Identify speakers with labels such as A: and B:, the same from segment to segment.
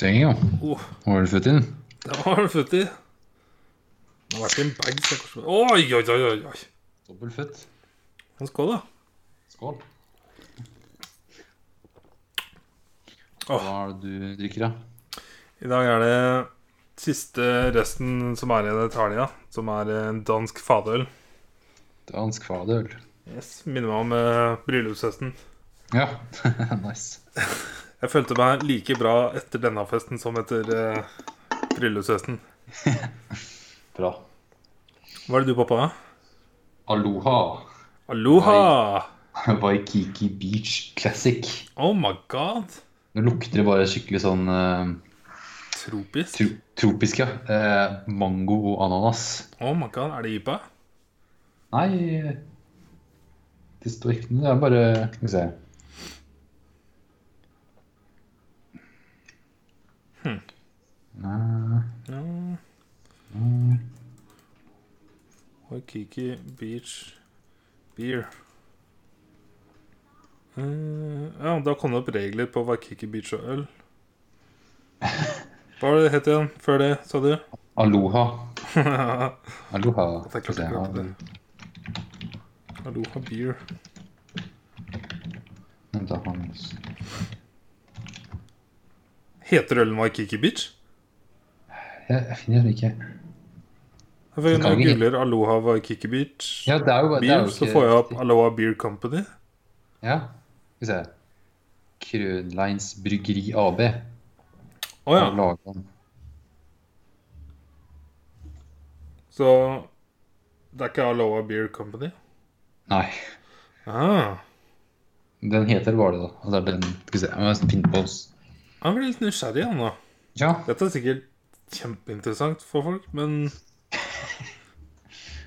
A: Dang, ja.
B: Oh,
A: Hva var det født inn?
B: det var en født i. Det har vært en bag. så kanskje- Oi, oi, oi, oi, oi.
A: Dobbelt født.
B: Men skål, da.
A: Skål.
B: Åh.
A: Hva er det du drikker, da?
B: I dag er det siste resten som er igjen i Italia, som er en dansk fadøl.
A: Dansk fadøl.
B: Yes, Minner meg om eh, bryllupsfesten.
A: Ja, nice.
B: Jeg følte meg like bra etter denne festen som etter eh, bryllupsfesten.
A: Bra.
B: Hva er det du, pappa?
A: Aloha.
B: Aloha!
A: Waikiki Beach Classic.
B: Oh my god!
A: Nå lukter det bare skikkelig sånn eh,
B: Tropisk.
A: tro tropisk, ja. Eh, mango og ananas.
B: Oh my god, er det IPA?
A: Nei, det står ikke noe. Det er bare Skal vi se. Nei,
B: Ja. Waikiki Beach Beer. Eh, ja, da kom det opp regler på Waikiki Beach og øl. Hva var det det het igjen før det, sa du?
A: Aloha.
B: Aloha
A: Aloha.
B: Det er klart jeg klarte det. Beer.
A: Vent da, Hans.
B: Heter ølen Waikiki Beach?
A: Jeg, jeg finner den ikke.
B: For
A: Den
B: Når
A: kan
B: jeg
A: ikke-
B: googler Aloha Waikiki Beach
A: Ja, det er jo, det er
B: Beer,
A: jo
B: så får jeg opp Aloha Beer Company.
A: Ja, skal vi se. Krønleins Bryggeri AB.
B: Å ja.
A: har laget den.
B: Så det er ikke Aloha Beer Company?
A: Nei.
B: Ah.
A: Den heter bare det, da. Altså, den, skal vi se. Jeg må finne på oss.
B: Jeg blir litt nysgjerrig igjen nå.
A: Ja.
B: Dette er sikkert kjempeinteressant for folk, men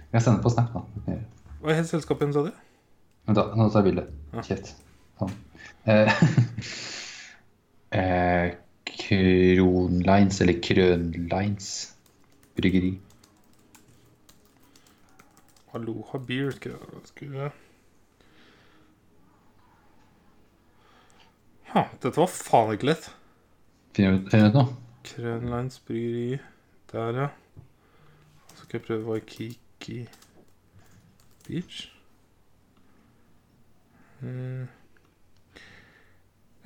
A: Jeg sender på Snap, da.
B: hva het selskapet igjen, sa du?
A: Vent, da. Nå tar jeg bilde.
B: Ja.
A: Kjeft. Sånn. Eh, eh, Kronlines, eller Krønlines bryggeri.
B: Aloha Beer, skal jeg skulle Ha, dette var faen ikke lett.
A: Finner du finner du ut noe?
B: Krønlines Bryggeri. Der, ja. Så skal jeg prøve Waikiki Beach. Eh,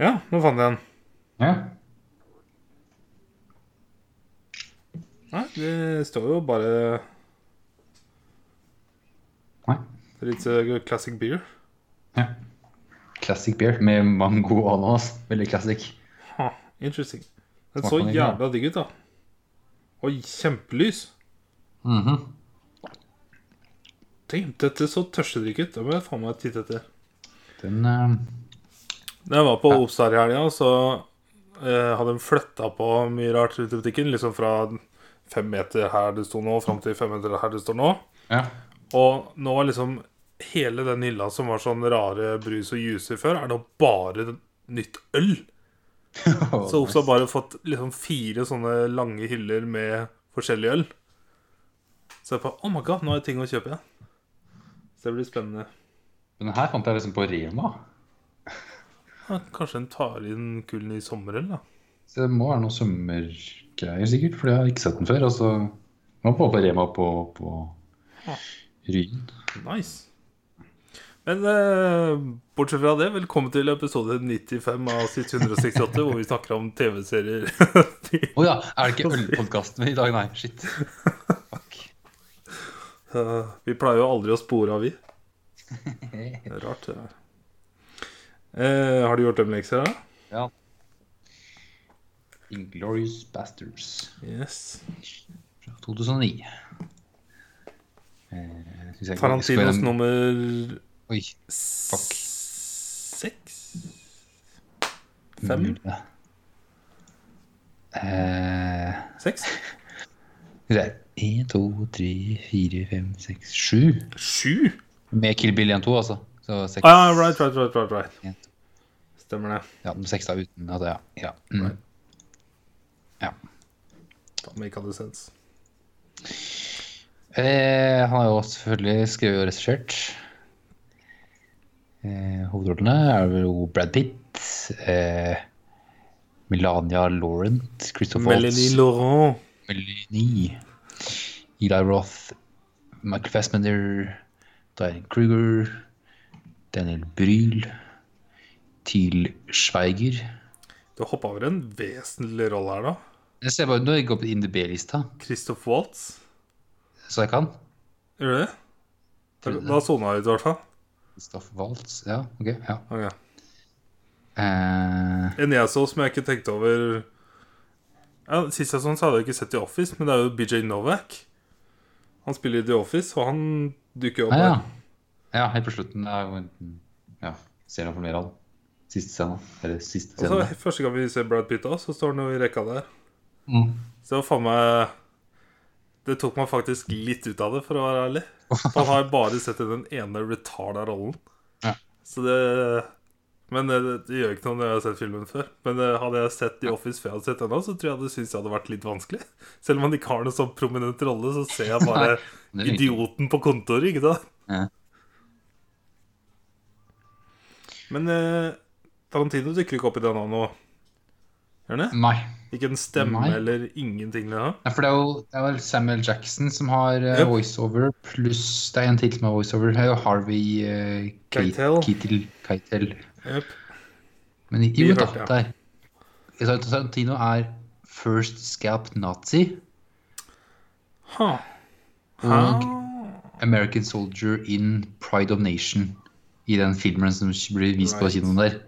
B: Ja, nå fant jeg den.
A: Ja.
B: Nei, det står jo bare
A: Nei.
B: It's a classic beer.
A: Ja. Classic beer med mango og ananas. Veldig classic.
B: Ha, interesting. Den
A: Smaker
B: så
A: den ikke,
B: jævla digg ut, da. Oi, kjempelys.
A: Mhm.
B: Tenk, dette så tørstedrikk ut. Det må jeg faen meg titte etter.
A: Den eh,
B: Da jeg var på Opsar i helga, så eh, hadde de flytta på mye rart rundt i butikken. Liksom fra fem meter her det sto nå, fram til fem meter her det står nå.
A: Ja.
B: Og nå er liksom hele den hylla som var sånn rare brus og juicer før, er nå bare nytt øl. Så Ops har bare fått liksom fire sånne lange hyller med forskjellig øl. Så jeg på, oh my god, nå har jeg ting å kjøpe igjen. Så det blir spennende.
A: Den her fant jeg liksom på Rema.
B: Ja, kanskje en tar inn kullen i sommerøl, da.
A: Så det må være noen sommergreier sikkert, for jeg har ikke sett den før. Altså, man får på Rema på, på
B: Ja.
A: Ryen.
B: Nice. Men eh, bortsett fra det, velkommen til episode 95 av Sitt 168, hvor vi snakker om TV-serier.
A: Å ja, er det ikke ølpodkasten i dag? Nei, shit. Fuck.
B: Eh, vi pleier jo aldri å spore av, vi. Det er rart, det der. Eh, har du gjort dem lekser, da?
A: Ja. Inglorious Bastards
B: Yes.
A: fra 2009. Eh, skal vi se, skal jeg-
B: Tarantinos nummer
A: Oi,
B: Seks? Fem?
A: mulig. Eh,
B: Seks?
A: skal vi se. En, to, tre, fire, fem, seks, sju.
B: Sju?
A: Med Kill Bill 1-2, altså. Så seks.
B: Ah, ja, right, right, right, right,
A: En,
B: right. Stemmer det.
A: Ja, den seks da uten altså, ja. ja. Mm.
B: Faen, Make all the sense.
A: Eh, han har jo selvfølgelig skrevet og regissert. Eh, hovedrollene er jo Brad Pitt, eh, Melania Laurent, Christopher
B: Melanie
A: Waltz,
B: Laurent.
A: Melanie, Eli Roth, Michael Fassbender, Diane Kruger, Daniel Bryl, Til Schweiger.
B: Du hoppa over en vesentlig rolle her, da.
A: Jeg ser bare, Nå gikk jeg opp på INDB-lista,
B: Christoph Waltz.
A: så jeg kan.
B: Gjør du det? Da- Da sona jeg ut, i hvert fall.
A: Christopher Waltz, ja, ok. ja.
B: Ok.
A: Eh,
B: En jeg så som jeg ikke tenkte over ja, Sist jeg så han, så hadde jeg ikke sett The Office, men det er jo BJ Novak. Han spiller i The Office, og han dukker opp
A: ah, ja.
B: her.
A: ja, helt på slutten. Det er jo en- Ja, ser han for mer av den. Siste scenen. Eller siste
B: Og så
A: scenen.
B: Første gang vi ser Brad Pitt, da, så står han jo i rekka der.
A: Mm.
B: Så det var faen meg Det tok meg faktisk litt ut av det, for å være ærlig. For han har bare sett i den ene retarda rollen.
A: Ja.
B: Så det Men det, det gjør ikke noe når jeg har sett filmen før. Men eh, hadde jeg sett The Office før jeg hadde sett den nå, så tror jeg det syntes jeg hadde vært litt vanskelig. Selv om han ikke har noen sånn prominent rolle, så ser jeg bare
A: Det er litt-
B: idioten på kontoret, ikke sant?
A: Ja.
B: Men eh, Tarantino dukker ikke opp i den nå. Gjør han det?
A: Nei.
B: Ikke en stemme
A: Mm. Nei.
B: eller ingenting? Liksom.
A: Nei, for det er jo det er vel Samuel Jackson som har eh,
B: Yep.
A: voiceover, pluss det er en til som har voiceover. Det er jo Harvey eh, Kate-
B: Keitel.
A: Keitel. Keitel.
B: Jep.
A: Men ikke
B: Vi
A: jo, da,
B: hørte, ja.
A: der. Jeg sa at Tarantino er first scalp Nazi
B: Ha. Ha.
A: Ah. American soldier in Pride of Nation i den filmen som blir vist på
B: Right.
A: kinoen der.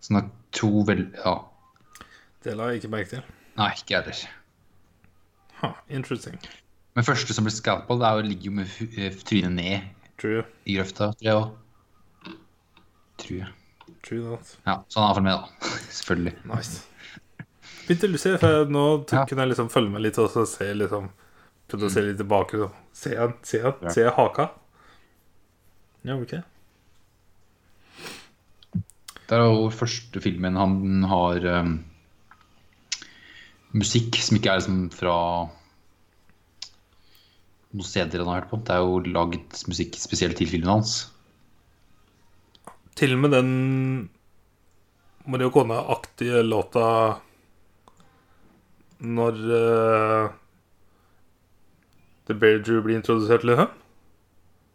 A: Så han har to vel... Ja.
B: Det la jeg ikke merke til.
A: Nei, ikke jeg heller.
B: Ha. Interesting.
A: Men første som blir scalpa, det er jo, ligger jo med hu- eh, trynet ned
B: True.
A: i grøfta. Tror jeg også. Tror jeg.
B: True that.
A: Ja, så han er iallfall med, da. Selvfølgelig.
B: Nice. Begynte du å se, for jeg- nå t-
A: Ja. Mm.
B: kunne jeg liksom følge med litt og så se liksom Prøvde å se litt tilbake. og Se han, se han, se haka. Ja, ok.
A: Det er jo første filmen han har um, musikk som ikke er liksom fra noen steder han har hørt på. Det er jo lagd musikk spesielt til filmen hans.
B: Til og med den Mario Kone-aktige låta når eh, The Bear Drew blir introdusert, liksom.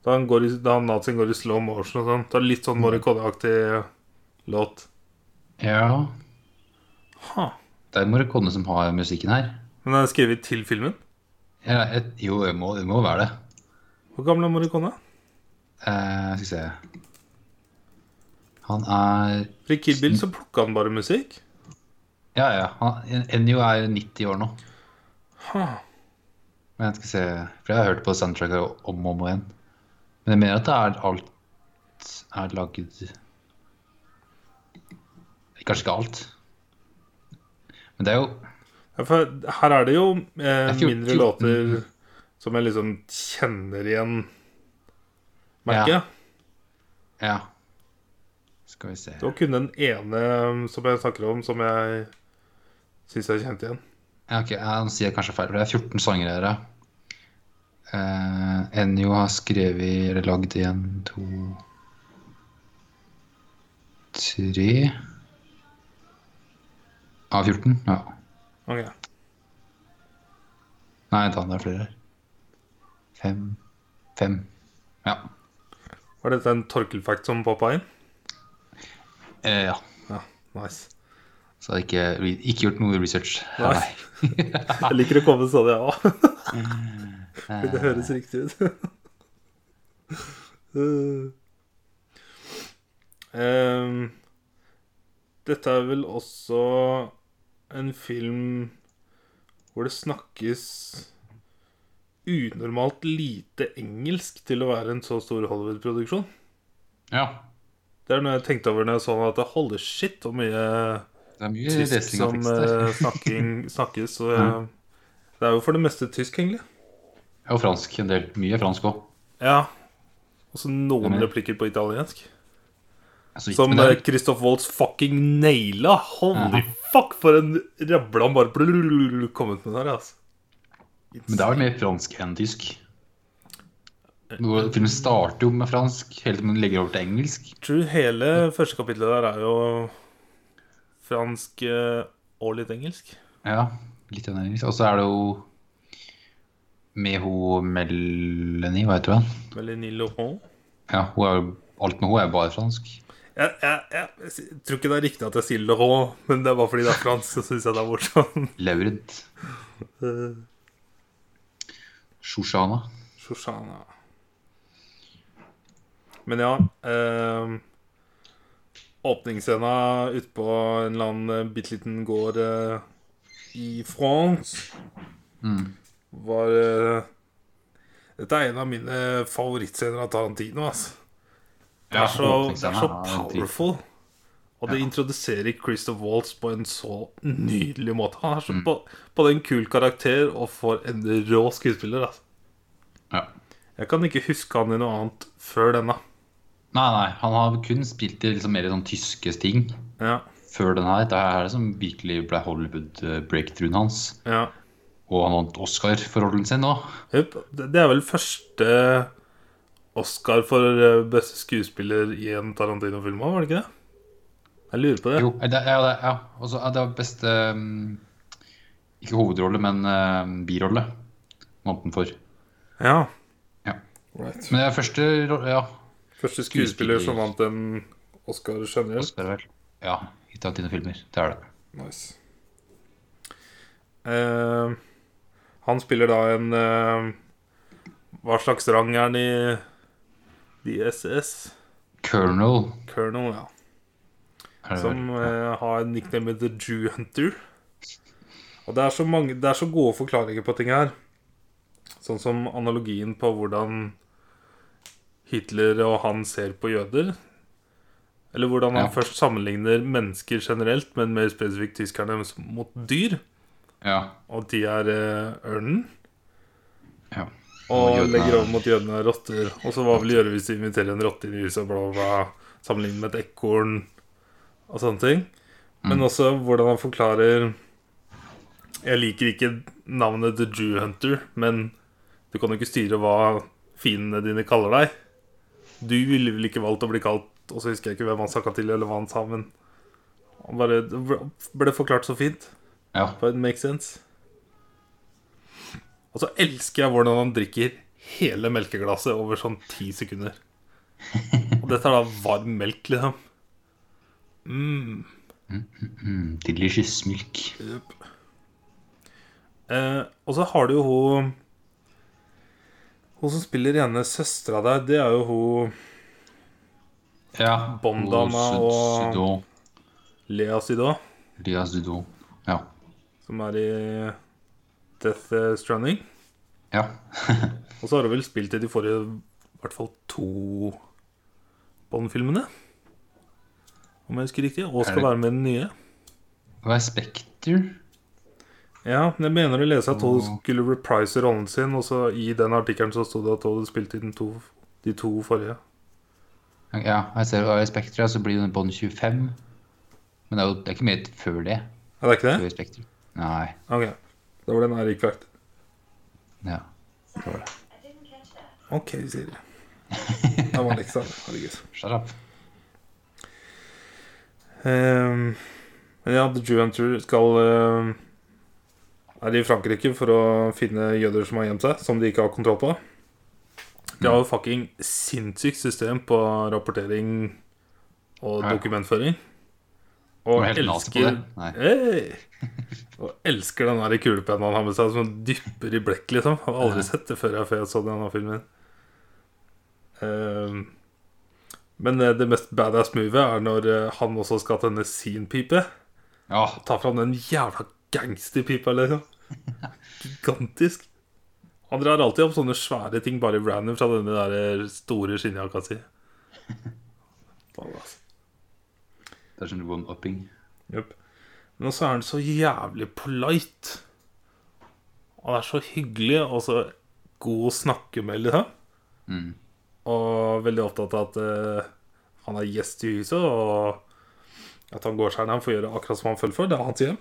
B: Da han, går i, da han nazien går i slow motion og sånn. Det er litt sånn
A: Mm.
B: Mario Kone-aktig låt.
A: Ja.
B: Ha.
A: Det er Morricone som har musikken her.
B: Men den er skrevet til filmen?
A: Ja, jeg, jo, det må, det må være det.
B: Hvor gammel er Mario Kone?
A: Eh, skal vi se Han er
B: For i Kill Bill så plukka han bare musikk.
A: Ja, ja. han- Ennio er 90 år nå.
B: Ha.
A: Men jeg skal se, for jeg har hørt på soundtracket om og om igjen. Men jeg mener at det er alt er laget Kanskje ikke alt. Men det er jo
B: Ja, for her er det jo eh,
A: er fjor-
B: mindre
A: fjorten. mm.
B: låter som jeg liksom kjenner igjen, merker
A: Ja.
B: jeg.
A: Ja. Skal vi se.
B: Det var kun den ene um, som jeg snakker om, som jeg syns jeg kjente igjen.
A: Ja, ok, ja, Nå sier jeg kanskje feil, for det er 14 sanger her. ja. Eh, Ennio har skrevet eller lagd én, to Tre Av 14? Ja.
B: Ok,
A: Nei, da, det er flere her. Fem. Fem. Ja.
B: Var dette en torkelfact som poppa inn?
A: Eh, ja.
B: Ja, nice.
A: Så jeg har ikke, ikke gjort noe research.
B: Nei. Jeg liker å komme sånn, jeg òg. Det
A: Eh,
B: høres riktig ut. Uh. um, dette er vel også en film hvor det snakkes unormalt lite engelsk til å være en så stor Hollywood-produksjon.
A: ja.
B: Det er noe jeg tenkte over når jeg så den, at det holder shit hvor mye
A: Det er mye
B: tysk
A: lesing av
B: som
A: tekst der.
B: eh, snakking, snakkes. Og, eh, Det er jo for det meste tysk, egentlig.
A: Og fransk en del. Mye fransk òg.
B: Ja. Og så noen
A: Enig.
B: replikker på italiensk.
A: Altså,
B: Som
A: men det er-
B: eh, Christoph Waltz fucking naila! Holy fuck, for en rabla han bare blululul kom ut med der, altså.
A: Men det er vel mer fransk enn tysk.
B: Eh,
A: Hvor Filmen starter jo med fransk, helt til man legger over til engelsk.
B: Jeg tror hele første kapitlet der er jo fransk eh, Og litt engelsk.
A: Ja, litt grann engelsk. Og så er det jo med hun Melanie, hva heter hun?
B: Melanie Laurent.
A: Ja, hun er, jo- alt med hun er jo bare fransk.
B: Jeg, jeg, jeg, s- tror ikke det er riktig at jeg sier Le Rond, men det er bare fordi det er fransk, så syns jeg det er morsomt.
A: Laurid.
B: Eh,
A: Shoshana.
B: Shoshana. Men ja eh, Åpningsscena ute på en eller annen bitte liten gård eh, i France
A: Mm.
B: var eh, Dette er en av mine favorittscener av Tarantino. Altså. Det,
A: Ja,
B: er så, det er
A: åpningsscena
B: så
A: er en drit.
B: powerful. Og det introduserer Christopher Waltz på en så nydelig måte. Han
A: Mm.
B: er så på, på den kul karakter, og for en rå skuespiller. Altså.
A: Ja.
B: Jeg kan ikke huske han i noe annet før denne.
A: Nei, nei, han har kun spilt i liksom mer sånn tyske ting
B: Ja,
A: før den her. Det her er det som virkelig ble Hollywood-breakthroughen hans.
B: ja.
A: Og han vant Oscar for rollen sin òg.
B: Jupp. Det det er vel første Oscar for eh, beste skuespiller i en Tarantino-film òg, var det ikke det? Jeg lurer på det.
A: Jo, det, ja, det, ja. Og så er det beste um, Ikke hovedrolle, men um, birolle. Vant den for.
B: Ja.
A: Ja.
B: Right.
A: Men det er første ro- Ja,
B: Første
A: Skuespiller.
B: skuespiller som vant en Oscar generelt.
A: Oscar, vel. Ja, i Tarantino-filmer. Det er det.
B: Nice. Eh, han spiller da en eh, Hva slags rang er han i DSS?
A: Colonel
B: Colonel, ja.
A: er det
B: Som
A: vel.
B: eh, har en nickname The Jew Hunter. Og det er, så mange, det er så gode forklaringer på ting her. Sånn som analogien på hvordan Hitler og han ser på jøder. Eller hvordan han
A: Ja.
B: først sammenligner mennesker generelt, men mer spesifikt tyskerne, mot dyr.
A: Ja.
B: Og de er eh, ørnen.
A: ja.
B: Og
A: jødene-
B: legger over mot jødene er rotter. Og så hva vil de gjøre hvis de inviterer en rotte inn i huset? Bla, bla, bla, sammenlignet med et ekorn og sånne ting. Men også hvordan han forklarer Jeg liker ikke navnet The Jew Hunter, men du kan jo ikke styre hva fiendene dine kaller deg. Du ville vel ikke valgt å bli kalt Og så husker jeg ikke hvem han snakka til, eller hva han sa, men han bare det ble forklart så fint.
A: Ja.
B: But it makes sense. Og så elsker jeg hvordan han drikker hele melkeglasset over sånn ti sekunder. Og dette er da varm melk, liksom.
A: Mm, delicious milk.
B: Eh, og så har du jo hun Hun som spiller ene søstera der, det er jo hun
A: Ja.
B: Bondama og-
A: Sudo.
B: Lea Sida,
A: Lia Sudo. altså, Ja.
B: som er i Death Stranding.
A: Ja.
B: Og så har hun vel spilt i de forrige i hvert fall to Bond-filmene. Om jeg husker riktig. Og
A: Er
B: skal
A: det-
B: være med i den nye.
A: Hva er Spekter?
B: Ja, men jeg mener å lese at hun
A: Og-
B: skulle reprise rollen sin, og så i den artikkelen så sto det at hun hadde spilt i den to, de to forrige.
A: Ja, jeg ser hva er Spekter, ja, så blir det Bond 25. Men det er jo det er ikke mer før det.
B: Er det ikke det?
A: Før Spekter. Nei.
B: Ok. Da var det en Eirik Vakt.
A: Ja. det var det.
B: OK, Siri. Det var leksa. Herregud.
A: Shut up.
B: Ehm, men ja, The Jew Hunter skal ehm, Er i Frankrike for å finne jøder som har gjemt seg, som de ikke har kontroll på. De har jo fucking sinnssykt system på rapportering og
A: Ja.
B: dokumentføring.
A: Du
B: Og
A: er helt nazi på det.
B: elsker
A: Nei.
B: Hey! Og elsker den der kulepennen han har med seg, som han dypper i blekk, liksom. Jeg har aldri
A: Ja.
B: sett det før jeg, før jeg så denne filmen. Ehm, men eh, det mest badass movet er når eh, han også skal tenne sin pipe.
A: Ja.
B: Ta fram den jævla gangsterpipa, liksom. Gigantisk. Han drar alltid opp sånne svære ting bare random fra denne der eh, store skinnjakka si. Faen, altså.
A: Det er sånn som one-upping.
B: Jep. Men også er han så jævlig polite. Han er så hyggelig og så god å snakke med, liksom.
A: Mm.
B: Og veldig opptatt av at eh, han er gjest i huset, og at han går seg ned og får gjøre akkurat som han føler for. Det er hans hjem.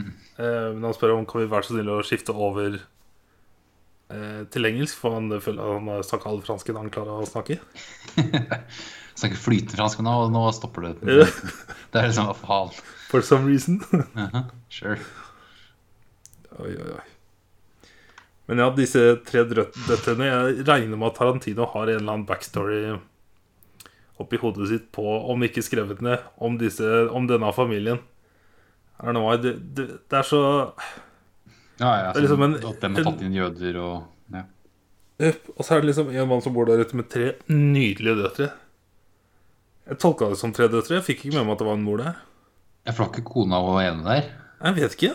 B: Eh, men han spør om kan vi være så snille å skifte over eh, til engelsk, for han føler han har snakket all fransken han klarer å snakke.
A: Snakker flytende fransk nå, og nå stopper det.
B: Ja.
A: Det Det er liksom hva faen.
B: For some reason.
A: Aha, Sure.
B: Oi, oi, oi. Men ja, disse tre drø- døtrene Jeg regner med at Tarantino har en eller annen backstory oppi hodet sitt på, om ikke skrevet ned, om, disse, om denne familien. Er det, noe, det, det, det er så
A: Ja, ja.
B: Det er liksom
A: sånn
B: en-
A: at de har tatt inn jøder og ja.
B: Jepp. Og så er det liksom en mann som bor der ute med tre nydelige døtre. Jeg tolka det som tre døtre. Jeg fikk ikke med meg at det var en mor der.
A: Jeg får ikke kona og ene der.
B: Jeg vet ikke.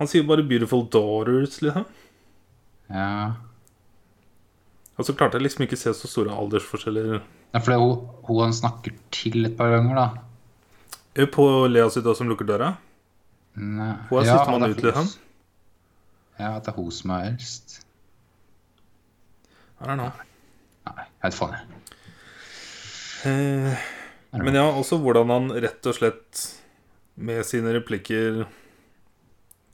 B: Han sier bare 'beautiful daughters', liksom.
A: Ja.
B: Og så klarte jeg liksom ikke se så store aldersforskjeller
A: ja for det er hun, hun han snakker til et par ganger, da.
B: på Lea sitt også, som lukker døra.
A: Nei.
B: Hun er
A: Ja,
B: sistemann
A: at det
B: ut, liksom.
A: hos- Ja, at det er hun som er eldst.
B: Er det nå?
A: Nei, jeg vet faen, jeg.
B: Eh, men ja, også hvordan han rett og slett med sine replikker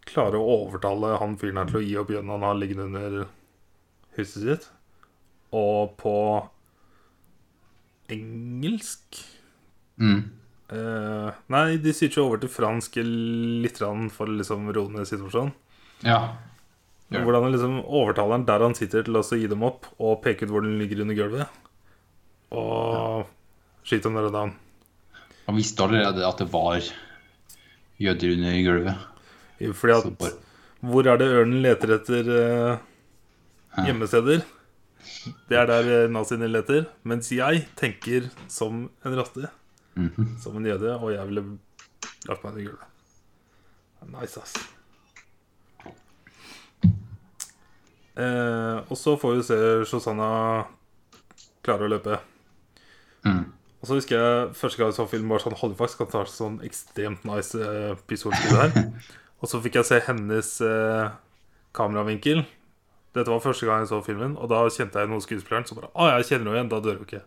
B: klarer å overtale han fyren her til å gi opp jønnen han har liggende under huset sitt. Og på engelsk
A: Mm.
B: eh, Nei, de switcher over til fransk litt grann for å liksom roe ned situasjonen.
A: Ja.
B: Men
A: Ja.
B: Hvordan han liksom overtaler han der han sitter til også å gi dem opp, og peke ut hvor den ligger under gulvet. Og skyte dem der og da.
A: Han visste allerede at det var jøder under gulvet.
B: Fordi
A: Så
B: at
A: bare-
B: Hvor er det ørnen leter etter eh,
A: Ja.
B: gjemmesteder? Det er der eh, naziene leter. Mens jeg tenker som en raste.
A: Mhm.
B: Som en jøde. Og jeg ville lagt meg under gulvet. Nice, ass. Eh, og så får vi se Shosanna klare å løpe.
A: Mm.
B: Og så husker jeg første gang jeg så filmen var sånn Halifax kan ta sånn ekstremt nice uh, pistolskudd her. og så fikk jeg se hennes eh, kameravinkel. Dette var første gang jeg så filmen, og da kjente jeg noen skuespilleren som bare Å, jeg kjenner henne igjen. Da dør hun ikke.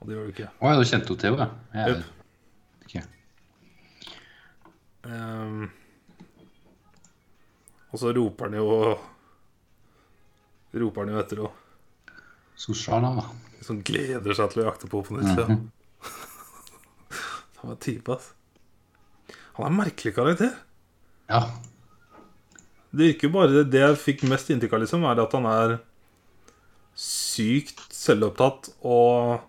B: Og det gjør hun ikke.
A: Å ja, du kjente henne til, ja. Jeg,
B: Jep.
A: Ok.
B: Ehm, og så roper han jo Roper han jo etter henne.
A: Sosial, da.
B: Liksom gleder seg til å jakte på henne på nytt. ja. Han er type, ass. Han er en merkelig karakter.
A: Ja.
B: Det virker jo bare Det jeg fikk mest inntrykk av, liksom, er at han er sykt selvopptatt og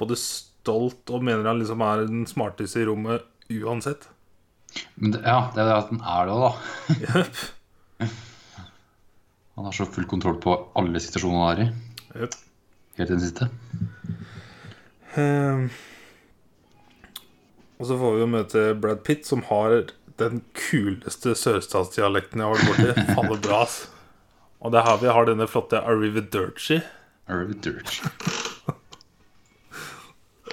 B: både stolt og mener han liksom er den smarteste i rommet uansett.
A: Men det, ja, det er det at han er det òg, da.
B: Jepp.
A: Han har så full kontroll på alle situasjoner han er i.
B: Jepp.
A: Helt til den siste.
B: Ehm. Og så får vi jo møte Brad Pitt, som har den kuleste sørstatsdialekten jeg har vært borti. Faller bra, ass. Og det er her vi har denne flotte Arrivederci.
A: Irv Dirch.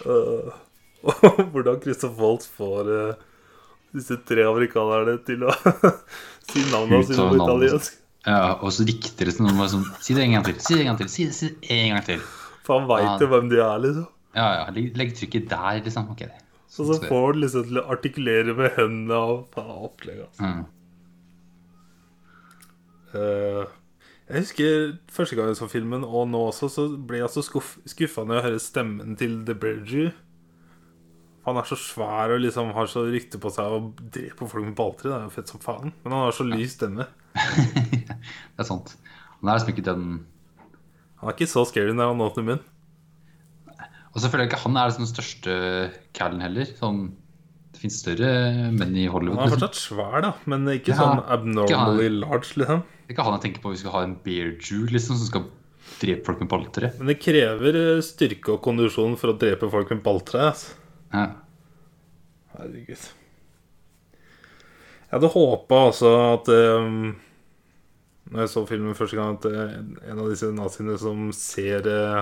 B: Og hvordan Christopher Waltz får eh, disse tre amerikanerne til å si navnene sine
A: Uttale
B: på
A: navnet.
B: italiensk.
A: Ja, og så riktig liksom. når man er sånn, Si det en gang til. Si det en gang til. Si det, si det en gang til.
B: For han veit jo hvem de er, liksom.
A: Ja, ja. Legg, legg trykket der, liksom. Ok.
B: Og så får han liksom til å artikulere med hendene og faen opplegget. altså.
A: Mm.
B: Eh, jeg husker første gang jeg så filmen, og nå også, så ble jeg så skuffa når jeg hører stemmen til The Berger. Han er så svær og liksom har så rykte på seg og dreper folk med balltre. Det er jo fett som faen. Men han har så lys stemme.
A: Det er sant. Han er liksom ikke den
B: Han er ikke så scary når han åpner munnen.
A: Og så føler jeg ikke han er liksom den største callen heller. Sånn, det fins større menn i Hollywood.
B: Han
A: liksom.
B: er fortsatt svær, da, men ikke
A: Ja,
B: sånn
A: ikke
B: abnormally large, liksom.
A: Det er ikke han jeg tenker på hvis vi skal ha en bear jew liksom, som skal drepe folk med balltre.
B: Men det krever eh, styrke og kondisjon for å drepe folk med balltre. ass.
A: Ja.
B: Herregud. Jeg hadde håpa altså at eh, Når jeg så filmen første gang, at eh, en av disse naziene som ser eh,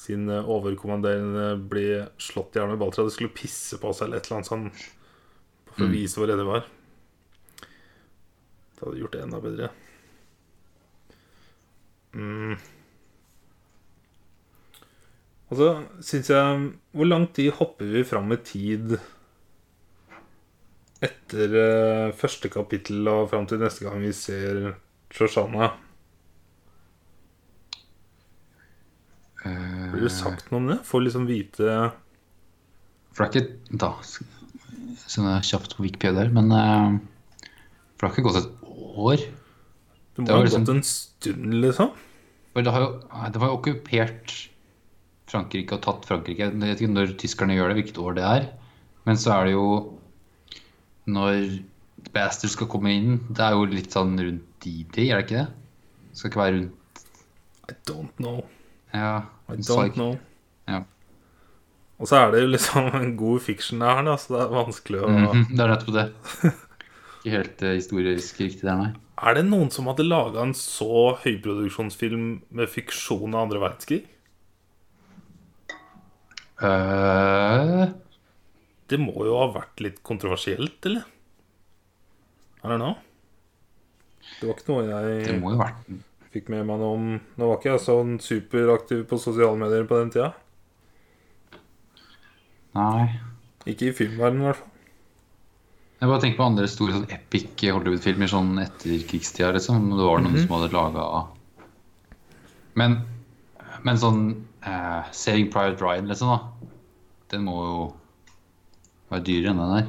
B: sin eh, overkommanderende bli slått i hjel med balltre, at de skulle pisse på seg eller et eller annet sånn for å vise hvor redde de var. Det hadde gjort det enda bedre. Mm. Og så syns Altså, jeg Hvor lang tid hopper vi fram i tid etter eh, første kapittel og fram til neste gang vi ser Shoshana?
A: Eh, Eh.
B: Blir det sagt noe om det? Får liksom vite
A: For det er ikke da, sånn er kjapt på Wikipedia der, men eh, For det har ikke gått et år. Det
B: Det må
A: var
B: ha
A: liksom-
B: gått en stund, liksom.
A: For det, har jo, nei, det var jo okkupert Frankrike og tatt Frankrike. Jeg vet ikke når tyskerne gjør det, hvilket år det er. Men så er det jo når Bastard skal komme inn Det er jo litt sånn rundt DD, er det ikke det? Skal ikke være rundt
B: I don't know.
A: Ja.
B: I
A: hun sa
B: don't
A: ikke-
B: know.
A: Ja.
B: Og så er det jo liksom en god fiction det her, da, så det er vanskelig å
A: Mhm, det er nettopp det. Ikke helt eh, historisk riktig der, nei.
B: Er det noen som hadde laga en så høyproduksjonsfilm med fiksjon av andre verdenskrig?
A: Eh,
B: Det må jo ha vært litt kontroversielt, eller? Er det nå? Det var ikke noe
A: det
B: jeg
A: må jo ha vært
B: fikk med meg noe om Nå var ikke jeg sånn superaktiv på sosiale medier på den tida.
A: Nei.
B: Ikke i filmverdenen, i hvert fall.
A: Jeg bare tenker på andre store sånn epic Hollywood-filmer sånn etter krigstida, liksom. Det var
B: Mhm.
A: noen som hadde laga men, men sånn eh, Saving Private Ryan, liksom, da. Den må jo være dyrere enn den der.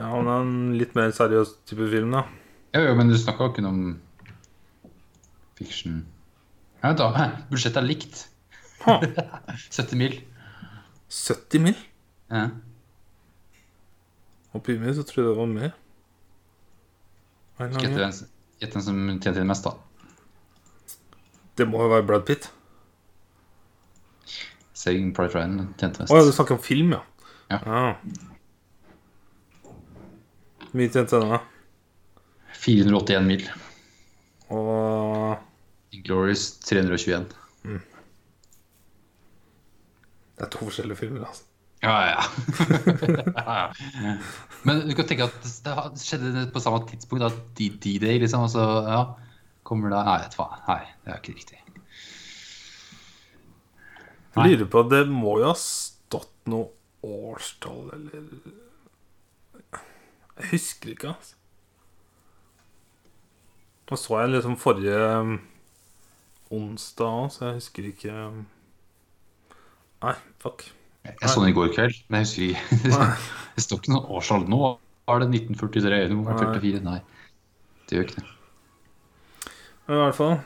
B: Ja, men det er en litt mer seriøs type film, da.
A: Jo, jo, men du snakka jo ikke om fiction Ja, da, Budsjettet er likt.
B: Ha,
A: 70 mil.
B: 70 mil?
A: Ja.
B: Oppi meg så tror jeg det var mer. Av en eller
A: Gjett
B: annen grunn.
A: hvem s- gjett hvem som tjente mest, da.
B: Det må jo være Brad Pitt.
A: Saving Private Ryan tjente mest.
B: Å ja, du snakker om film, ja.
A: Ja.
B: Hvor Mye tjente denne.
A: 481 mil.
B: Og
A: Inglorious 321.
B: det er to forskjellige filmer, altså.
A: Ja, ja. Men du kan tenke at det har- det skjedde på samme tidspunkt, da. D- D-Day, liksom. Og så ja, kommer det Nei, vet du faen. Nei, det er ikke riktig. Nei.
B: Jeg lurer på, det må jo ha stått noe årstall, eller Jeg husker ikke, altså. Nå så jeg liksom forrige um, onsdag òg, så jeg husker ikke um. Nei, fuck.
A: Jeg så den i går kveld, men jeg husker ikke. Det står ikke noe årstall nå. Var det 1943? Nå var det 44? Nei. Det gjør ikke det.
B: Men i hvert fall,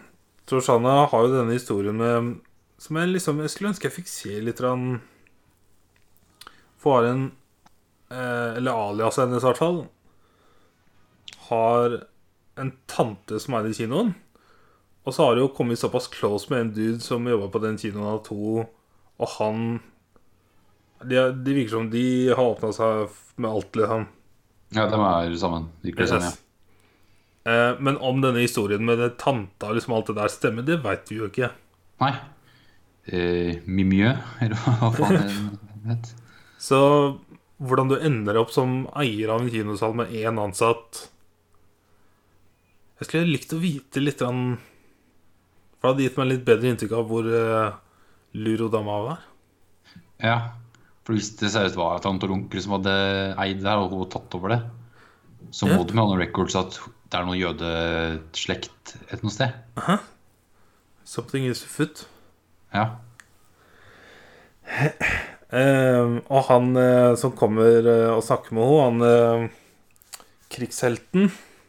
B: Torsanna har jo denne historien med Som jeg liksom Jeg skulle ønske jeg fikk se litt grann For en eh, Eller aliaset hennes, i hvert fall, har en tante som er i kinoen. Og så har det jo kommet såpass close med en dude som jobba på den kinoen av to, og han De, er- de virker som de har åpna seg med alt, liksom.
A: Ja, de er sammen. Virker det sånn, ja.
B: Yes. Eh, Men om denne historien med det tanta og liksom alt det der stemmer, det veit vi jo ikke.
A: Nei. Eh, Mimieux, eller hva faen det het.
B: Så hvordan du ender opp som eier av en kinosal med én ansatt Jeg skulle likt å vite litt grann- For det hadde gitt meg litt bedre inntrykk av hvor eh, lur og dama var.
A: Ja, for hvis det seriøst var tante og onkel som hadde eid det her, og hun tatt over det, så må
B: Ja.
A: det med noen records at det er noen jødeslekt et noe sted.
B: Something is foot.
A: Ja.
B: Eh, og han eh, som kommer eh, og snakker med henne, han eh, krigshelten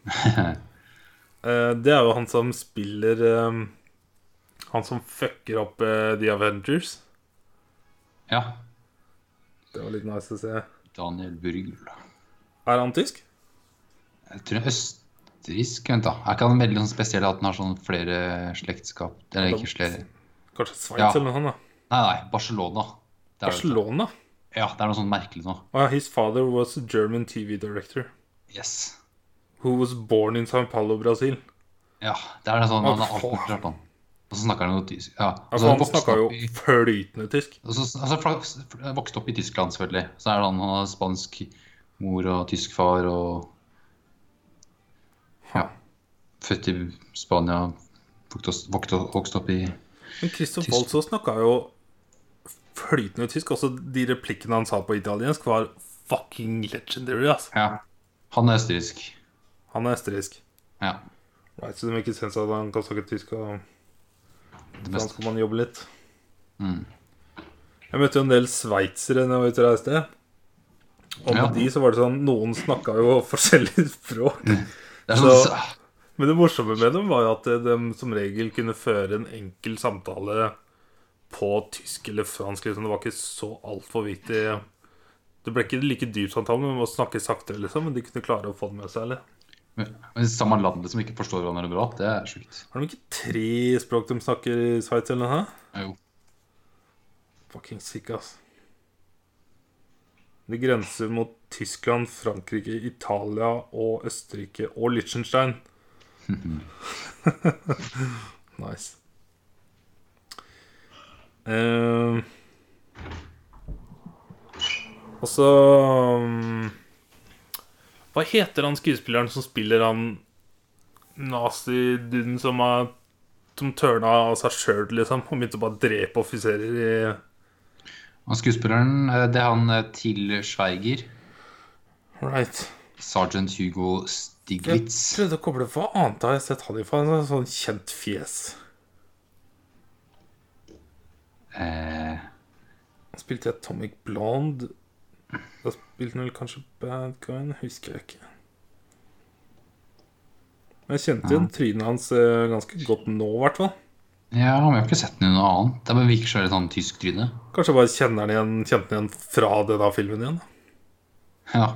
B: eh, Det er jo han som spiller eh, Han som fucker opp eh, The Avengers.
A: ja.
B: Det var litt nice å se.
A: Daniel Burgl.
B: Er han tysk?
A: Jeg tror det er østerriksk, vent da. Er ikke han veldig sånn spesiell at han har sånn flere slektskap? Eller ikke flere Nei,
B: Kanskje Sveits
A: Ja.
B: eller noe sånt? da
A: nei, Barcelona. Det er det.
B: Barcelona?
A: Ja, det er noe sånn merkelig nå.
B: Oh, yeah, his father was a German TV director
A: Yes.
B: who was born in São Paulo, Altså, Brasil.
A: Ja, det er det sånn.
B: Å,
A: Han har alt
B: faen.
A: mulig rart, han. Og så snakker han noe tysk. Ja. Og
B: Altså,
A: så har
B: han
A: vokst
B: snakka jo
A: opp i-
B: flytende tysk.
A: Og så altså, fra- fra- vokste opp i Tyskland, selvfølgelig. Så er det han, han har spansk mor og tysk far og Ja. Født i Spania, vokste, vokste, vokste opp i
B: Men Christoph
A: Tysk.
B: Waltz også snakka jo flytende tysk. Også de replikkene han sa på italiensk, var fucking legendary, ass.
A: Ja. Han er østerriksk.
B: Han er østerriksk.
A: Ja.
B: Right, så det make sense at han kan snakke tysk, og
A: Det
B: sånn
A: beste.
B: skal man jobbe litt.
A: Mm.
B: Ja, Jeg møtte jo en del sveitsere når jeg var ute og reiste. Og med
A: Ja.
B: de så var det sånn Noen snakka jo forskjellig språk.
A: Det er sånn,
B: Så- Men det morsomme med dem var jo at de som regel kunne føre en enkel samtale på tysk eller fransk. Liksom. Det var ikke så altfor viktig. Det ble ikke like dyp samtale, men man må snakke saktere, liksom. Men de kunne klare å få det med seg. Eller?
A: Men samme landet som ikke forstår hverandre bra, det er sjukt.
B: Har de ikke tre språk de snakker i Sveits eller noe? hæ?
A: Jo.
B: Fucking sick, ass. Det grenser mot Tyskland, Frankrike, Italia og Østerrike og Liechtenstein. nice. Eh, og så um, Hva heter han skuespilleren som spiller han naziduden som har Som tørna av seg sjøl, liksom, og begynte å bare drepe offiserer i
A: Og skuespilleren, eh, det er han eh, til Schweiger.
B: Right.
A: Sergeant Hugo
B: Jeg
A: Stiglitz.
B: prøvde å koble Hva annet har jeg sett han i for en sånn- sånn kjent fjes?
A: Eh,
B: Han spilte i Atomic Blonde. Da spilte han vel kanskje Bad Guy? nå Husker jeg ikke. Men jeg kjente igjen trynet hans eh, ganske godt nå, i hvert fall.
A: ja, men jeg har ikke sett den i noe annet. Det bare virker så veldig sånn tysk tryne.
B: Kanskje jeg bare kjenner han igjen, kjente han igjen fra denne filmen igjen. da.
A: Ja.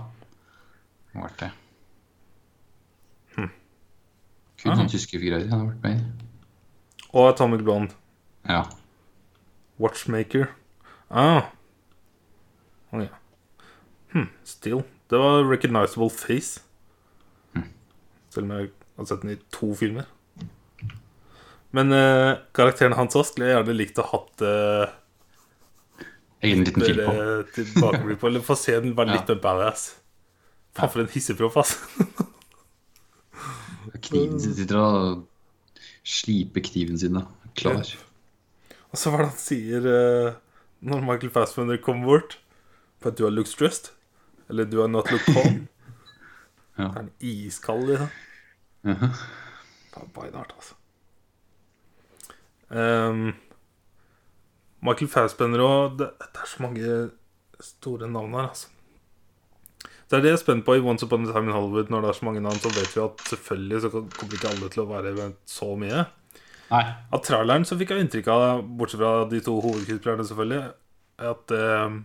A: Det har vært det.
B: Hm.
A: Kun
B: Ah.
A: sånne tyske figurer. Det har vært med. i.
B: Og Atomic Blonde.
A: Ja.
B: Watchmaker. Ah. Å ja. Hm, still. Det var recognizable face.
A: Hmm.
B: Selv om jeg har sett den i to filmer. Men eh, karakteren hans også skulle jeg gjerne likt å hatt eh,
A: Egen liten film på.
B: eh, tilbakeblikk på. Eller få se den være litt mer badass. Faen, for en hisseproff, ass.
A: Kniven sin sitter og sliper kniven sin. da. Klar.
B: Og så hva er det han sier eh, når Michael Fassbender kommer bort? For at du har looked stressed. Eller du har not looked calm.
A: Ja.
B: Er han iskald, liksom?
A: Mhm.
B: Det er beinhardt, altså. Ehm, Michael Fassbender og det, det er så mange store navn her, altså. Det er det jeg er spent på i Once Upon a Time in Hollywood. Når det er så mange navn, så vet vi at selvfølgelig så kommer ikke alle til å være så mye.
A: Nei.
B: Av traileren så fikk jeg inntrykk av, bortsett fra de to hovedkuespillerne, selvfølgelig, at eh,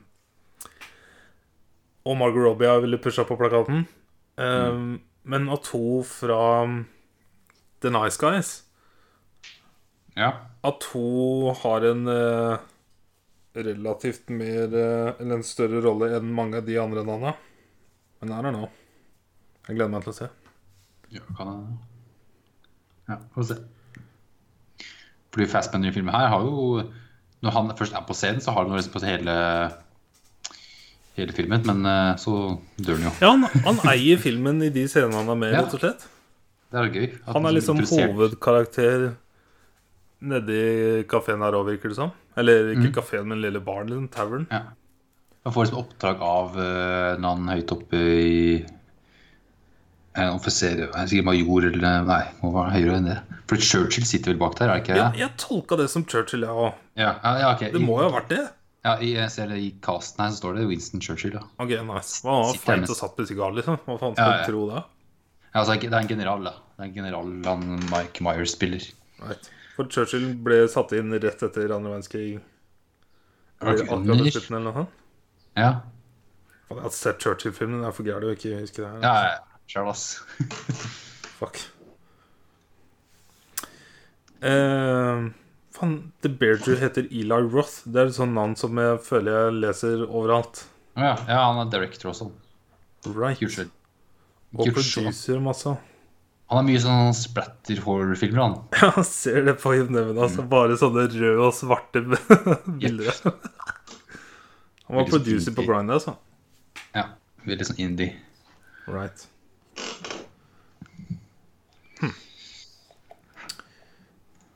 B: Og Margot Robbie har ville pusha på plakaten. Eh, Men at to fra mm, The Nice Guys
A: Ja.
B: At hun har en eh, relativt mer eh, Eller en større rolle enn mange av de andre navnene. Men her er nå. Jeg gleder meg til å se.
A: ja kan jeg... Ja, får se. Fordi Fassbender i filmen her har jo Når han først er på scenen, så har han jo liksom på hele Hele filmen, men eh, så dør han jo.
B: Ja, han, han eier filmen i de scenene han er med,
A: Ja.
B: rett og slett.
A: Det er gøy. at
B: Han er liksom
A: introdusert-
B: hovedkarakter nedi kafeen her òg, virker det som. Eller ikke
A: Mm.
B: kafeen, men lille baren, liksom. Tavern.
A: Ja. Han får liksom oppdrag av eh, en annen høyt oppe i En offiser eh, Sikkert major eller Nei, må være høyere enn det. For Churchill sitter vel bak der, er det ikke
B: Ja,
A: det?
B: jeg tolka det som Churchill, jeg òg.
A: Ja, ja, ja ok.
B: Det må jo ha vært det.
A: I, ja, i, jeg ser det i casten her, så står det Winston Churchill, ja.
B: Ok, nice. Hva var
A: Sitter
B: feit
A: med-
B: og satt med sigar, liksom? Hva faen skal
A: Ja, ja.
B: du tro da?
A: ja altså, det er en general, da. Det er en general han Mike Myers spiller.
B: Right. For Churchill ble satt inn rett etter andre verdenskrig.
A: Var
B: Eller
A: det ikke
B: akkurat
A: under?
B: ved slutten eller noe sånt.
A: Ja.
B: Faen, Jeg har sett Churchill-filmen, det er for gærent å ikke huske det her.
A: ja, ja, Sjæl, ass.
B: Fuck. Eh, Faen, The Beardrew heter Eli Roth. Det er et sånt navn som jeg føler jeg leser overalt.
A: Å Ja, ja, han er director også.
B: Right.
A: Churchill.
B: Og
A: Churchill.
B: producer altså. masse.
A: Han har mye sånn splatter horror-filmer, han.
B: Ja, jeg ser det på IMDb. Altså. Bare sånne røde og svarte bilder. Han var
A: Veldig
B: producer på
A: spooky.
B: Grind, altså.
A: Ja, Veldig sånn indie.
B: Right.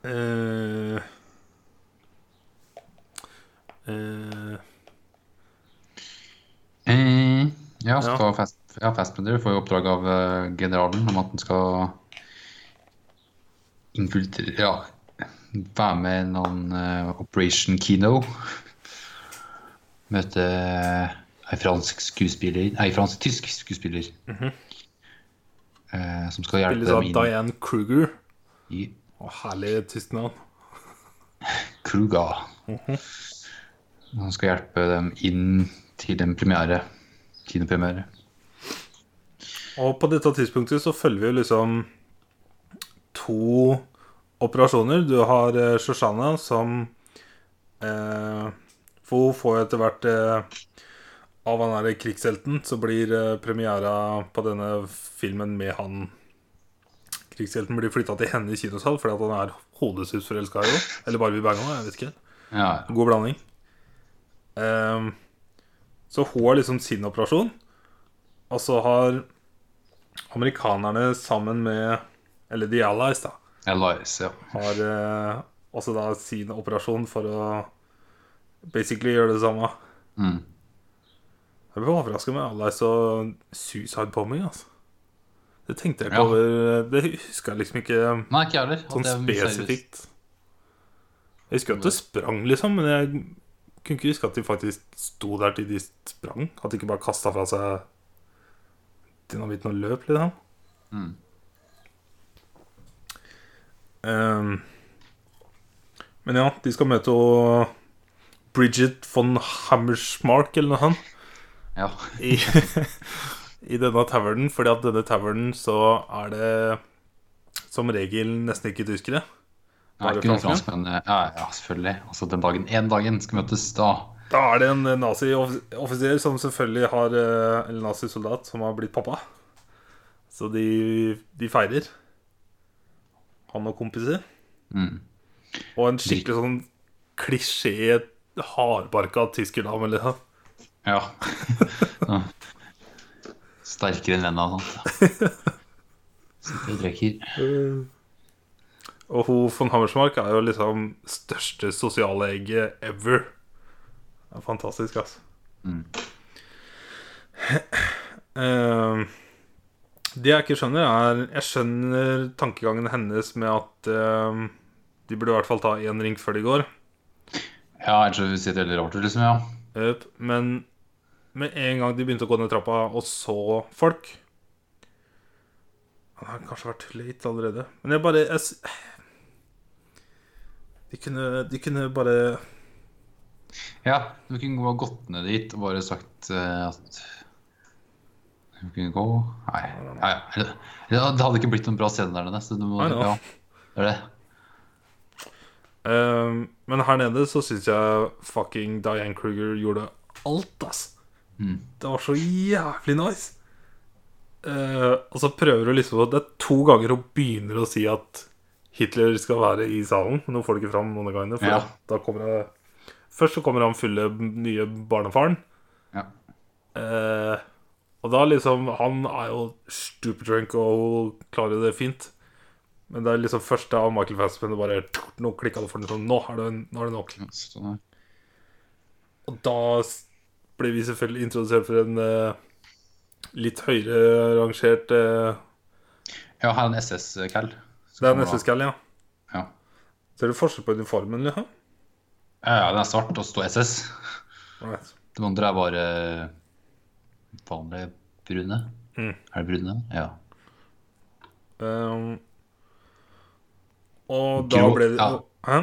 B: Hm. Eh. Eh.
A: Eh, ja, skal
B: Ja.
A: Fast, ja, Fassbender får jo oppdrag av eh, generalen om at han skal infiltrere Ja, være med i en annen eh, Operation Kino. møte ei fransk skuespiller Ei fransk tysk skuespiller. eh, som skal hjelpe
B: Spilles av
A: dem inn
B: Diane Kruger.
A: i
B: Å, herlig tysk navn.
A: Kruga. Som skal hjelpe dem inn til en premiere. Kinopremiere.
B: Og på dette tidspunktet så følger vi jo liksom to operasjoner. Du har eh, Shoshana som eh, For hun får jo etter hvert eh, Av han derre krigshelten så blir eh, premiera på denne filmen med han Krigshelten blir flytta til henne i kinosal fordi at han er hodesus forelska i henne. Eller Barbie Bangham, jeg vet ikke.
A: Ja,
B: God blanding. Ehm, så hun har liksom sin operasjon. Og så har amerikanerne sammen med Eller The Allies, da.
A: Elias, ja.
B: Har eh, også da sin operasjon for å basically gjøre det samme.
A: Mm.
B: Jeg ble overraska med Allies og suicide bombing, altså. Det tenkte jeg ikke
A: Ja.
B: over eh, Det huska jeg liksom ikke
A: Nei, ikke jeg heller. At
B: sånn
A: det er mye seriøst.
B: spesifikt. Jeg husker at det sprang, liksom, men jeg kunne ikke huske at de faktisk sto der til de sprang. At de ikke bare kasta fra seg dynamitten og løp, liksom.
A: Mm.
B: Ehm, men ja, de skal møte jo Bridget von Hammersmark eller noe sånt
A: Ja.
B: i, i denne tavernen. Fordi at denne tavernen så er det som regel nesten ikke tyskere.
A: Nei,
B: Bare
A: ikke noen
B: franskmenn?
A: franskmenn. eh, Ja, ja, selvfølgelig. Altså, den dagen, en dagen skal møtes da.
B: Da er det en nazioffiser som selvfølgelig har eh, Eller nazisoldat som har blitt pappa. Så de, de feirer. Han og kompiser.
A: Mm.
B: Og en skikkelig sånn klisjé hardbarka tyskerdame. Liksom.
A: Ja. Så. Sterkere enn venner og sånt. Sitter og drikker.
B: Eh, Og hun von Hammersmark er jo liksom største sosiale egget ever. Det er fantastisk, altså.
A: Mm.
B: Eh, det jeg ikke skjønner, er Jeg skjønner tankegangen hennes med at eh, de burde i hvert fall ta én ring før de går.
A: Ja, ellers så sitter det veldig rart ut, liksom. Ja.
B: Jøp, Men med en gang de begynte å gå ned trappa og så folk Det har kanskje vært late allerede. Men jeg bare jeg, s- de, kunne, de kunne bare
A: Ja, du kunne bare gått ned dit og bare sagt eh, at Du kunne gå Nei. nei eller- eller det hadde ikke blitt noen bra scene der nede, så du må
B: Nei, nei.
A: ja, det er det.
B: eh, Men her nede så syns jeg fucking Diane Kruger gjorde alt, ass.
A: Mm.
B: Det var så jævlig nice. Eh, og så prøver hun liksom Det er to ganger hun begynner å si at Hitler skal være i salen. Men hun får det ikke fram noen av gangene. For
A: Ja.
B: at da kommer det, først så kommer han fulle nye barnefaren.
A: Ja.
B: Eh, og da liksom Han er jo stupid drunk, og hun klarer det fint. Men det er liksom først da Michael Fassbender bare Nå klikka det for den sånn. Nå er det, nå er det nok.
A: Sånn, ja.
B: Og da s- ble vi selvfølgelig introdusert for en eh, litt høyere rangert eh,
A: ja, her er en SS-cal.
B: Det er en SS-kall, ja.
A: Ja.
B: Ser du forskjell på uniformen, liksom?
A: Ja, ja, den er svart og står SS.
B: Right.
A: De andre er bare eh, vanlige brune.
B: Mm.
A: Er det brune? Ja.
B: Um, og da
A: Grå-
B: ble det
A: ja.
B: Hæ?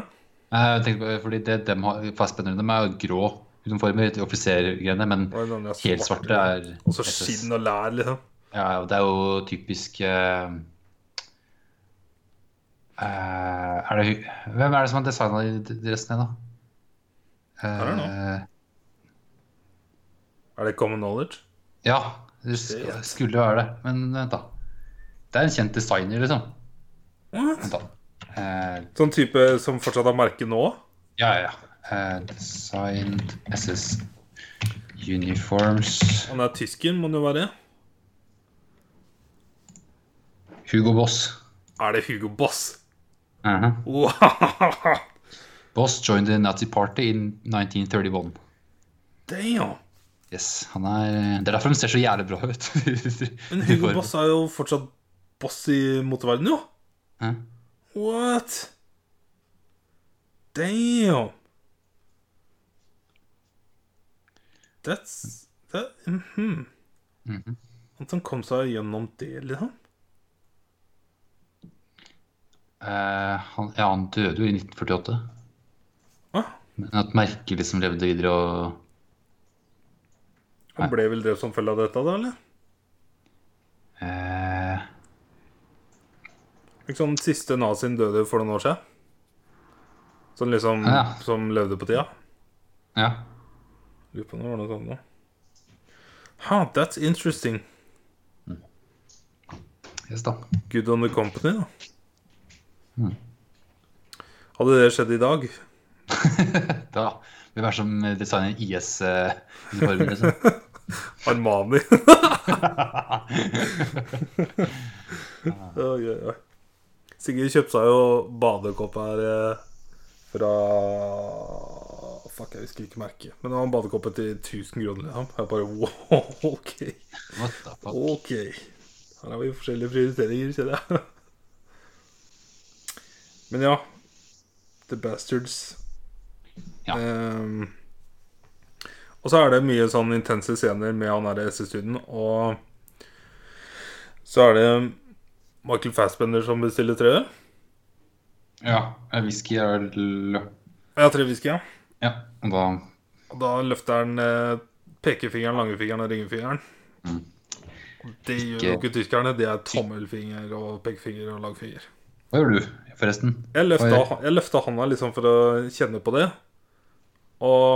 A: Nei, Eh, Jeg tenkte på, fordi det dem har, fastbenderne dem er jo grå uniformer, de offisergreiene, men
B: Og den andre er
A: helt
B: svart,
A: svarte er
B: Og så skinn og lær, liksom.
A: Ja, og det er jo typisk eh, eh, er det, hu- Hvem er det som har designa de dressene, da? Eh,
B: Er det Er det common knowledge?
A: ja, det sk- skulle jo være det, men vent, da. Det er en kjent designer, liksom.
B: What?
A: Vent da. Eh,
B: Sånn type som fortsatt har merke nå?
A: ja, ja, ja. Eh, designed SS Uniforms
B: Han er tysker, må det jo være.
A: Hugo Boss.
B: Er det Hugo Boss?
A: Mhm.
B: Wow!
A: Boss joined the Nazi Party in 1931.
B: Damn!
A: Yes, han er Det er derfor de ser så jævlig bra ut.
B: Men Hugo Boss er jo fortsatt boss i moteverdenen, jo.
A: Hæ?
B: What? Damn! That's that, mhm.
A: Mhm.
B: At han kom seg gjennom det, liksom.
A: Eh, han, ja, han døde jo i 1948.
B: Ah,
A: Men at merket liksom levde videre og
B: han ble vel drept som følge av dette, da, eller?
A: eh,
B: Liksom den siste nazien døde for noen år siden. Sånn liksom
A: Ja.
B: Som levde på tida.
A: Ja.
B: Lurer på om det var noe sånt nå. Ha, that's interesting.
A: Yes, da.
B: Good on the company, da.
A: Mm.
B: Hadde det skjedd i dag?
A: da vil jeg være som designer IS-uniformer, eh, liksom.
B: Armani. oi, oi, oi. Sigurd kjøpte seg jo badekopp her eh, fra Fuck, jeg husker ikke merket. Men det var en badekoppe til 1000 kroner. Liksom. Jeg bare wow, ok.
A: What the fuck?
B: Ok. Her har vi forskjellige prioriteringer, kjenner jeg. Men ja. The Bastards.
A: Ja.
B: Ehm, og så er det mye sånn intense scener med han derre SS-studien, og så er det Michael Fassbender som bestiller treet.
A: Ja, whisky er vel
B: Ja, tre whisky, ja.
A: Ja, og da
B: Og da løfter han eh, pekefingeren, langefingeren og ringefingeren. Og Det gjør jo ikke tyskerne. Det er tommelfinger og pekefinger og langfinger.
A: Hva gjør du, forresten?
B: Jeg løfta,
A: Oi.
B: jeg løfta handa liksom for å kjenne på det. Og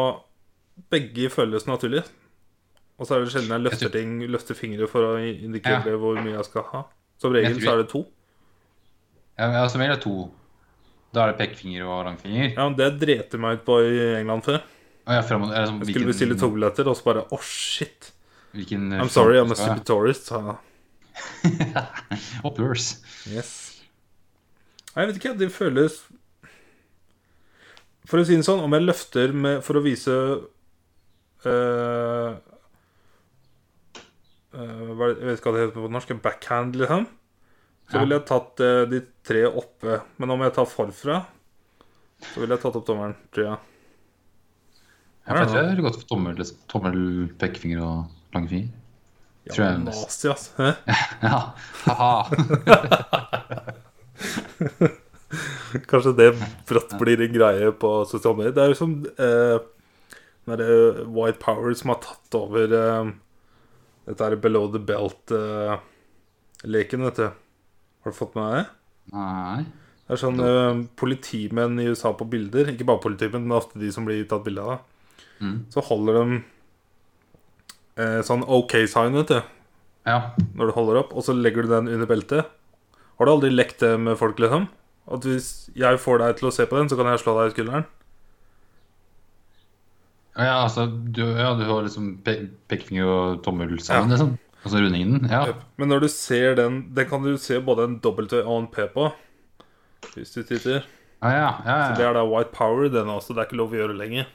B: begge føles naturlig. Og så er det sjelden jeg løfter
A: Jeg tror-
B: ting, løfter fingre for å indikere
A: Ja.
B: hvor mye jeg skal ha. Som regel
A: Jeg tror-
B: så er det to.
A: Ja, ja, som regel er det to. Da er det pekefinger og langfinger.
B: Ja, men Det drete jeg meg ut på i England før.
A: Og jeg, frem, er det sånn,
B: Jeg skulle bestille togbilletter, og så bare Å, shit.
A: Hvilken eh,
B: I'm sorry, I'm a
A: sånn-
B: stupid tourist. sa jeg.
A: Hoppers.
B: Yes. Nei, jeg vet ikke. Det føles For å si det sånn, om jeg løfter med, for å vise eh, eh, hva er det- Jeg vet ikke hva det heter på norsk. en Backhand, liksom. Så
A: Ja.
B: ville jeg tatt eh, de tre oppe. Men om jeg tar forfra, så ville jeg tatt opp tommelen, tror jeg.
A: Ja, for jeg tror jeg har gått for tommel, liksom. tommel, pekefinger og langfinger.
B: Ja,
A: Tror jeg er
B: men
A: best.
B: nazi, altså. ass. Hæ?
A: Ja, haha.
B: Kanskje det brått blir en greie på sosiale medier. Det er jo som eh, den derre White Power som har tatt over eh, dette her Below the Belt-leken, vet du. Har du fått med deg det?
A: Nei.
B: Det er sånn eh, politimenn i USA på bilder. Ikke bare politimenn, men ofte de som blir tatt bilde av. da.
A: Mm.
B: Så holder de eh, sånn OK-sign, vet du,
A: Ja.
B: når du holder opp, og så legger du den under beltet. Har du aldri lekt det med folk, liksom? At hvis jeg får deg til å se på den, så kan jeg slå deg i skulderen?
A: ja, altså, du, ja, du har liksom pe pekefinger og tommel sammen,
B: Ja.
A: liksom. Altså rundingen. Ja.
B: Jep. Men når du ser den Den kan du se både en W og en P på. Hvis du titter.
A: Ja, ja, ja.
B: Så det
A: ja.
B: er da white power, den også. Det er ikke lov å gjøre lenger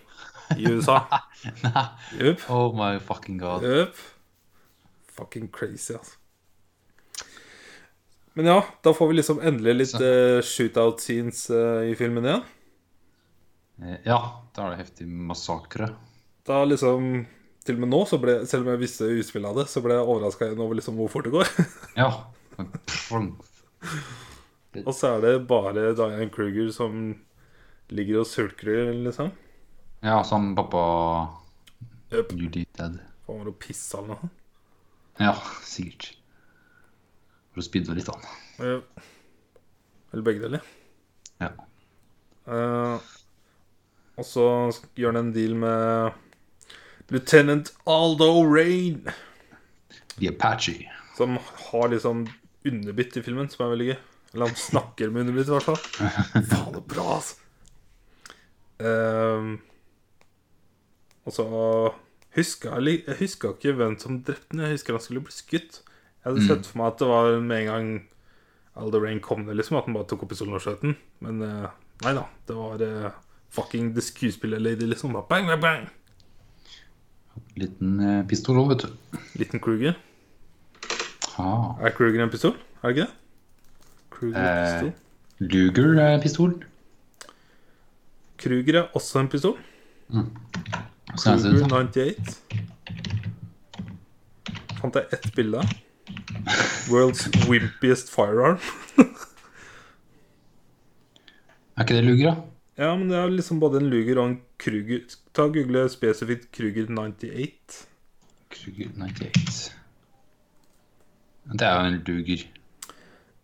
B: i USA.
A: Nei.
B: Jupp.
A: Oh my fucking god.
B: Jupp. Fucking crazy, altså. Men ja, da får vi liksom endelig litt
A: Så-
B: eh, shootout scenes eh, i filmen igjen.
A: Eh, Ja, da er det heftig massakre.
B: Da liksom Til og med nå, så ble, selv om jeg visste utspillet av det, så ble jeg overraska over liksom hvor fort det går.
A: Ja. Pfong.
B: og så er det bare Diane Kruger som ligger og sulker, liksom.
A: Ja, som pappa
B: Jep.
A: Julie Dad.
B: Han var og pissa eller noe.
A: Ja, sikkert. For å spydde litt, han.
B: Eh, Eller begge deler.
A: Ja.
B: Eh, og så gjør han en deal med Lieutenant Aldo Rain,
A: The Apache.
B: som har liksom underbitt i filmen, som er veldig gøy. Eller han snakker med underbitt, i hvert fall. Faen, det er bra, altså. Eh, og så huska jeg, li- jeg huska ikke hvem som drepte ham. Jeg husker han skulle bli skutt. Jeg hadde sett for meg at det var med en gang Alder Rain kom ned, liksom, at han bare tok opp pistolen og skjøt den. Men eh, nei da. Det var eh, fucking the skuespiller-lady, liksom. Bare bang, bang, bang.
A: Liten eh, pistol òg, vet du.
B: Liten Kruger.
A: Ah.
B: Er Kruger en pistol? Er det ikke det? Kruger er
A: Eh.
B: pistol.
A: Luger eh, pistol.
B: Kruger er også en pistol.
A: Hvordan er det
B: Cougar
A: ut, da?
B: 98. Fant jeg ett bilde. World's wimpiest firearm.
A: Er ikke det luger, da?
B: Ja, men det er liksom både en Luger og en Kruger. Ta og Google spesifikt Kruger 98.
A: Kruger 98. Det er jo en luger.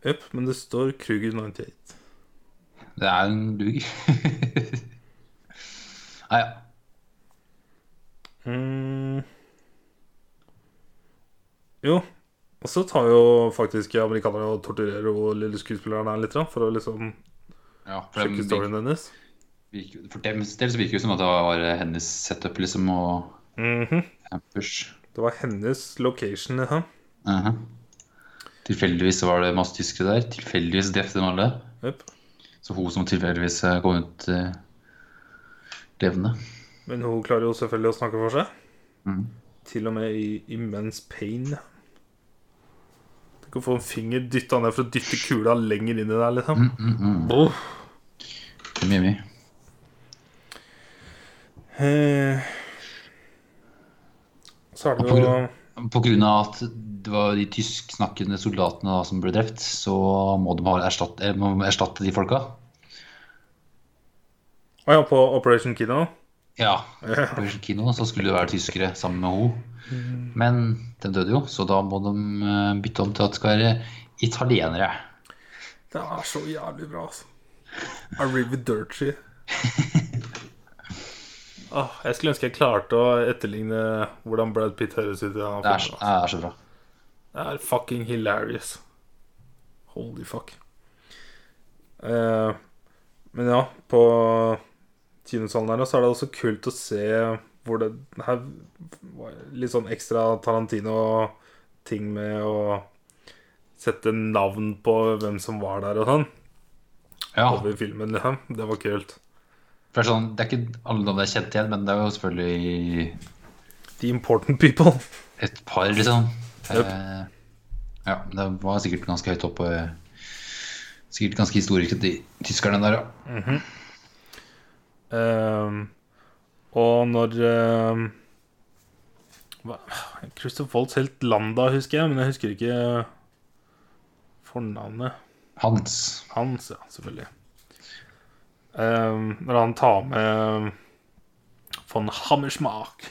B: Jøp, men det står Kruger 98.
A: Det er en luger. Nei, ja.
B: Mm. Jo. Og så tar jo faktisk amerikanerne og torturerer jo lille skuespilleren her litt, da, for å liksom
A: ja for, dem
B: sjekke
A: virker,
B: storyen hennes.
A: virker- for dems del så virker det som at det var hennes setup, liksom, og
B: Mhm.
A: campers.
B: Det var hennes location. Ja.
A: Aha. Tilfeldigvis så var det masse tyskere der. Tilfeldigvis drepte de alle.
B: Jøp.
A: Så hun som tilfeldigvis eh, kom ut eh, levende.
B: Men hun klarer jo selvfølgelig å snakke for seg.
A: Mhm.
B: Til og med i immense pain. Tenk å få en finger dytta ned for å dytte kula lenger inn i deg, liksom.
A: Mm,
B: Åh.
A: Det er mye, mye.
B: Eh. Så er det
A: Og på
B: jo
A: grunn- På grunn av at det var de tysksnakkende soldatene da, som ble drept, så må de ha erstatte, eh, må erstatte de folka.
B: Å ja, på Operation Kino.
A: Ja. På kino så skulle det være tyskere sammen med henne. Men den døde jo, så da må de eh, bytte om til at det skal være italienere.
B: Det er så jævlig bra, altså. Arrivederci. Åh, Ah, jeg skulle ønske jeg klarte å etterligne hvordan Brad Pitt høres ut. i den
A: Det er, så-
B: filmen, altså.
A: det er så bra.
B: Det er fucking hilarious. Holy fuck. Eh, men ja, på kinosalen her så er det også kult å se hvor det her var Litt sånn ekstra Tarantino-ting med å sette navn på hvem som var der og sånn.
A: Ja,
B: Over filmen, liksom. Det var kult.
A: for det er, sånn, det er ikke alle navn jeg kjente igjen, men det er jo selvfølgelig
B: The important people.
A: et par, liksom.
B: Yep.
A: Eh, ja, det var sikkert ganske høyt oppe. Sikkert ganske historiske, de tyskerne der, ja.
B: Ehm, og når ehm, hva, Christopher Waltz helt Landa, husker jeg, men jeg husker ikke fornavnet
A: Hans.
B: hans, ja, selvfølgelig. Ehm, når han tar med von Hammersmark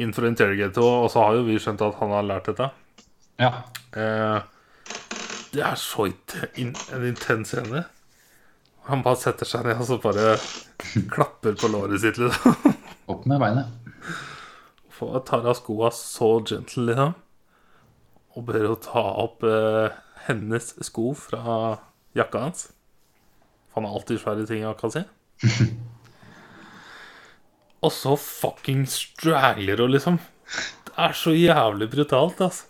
B: inn for å interrogate henne, og så har jo vi skjønt at han har lært dette.
A: Ja.
B: Eh, det er så inte- in en intens scene. Han bare setter seg ned og så bare klapper på låret sitt, liksom.
A: Opp med beinet.
B: For tar av skoa så gentle, liksom. Og bør jo ta opp eh, hennes sko fra jakka hans. For han har alltid svære ting i jakka si. Og så fucking strangler hun, liksom. Det er så jævlig brutalt, altså.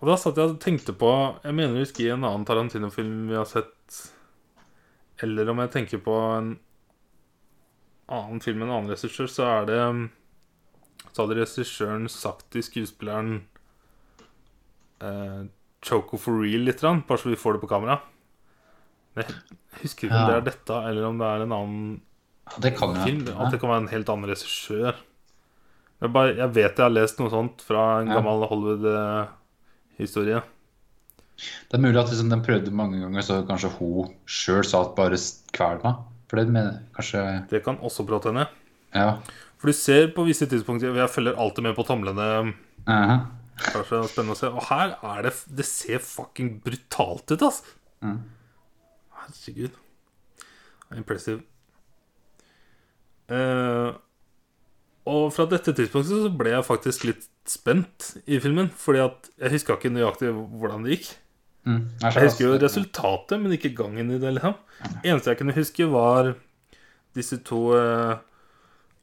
B: Og da satt jeg og tenkte på Jeg mener jeg husker i en annen Tarantino-film vi har sett Eller om jeg tenker på en annen film med en annen regissør, så er det um, Så hadde regissøren sagt til skuespilleren eh, Choco for real litt, grann, bare så vi får det på kamera. Men jeg husker ikke om det
A: Ja.
B: er dette, eller om det er en annen
A: Det kan jo
B: film. At
A: hende.
B: det kan være en helt annen regissør. Jeg, bare, jeg vet jeg har lest noe sånt fra en
A: Ja.
B: gammel Hollywood-historie.
A: Det er mulig at liksom, den prøvde mange ganger, så kanskje hun sjøl sa at bare s- kvel meg. For det mener jeg kanskje
B: Det kan også prate henne.
A: Ja.
B: For du ser på visse tidspunkter Jeg følger alltid med på tomlene.
A: Mhm.
B: Kanskje det er spennende å se. Og her er det Det ser fucking brutalt ut, ass.
A: Mhm.
B: Herregud. Impressive. Eh, og fra dette tidspunktet så ble jeg faktisk litt spent i filmen. Fordi at jeg huska ikke nøyaktig hvordan det gikk.
A: Mm. Jeg
B: Jeg husker jo resultatet, men ikke gangen i det. Liksom. Eneste jeg kunne huske, var disse to eh,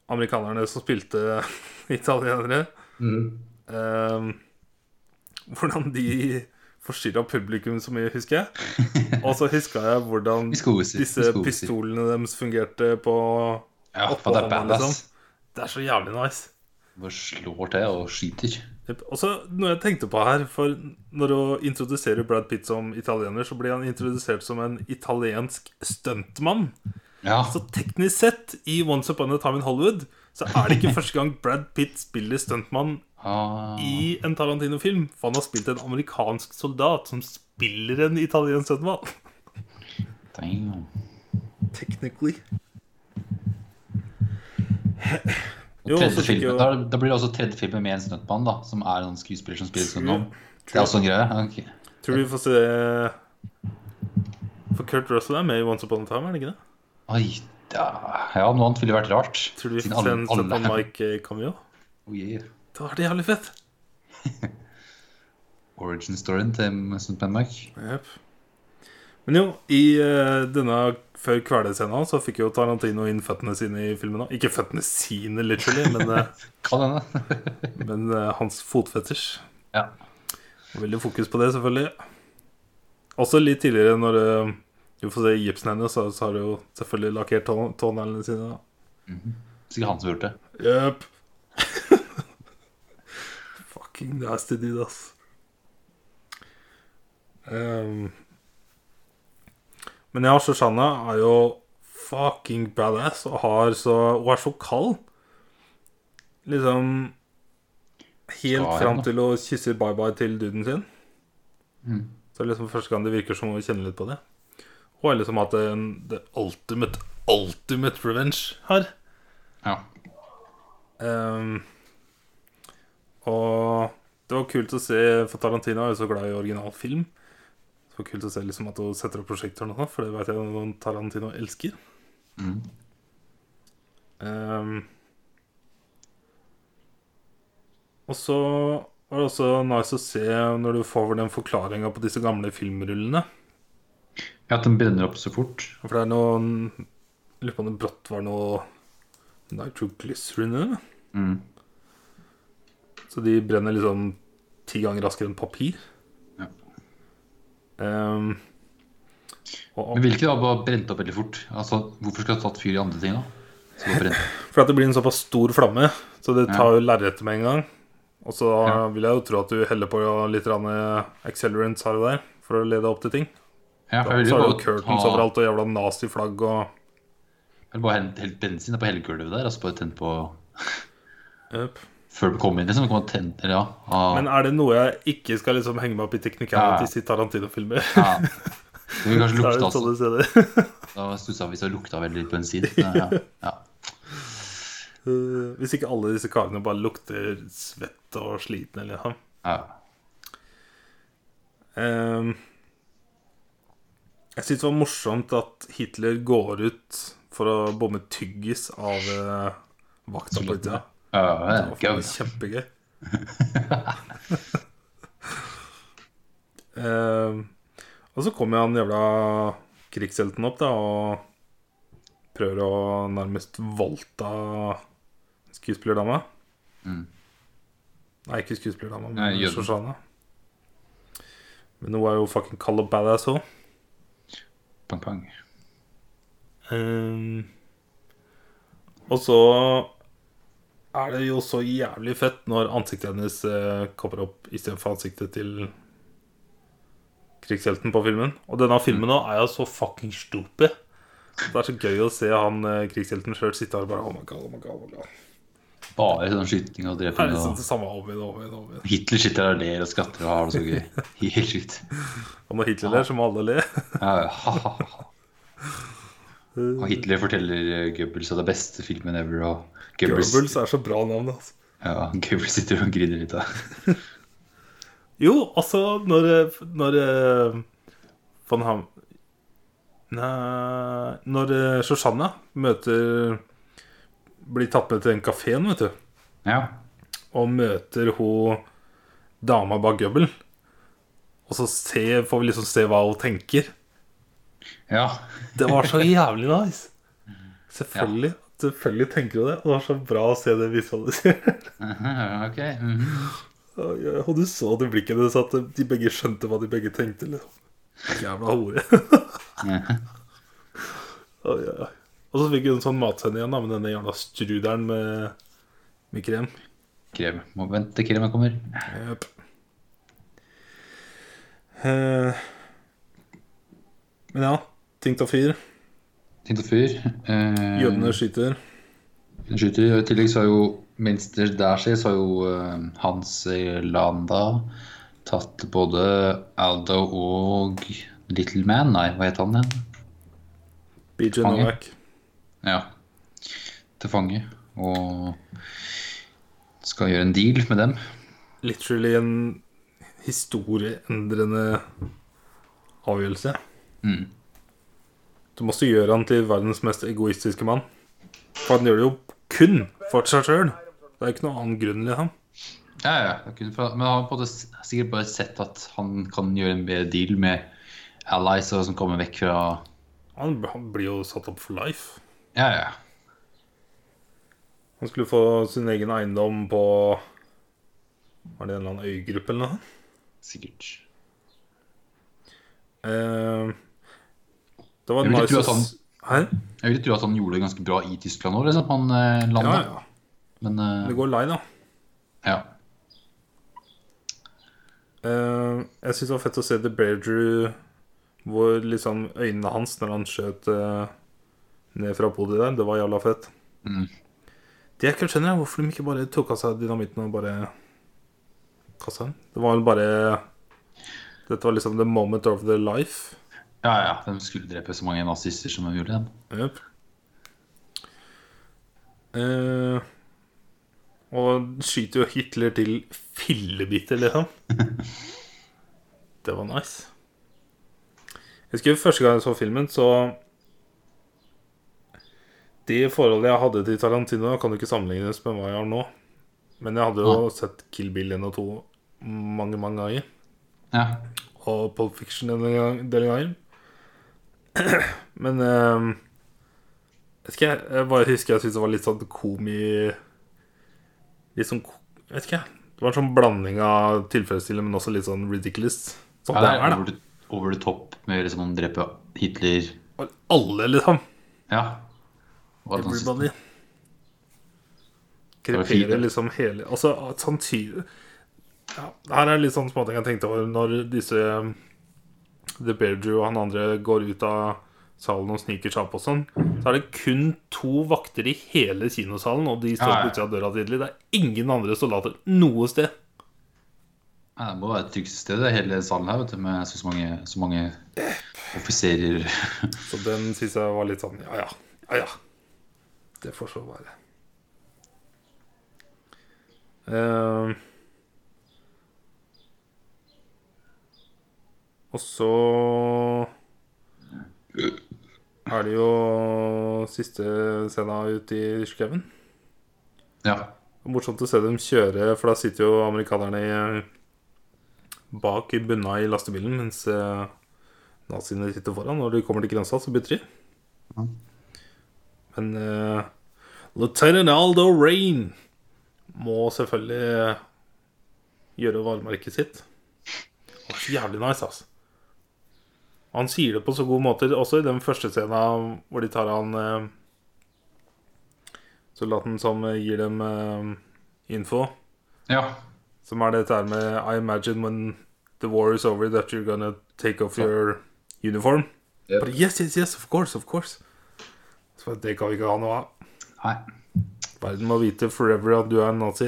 B: amerikanerne som spilte italienere.
A: Mm.
B: Eh, hvordan de forstyrra publikum så mye, husker jeg. Og så huska jeg hvordan
A: Viskoser.
B: disse
A: viskoser.
B: pistolene deres fungerte på
A: Ja,
B: oppå
A: for det er
B: hånda,
A: badass.
B: liksom. Det er så jævlig nice.
A: Bare slår til og skyter.
B: Jep. Og så noe jeg tenkte på her For når du introduserer Brad Pitt som italiener Så blir han introdusert som en italiensk stuntmann
A: Ja.
B: Så teknisk sett, i Once Upon a Time in Hollywood, så er det ikke første gang Brad Pitt spiller stuntmann
A: Ah,
B: i en Tarantino-film. For han har spilt en amerikansk soldat som spiller en italiensk stuntmann.
A: damn.
B: Technically. Jo,
A: Tredje
B: så fikk
A: filmen,
B: jo-
A: da, da blir det også tredje filmen med en stuntmann, da, som er en skuespiller som spiller stuntmann. Det er Altså-
B: True.
A: også en greie? Ja, ok.
B: Tror du vi får se For Kurt Russell er med i Once Upon a Time, er det ikke det?
A: Oi, da. Ja, noe annet ville vært rart.
B: Tror du vi
A: Siden
B: får se en
A: alle- alle-
B: Stefan Mike-cameo?
A: Oh, yeah.
B: Det hadde vært jævlig fett.
A: Origin-storyen til Stuntman Mike.
B: Jep. Men jo, i eh, denne før kvelescena så fikk jo Tarantino inn føttene sine i filmen. da Ikke føttene sine, literally, men, eh,
A: Kan hende.
B: men eh, hans fotfetters.
A: Ja.
B: Og Veldig fokus på det, selvfølgelig. Også litt tidligere, når eh, du får se gipsen hennes, så, så har du jo selvfølgelig lakkert tå tåneglene sine. da
A: Sikkert han som gjorde det.
B: Jepp. Fucking nasty dude, ass. Ehm. men ja, Shoshana er jo fucking badass og har så Hun er så kald. Liksom Helt
A: Skal
B: fram
A: henne.
B: til hun kysser bye-bye til duden sin. Så det er liksom første gang det virker som hun kjenner litt på det. Hun har liksom hatt en, the ultimate, ultimate revenge her.
A: Ja.
B: Ehm, og det var kult å se, for Tarantino er jo så glad i originalfilm. Det var kult å se liksom at hun setter opp prosjektoren, og sånn, for det vet jeg noen Tarantino elsker.
A: Mhm.
B: Ehm, og så var det også nice å se når du får den forklaringa på disse gamle filmrullene.
A: ja, at den brenner opp så fort.
B: For det er noen jeg Lurer på om det brått var noe nitroglycerin i det.
A: Mm.
B: Så de brenner liksom ti ganger raskere enn papir.
A: Ja.
B: Ehm, og,
A: Men hvilke da bare brente opp veldig fort? Altså, Hvorfor skulle det ha tatt fyr i andre ting, da? Så bare brent.
B: for at det blir en såpass stor flamme, så det tar jo lerretet med en gang. Og så
A: Ja.
B: vil jeg jo tro at du heller på litt grann, eh, accelerants her og der for å lede opp til ting.
A: Ja,
B: Så
A: for jeg
B: er det
A: ville
B: jo
A: jo bare
B: curtains
A: ta
B: overalt og jævla naziflagg og
A: eller bare helle helle bensin på hele gulvet der, altså bare tent på
B: Jep.
A: Før du kom inn, liksom. Du kan tenne, eller ja. Ah,
B: Men er det noe jeg ikke skal liksom henge meg opp i technicalities i Tarantino-filmer?
A: ja. Det altså. ville kanskje
B: Så er
A: lukta
B: det
A: også.
B: sånne steder.
A: Da stussa vi hvis det lukta veldig litt bensin. Ja. ja.
B: Eh, Hvis ikke alle disse karene bare lukter svett og sliten eller noe.
A: ja.
B: Ehm, jeg syns det var morsomt at Hitler går ut for å bomme tyggis av uh, vakta på utsida.
A: Ja, ja,
B: Det var
A: ja.
B: faktisk Kjempegøy. Ehm, og så kommer han jævla krigshelten opp da og prøver å nærmest voldta skuespillerdama.
A: Mm.
B: Nei, ikke skuespillerdama, men
A: Nei, jøden.
B: Shoshana. Men hun er jo fucking kald og badass òg.
A: Pang, pang.
B: Ehm, og så er det jo så jævlig fett når ansiktet hennes eh, kommer opp istedenfor ansiktet til krigshelten på filmen. Og denne filmen nå er jo så fucking stupid. Det er så gøy å se han eh, krigshelten sjøl sitte her og bare Oh my god, oh my god. Oh my god.
A: Bare sånn skyting og
B: Det er
A: dreping
B: liksom
A: og
B: det samme om igjen, om igjen, om igjen.
A: Hitler sitter der og ler og skatter og har det så gøy. Helt sjukt.
B: Og når Hitler ler, så må alle le.
A: Ja, ja. Ha, ha, ha. Og Hitler forteller eh, Goebbels at det er beste filmen ever, og Goebbels,
B: Goebbels er så bra navn, altså.
A: Ja, Goebbels sitter og griner litt. da.
B: Jo, altså når, eh, når eh, Van Ham... Nei Når eh, Shoshana møter Blir tatt med til den kafeen, vet du,
A: Ja.
B: og møter hun dama bak Gøbbel, og så se, får vi liksom se hva hun tenker.
A: ja.
B: Det var så jævlig nice. Selvfølgelig. Selvfølgelig tenker hun det. Og det var så bra å se det visualisert.
A: Aha, Ok. mhm.
B: Og du så det i blikket hennes at de begge skjønte hva de begge tenkte. Liksom. Jævla hore. Oi, oi, oi. Og så fikk hun en sånn matsende igjen da, med denne jævla strudelen med, med krem.
A: Krem. Må vente til kremen kommer.
B: Jep. Eh, men ja, ting tar fyr.
A: Tenkte fyr. Eh,
B: Jødene skyter.
A: skyter. Og I tillegg så har jo mens det der skjer, så har jo eh, Hans Landa tatt både Aldo og Little Man. Nei, hva het han igjen?
B: BJ
A: Fange.
B: Novak.
A: Ja. Til fange. Og skal gjøre en deal med dem.
B: Literally en historieendrende avgjørelse.
A: Mm.
B: Du måtte gjøre han til verdens mest egoistiske mann. For han gjør det jo kun for seg sjøl. Det er ikke noen annen grunn, liksom.
A: Ja, ja. det kunne fra- Men han har på en måte s- sikkert bare sett at han kan gjøre en bedre deal med allies og som kommer vekk fra
B: Han, han blir jo satt opp for life.
A: Ja, ja.
B: Han skulle få sin egen eiendom på Var det en eller annen øygruppe eller noe?
A: Sikkert.
B: Eh, det var
A: Jeg vil ikke
B: nice
A: tro at
B: Hæ?
A: Jeg vil tro at han gjorde det ganske bra i Tyskland òg, liksom. Han eh,
B: Ja,
A: landa.
B: ja.
A: Men eh,
B: Det går lei, da.
A: ja.
B: Eh, jeg syns det var fett å se The Bear Drew hvor liksom øynene hans når han skjøt eh, ned fra podiet der. Det var jævla fett.
A: Mm.
B: Det jeg ikke skjønner, er hvorfor de ikke bare tok av seg dynamitten og bare kasta den. Det var vel bare Dette var liksom the moment of their life.
A: ja, ja. De skulle drepe så mange nazister som de gjorde. dem.
B: Jep. Eh, og skyter jo Hitler til fillebiter, liksom. Det var nice. Jeg husker første gang jeg så filmen, så Det forholdet jeg hadde til Tarantino, kan jo ikke sammenlignes med hva jeg har nå. Men jeg hadde jo sett Kill Bill 1 og 2 mange, mange ganger
A: Ja.
B: og Pulp Fiction en gang, del ganger. Men eh, vet ikke, jeg- jeg bare husker jeg syntes det var litt sånn komi... Litt sånn ko- Vet ikke, jeg. Det var en sånn blanding av tilfredsstillende, men også litt sånn ridiculous. Sånn
A: ja
B: det
A: det er
B: er,
A: over, the- over the top med liksom å drepe Hitler
B: da. Alle, liksom.
A: Ja. Og at han synes-
B: Everybody.
A: var fint,
B: Kreperer
A: det.
B: liksom hele Altså, at samtidig ja, Her er litt sånn småting jeg tenkte over når disse um, The Bear Drew og han andre går ut av salen og sniker seg opp og sånn, så er det kun to vakter i hele kinosalen, og de står
A: Ja, ja.
B: på utsida av døra tidlig. Det er ingen andre soldater noe sted.
A: Ja, det må være et trygt sted, det er hele salen her, vet du, med så mange, så mange offiserer.
B: Så den syns jeg var litt sånn ja ja, ja ja. Det får så være. Eh, og så er det jo siste scena ute i skauen.
A: Ja.
B: Morsomt å se dem kjøre, for da sitter jo amerikanerne i, eh, bak i bunna i lastebilen, mens eh, naziene sitter foran. Når de kommer til grensa, så bytter de. Men eh, Lieutenant Aldo Rain må selvfølgelig eh, gjøre varemerket sitt. Det var så jævlig nice, altså. Han sier det på så gode måter, også i den første scenen hvor de tar han eh, soldaten som eh, gir dem eh, info.
A: ja.
B: Som er dette her med I imagine when the war is over that you're gonna take off your uniform.
A: Yep.
B: But yes, yes, yes, of course, of course. Så bare, det kan vi ikke ha noe av.
A: Nei.
B: Verden må vite forever at du er en nazi.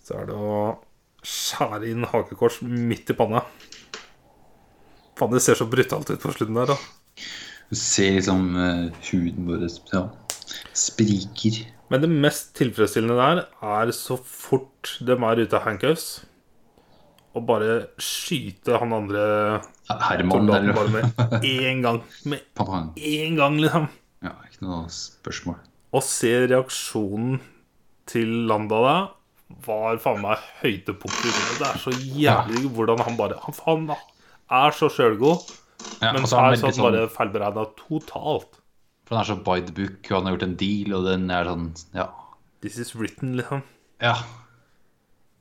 B: Så er det å skjære inn hakekors midt i panna. Faen, det ser så brutalt ut på slutten der, da.
A: Du ser liksom eh, huden vår ja. spriker.
B: Men det mest tilfredsstillende der er så fort de er ute av handcuffs, og bare skyte han andre
A: Herman
B: soldaten
A: der, ja.
B: bare med én gang. Med
A: Pang.
B: én gang, liksom.
A: Ja, ikke noe spørsmål.
B: Å se reaksjonen til Landa da var faen meg høydepunktet. i det. Det er så jævlig hvordan han bare Han, han er så sjølgod,
A: Ja,
B: men
A: og
B: så
A: så er
B: er
A: han
B: sånn
A: veldig sånn,
B: bare feilberegna totalt.
A: for han er så by the book, og han har gjort en deal, og den er sånn, ja.
B: This is written, liksom.
A: Ja.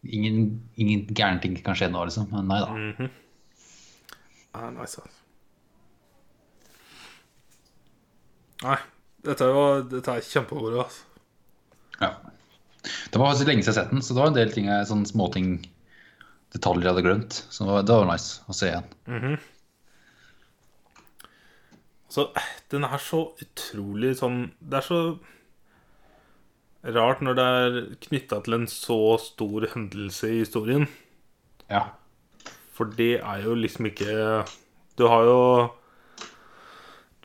A: Ingen, ingen gærne ting kan skje nå, liksom. Men nei da.
B: Ja, nice, altså. Nei, dette er jo Dette er kjempemoro, altså.
A: Ja. Det var faktisk lenge siden jeg har sett den, så det var en del ting jeg, sånn småting, detaljer jeg hadde glemt. Så det var, det var nice å se igjen.
B: Så eh, den er så utrolig sånn Det er så rart når det er knytta til en så stor hendelse i historien.
A: Ja.
B: For det er jo liksom ikke Du har jo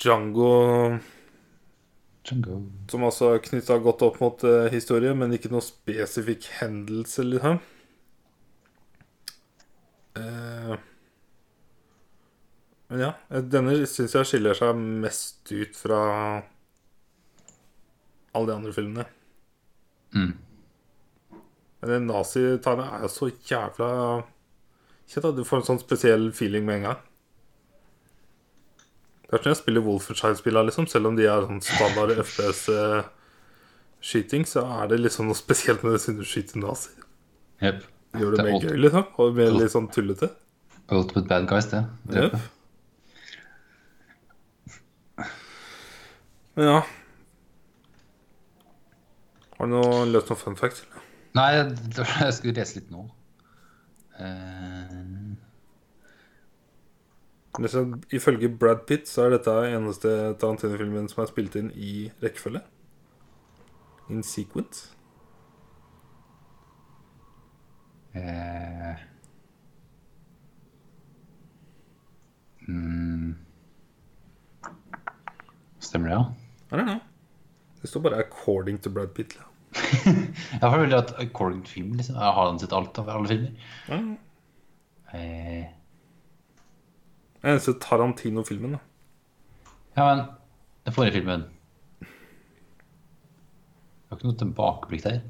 B: Django
A: Django.
B: som altså er knytta godt opp mot eh, historie, men ikke noe spesifikk hendelse, liksom. Eh, men ja, eh, denne syns jeg skiller seg mest ut fra alle de andre filmene.
A: Mm.
B: Men den nazitegnet er jo så jævla Kjent at du får en sånn spesiell feeling med en gang. Det er sånn jeg spiller Wolfenstein-spillene, liksom. Selv om de er sånn standard FPS-skyting, eh, så er det liksom noe spesielt med det siden du skyter nazier.
A: Jep.
B: Det Gjør
A: Det
B: det
A: er
B: mer
A: alt-
B: gøy, liksom. Og mer litt sånn tullete.
A: Ultimate bad guys, det. Drepe.
B: Jep. Men ja Har du noe løst noen fun facts? eller?
A: Nei, det var- jeg skulle lese litt nå. Eh,
B: Liksom, ifølge Brad Pitt så er dette eneste Tarantino-filmen som er spilt inn i rekkefølge. In sequence.
A: eh, mm. Stemmer det, ja?
B: I don't know. Det står bare 'according to Brad Pitt'. da.
A: Jeg føler veldig at according to film, liksom, jeg har den sett alt av alle filmer.
B: Ja. ja.
A: Eh,
B: Den eneste Tarantino-filmen. da
A: ja, men den forrige filmen Det var ikke noe tilbakeblikk der.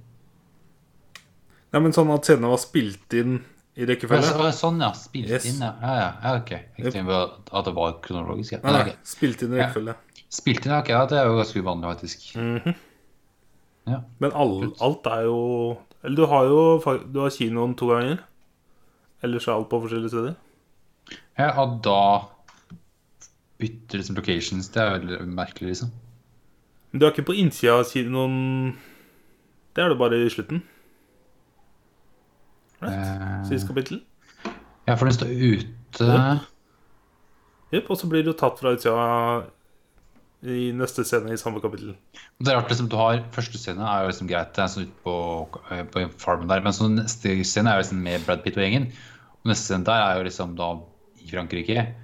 B: Nei, men Sånn at scenene var spilt inn i
A: Ja,
B: rekkefølge.
A: så- å, sånn, ja. Spilt
B: Yes.
A: inn, ja. Ja, ja, ja ok. Jeg
B: Yep.
A: tenkte bare at- at det var kronologisk. Ja.
B: Nei,
A: Nei,
B: nei,
A: ok.
B: spilt inn i
A: Ja.
B: rekkefølge.
A: Spilt inn, ja, ok. Ja, det er jo ganske uvanlig, faktisk.
B: Mm.
A: Ja.
B: Men all, alt er jo Eller du har jo fa- Du har kinoen to ganger. Ellers er alt på forskjellige steder.
A: ja, og da bytter liksom locations. Det er veldig merkelig, liksom.
B: Men du er ikke på innsida av kinoen. Det er du bare i slutten.
A: Eh,
B: Siste kapittel.
A: ja, for den står ute
B: Ja. Jepp, og så blir du tatt fra utsida i neste scene i samme kapittel.
A: Det er rart, liksom, du har Første scene er jo liksom greit, det er sånn ute på, eh, på farmen der. Men så neste scene er jo liksom med Brad Pitt og gjengen. Og neste scene der er jo liksom da i Frankrike.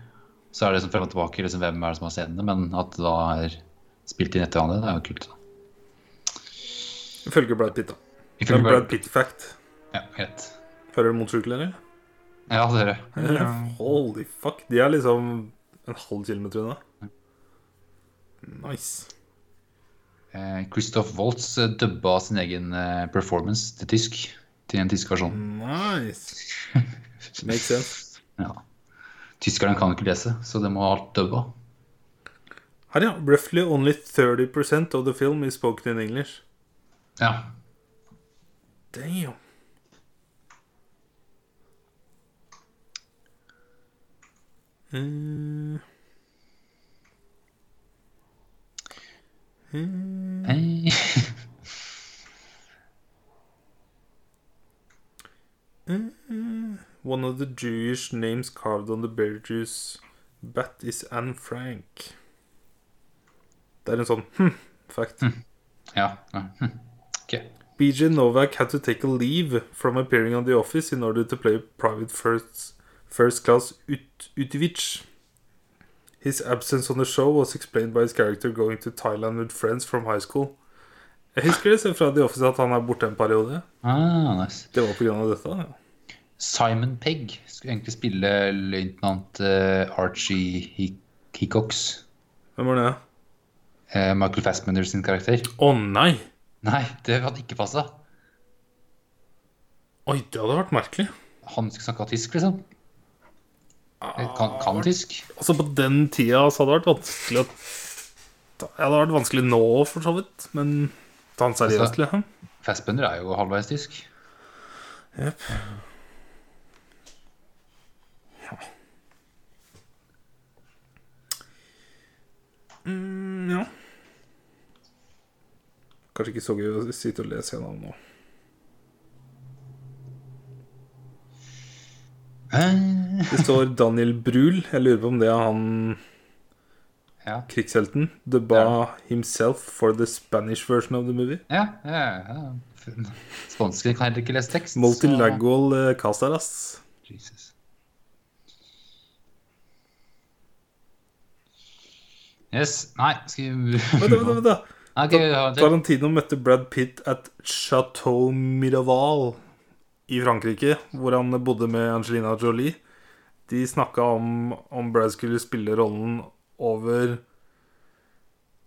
A: Så er det liksom frem og tilbake liksom, hvem er det som har scenene, men at det da er spilt inn etter hverandre, det er jo kult. da.
B: Ifølge Brad Pitt, da. Det er
A: Ifølge
B: en Brad
A: Brad Pitt.
B: Pitt-fact.
A: Ja, greit.
B: Hører du motorsykkel, eller?
A: Ja, det hører jeg.
B: Holy fuck. De er liksom en halv kilometer unna. Nice.
A: Eh, Christoph Waltz eh, dubba sin egen eh, performance til tysk. Til en tysk versjon.
B: Nice. Makes sense.
A: Ja. Tyskerne kan jo ikke lese, så det må ha alt dubba.
B: Her, ja. Roughly only 30 of the film is spoken in English.
A: Ja.
B: Damn. Mm.
A: Hei.
B: One of the Jewish names carved on the Beetlejuice bat is Anne Frank. Det er en sånn hm, fact.
A: Ja. ja. Hm. Ok.
B: BJ Novak had to take a leave from appearing on The Office in order to play private first, first class Ut Utivich. His absence on the show was explained by his character going to Thailand with friends from high school. Jeg husker det selv fra The Office at han er borte en periode.
A: Ah, nice.
B: Det var pga. dette. da.
A: Simon Pegg skulle egentlig spille løytnant eh, Archie Hic- Hickox.
B: Hvem var det?
A: eh, Michael Fassbender sin karakter.
B: Å nei!
A: Nei, det hadde ikke passa.
B: Oi, det hadde vært merkelig.
A: Han skulle snakke tysk, liksom. Eh, Kan, kan tysk.
B: Altså På den tida så hadde det vært vanskelig å ta- ja, Det hadde vært vanskelig nå, for så vidt, men ta han seriøst,
A: Altså-
B: liksom.
A: Fassbender er jo halvveis tysk.
B: Jepp. Mm, ja. Kanskje ikke så gøy å sitte og lese gjennom nå.
A: Eh,
B: Det står Daniel Brühl. Jeg lurer på om det er han
A: Ja.
B: krigshelten. Dubba
A: Ja.
B: himself for the Spanish version of the movie.
A: Ja, ja, ja. Spanskene kan heller ikke lese tekst. så-
B: Multilagual eh, Casaras.
A: Jesus. Yes. Nei, skal vi
B: Vent, da, vent, da, vent, da.
A: Nei, ok, vi har en til.
B: Tarantino møtte Brad Pitt at Chateau Miraval i Frankrike, hvor han bodde med Angelina Jolie. De snakka om om Brad skulle spille rollen over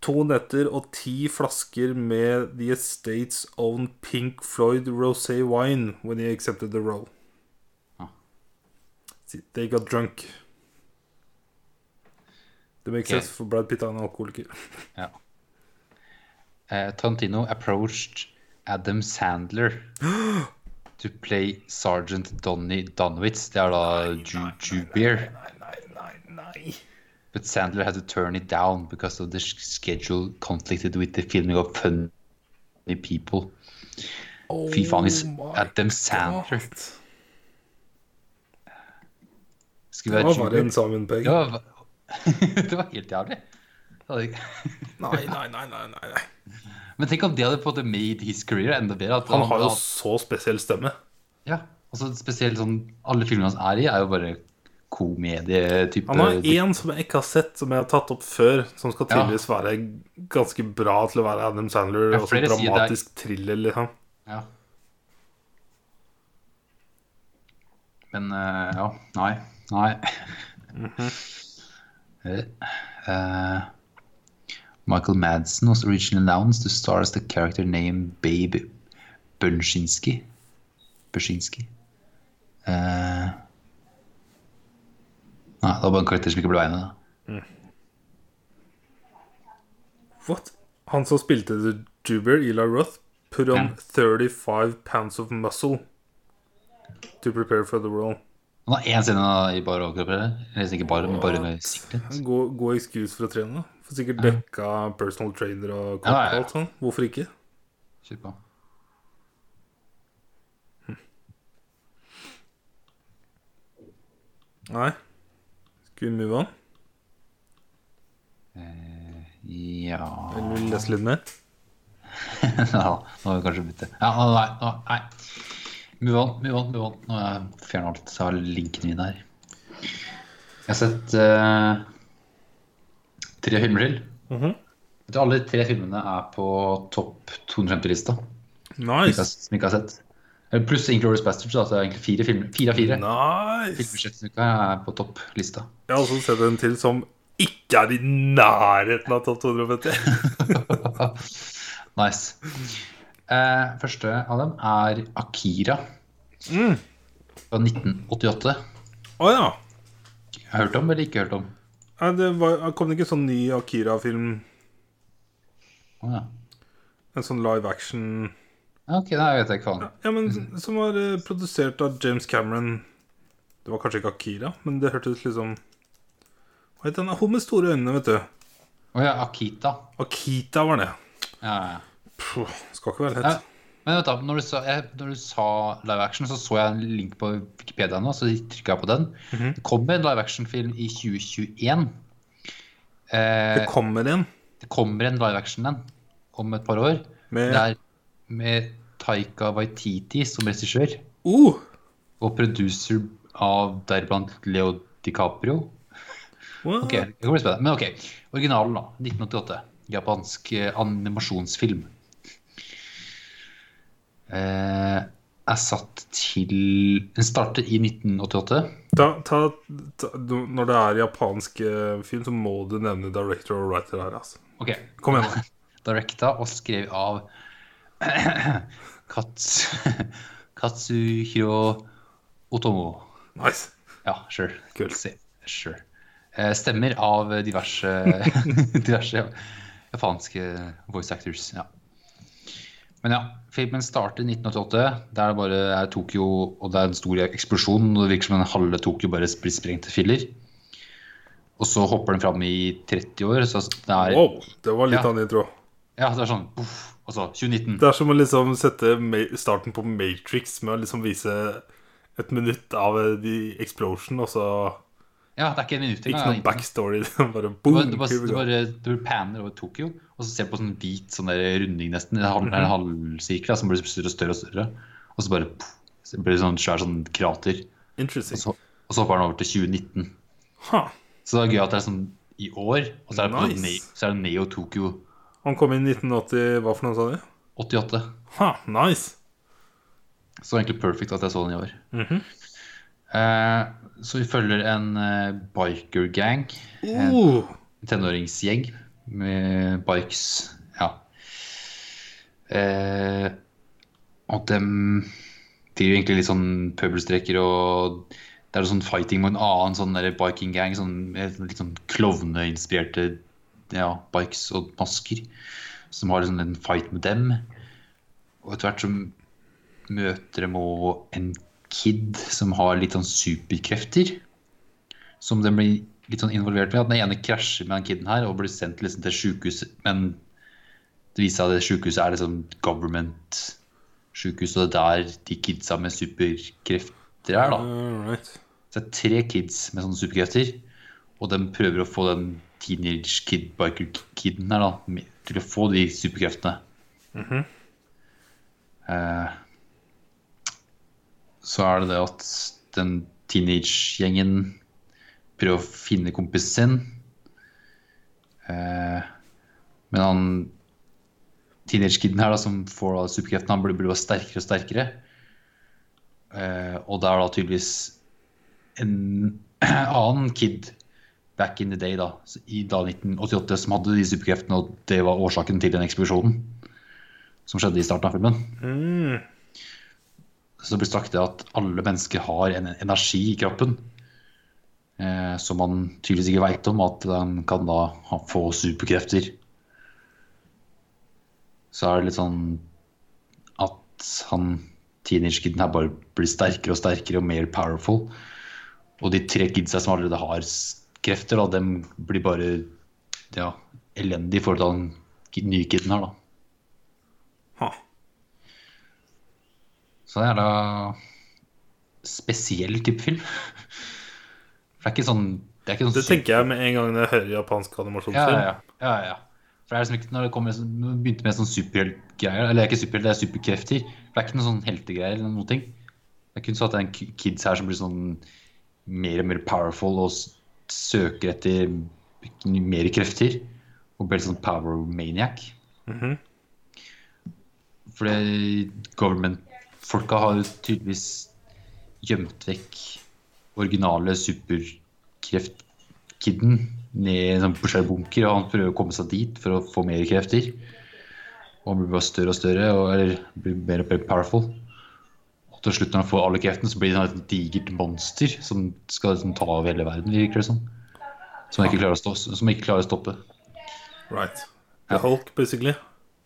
B: to netter og ti flasker med The Estates Own Pink Floyd Rosé Wine when he accepted the role.
A: Ah.
B: They got drunk. Det makes
A: Ok.
B: sense for Brad Pitt er en alkoholiker.
A: Ja. Eh, Tarantino approached Adam Sandler to play Sergeant Donny Donowitz. Det er da Ju- Jubeer.
B: Nei, nei, nei.
A: But Sandler had to turn it down because of the sch- schedule conflicted with the filming of Funny People. Fy faen, hvis
B: Oh my
A: Adam Sandler
B: God.
A: skulle være
B: Det var bare en
A: Jubeer
B: sammenpegg.
A: Det var, det var helt jævlig. Det hadde ikke-
B: Nei, nei, nei, nei, nei, nei.
A: Men tenk om det hadde på en måte made his career enda bedre. At
B: Han har jo så spesiell stemme.
A: Ja, altså spesielt sånn Alle filmene hans er i, er jo bare komedietype
B: Han har én som jeg ikke har sett, som jeg har tatt opp før, som skal
A: Ja.
B: tydeligvis være ganske bra til å være Adam Sandler
A: Ja,
B: og sånn
A: flere sier det er-
B: dramatisk thriller, liksom.
A: Ja. Men eh, ja. Nei. Nei. Eh, Michael Madsen was originally announced to star as the character named Babe Bunshinsky. Bunshinsky. Eh, nei, det var bare en karakter som ikke ble egnet. da.
B: What? Han som spilte The Juber, Eli Roth, put on
A: Ja.
B: 35 pounds of muscle to prepare for the role.
A: Han har én scene i bar overkropp, eller? Eller ikke bar, men bare med sikkerhet.
B: En god, god excuse for å trene. da. Får sikkert dekka personal trainer og kopp
A: Ja, ja,
B: og
A: ja.
B: alt sånn. Hvorfor ikke?
A: Kjør på.
B: Nei. Skal vi move on?
A: Ja
B: Eller vil du lese litt mer?
A: Ja, Nå har vi kanskje byttet. Ja, nei, nå, nei. Move on, move on. move on. Nå har jeg fjernet alt, så jeg har linken min her. Jeg har sett eh, tre filmer til.
B: Mhm.
A: Vet du, Alle de tre filmene er på topp 250-lista, som
B: Nice.
A: jeg- som jeg ikke har sett. Eller Pluss Inglourious Bastards, da, så det er egentlig fire filmer. Fire av fire.
B: Nice.
A: Filmbudsjettuka er på topplista.
B: Jeg har også sett en til som ikke er i nærheten av topp 250.
A: nice. Eh, første av dem er Akira
B: Mm.
A: fra 1988.
B: Å ja.
A: Har du hørt om eller ikke hørt om?
B: Nei, Det var, kom det ikke en sånn ny Akira-film?
A: Å, ja.
B: En sånn live action
A: Ja, Ok, nei, jeg vet ikke faen.
B: Ja, men Som var eh, produsert av James Cameron. Det var kanskje ikke Akira, men det hørtes liksom Hva het den? Hun med store øyne, vet du.
A: Å ja, Akita.
B: Akita var det.
A: Ja, ja.
B: Puh, skal ikke være
A: ja.
B: lett.
A: Men vet du, når du, sa, jeg, når du sa live action, så så jeg en link på Wikipedia nå, så trykka jeg på den.
B: Mhm.
A: Det kommer en live action-film i 2021. Eh,
B: Det kommer en
A: det kommer en live action en om et par år.
B: med
A: Det er med Taika Waititi som regissør.
B: uh,
A: og producer av deriblant Leo DiCaprio.
B: what?
A: Ok, det kan bli spennende. Men ok, originalen da, 1988. Japansk eh, animasjonsfilm. Eh, er satt til Den startet i 1988.
B: ta, ta, ta, du, Når det er japansk eh, film, så må du nevne director og writer her. Altså.
A: Ok,
B: Kom igjen. da.
A: Directa og skrevet av Kats, Katsuhiro Otomo.
B: Nice.
A: Ja, sure.
B: Kult.
A: Se- Sure. Eh, stemmer av diverse, diverse japanske voice actors. Ja. Men ja, filmen starter i 1988. Der er bare er Tokyo, og det er en stor eksplosjon. og Det virker som en halve Tokyo bare blir sprengt til filler. Og så hopper den fram i 30 år. Så det er,
B: Wow, det var litt
A: Ja.
B: av en intro.
A: ja, det er sånn poff, og så 2019.
B: Det er som å liksom sette ma- starten på Matrix med å liksom vise et minutt av eh, The Explosion, og så
A: Ja, det er ikke et minutt
B: Ikke
A: engang.
B: noe backstory. Det var bare
A: Du
B: boom!
A: bare, du bare,
B: here we
A: du
B: go.
A: bare, du bare panner over Tokyo, og så ser du på sånn hvit sånn der runding nesten, en halv-
B: Mhm.
A: en halvsirkel da, som blir større og større, og større, og så bare pff, så blir det sånn svær sånn krater, og
B: Interesting.
A: så, og så hopper den over til 2019.
B: Ha.
A: Så det er gøy at det er sånn i år, og så er det, på sånn
B: Nice.
A: Neo, så er det Neo Tokyo
B: Han kom inn i 1980, hva for noe sa du?
A: 88.
B: Ha, nice.
A: Så egentlig perfect at jeg så den i år.
B: Mhm.
A: Eh, så vi følger en eh, biker-gang, en
B: Oh,
A: tenåringsgjeng med bikes. Ja. Eh, og dem driver egentlig litt sånn pøbelstreker og det er sånn fighting mot en annen sånn der biking-gang. Sånn, med litt sånn klovneinspirerte ja, bikes og masker. Som har liksom en fight med dem. Og etter hvert så møter de også en kid som har litt sånn superkrefter. Som de blir litt sånn involvert med. At den ene krasjer med den kiden her og blir sendt liksom til sjukehuset. Men det viser seg at det sjukehuset er liksom government-sjukehus, og det er der de kidsa med superkrefter er, da.
B: all right.
A: Så det er tre kids med sånne superkrefter, og de prøver å få den teenage kid biker-kiden her da, med- til å få de superkreftene. eh, så er det det at den teenage-gjengen prøver å finne kompisen sin, eh, men han teenage-kiden her da, som får da superkreftene, han blir, blir bare sterkere og sterkere. Eh, og det er da tydeligvis en annen kid back in the day, da, i da 1988, som hadde de superkreftene, og det var årsaken til den eksplosjonen som skjedde i starten av filmen.
B: Mm.
A: Så det blir sagt det at alle mennesker har en energi i kroppen eh, som man tydeligvis ikke veit om, at den kan da ha, få superkrefter. Så er det litt sånn at han teenage-kiden her bare blir sterkere og sterkere og mer powerful. Og de tre kidsa som allerede har s- krefter, da, dem blir bare ja, elendige i forhold til den ki- nye kiden her, da.
B: Ha.
A: Så det er da spesiell type film. For det er ikke sånn Det er ikke sånn
B: Det tenker jeg med en gang når jeg hører japansk animasjonsfilm.
A: ja, ja, ja, ja, ja. For det er liksom ikke når det kommer sånn- når det begynte med sånn superheltgreier Eller det er ikke superhelt, det er superkrefter. For det er ikke noen sånn heltegreier eller noen ting. Det er kun sånn at det er en ki- kids her som blir sånn mer og mer powerful og s- søker etter mer krefter. Og blir litt sånn power maniac.
B: Mhm.
A: Fordi government-folka har jo tydeligvis gjemt vekk originale superkreftkidden ned i en sånn svær bunker, og han prøver å komme seg dit for å få mer krefter. Og han blir bare større og større, og, eller blir mer og mer powerful. Og til slutt, når han får alle kreftene, så blir han et digert monster som skal liksom, ta over hele verden, virker det som. Som han ikke klarer å, stå, som han ikke klarer å stoppe.
B: Right. The Hulk, basically.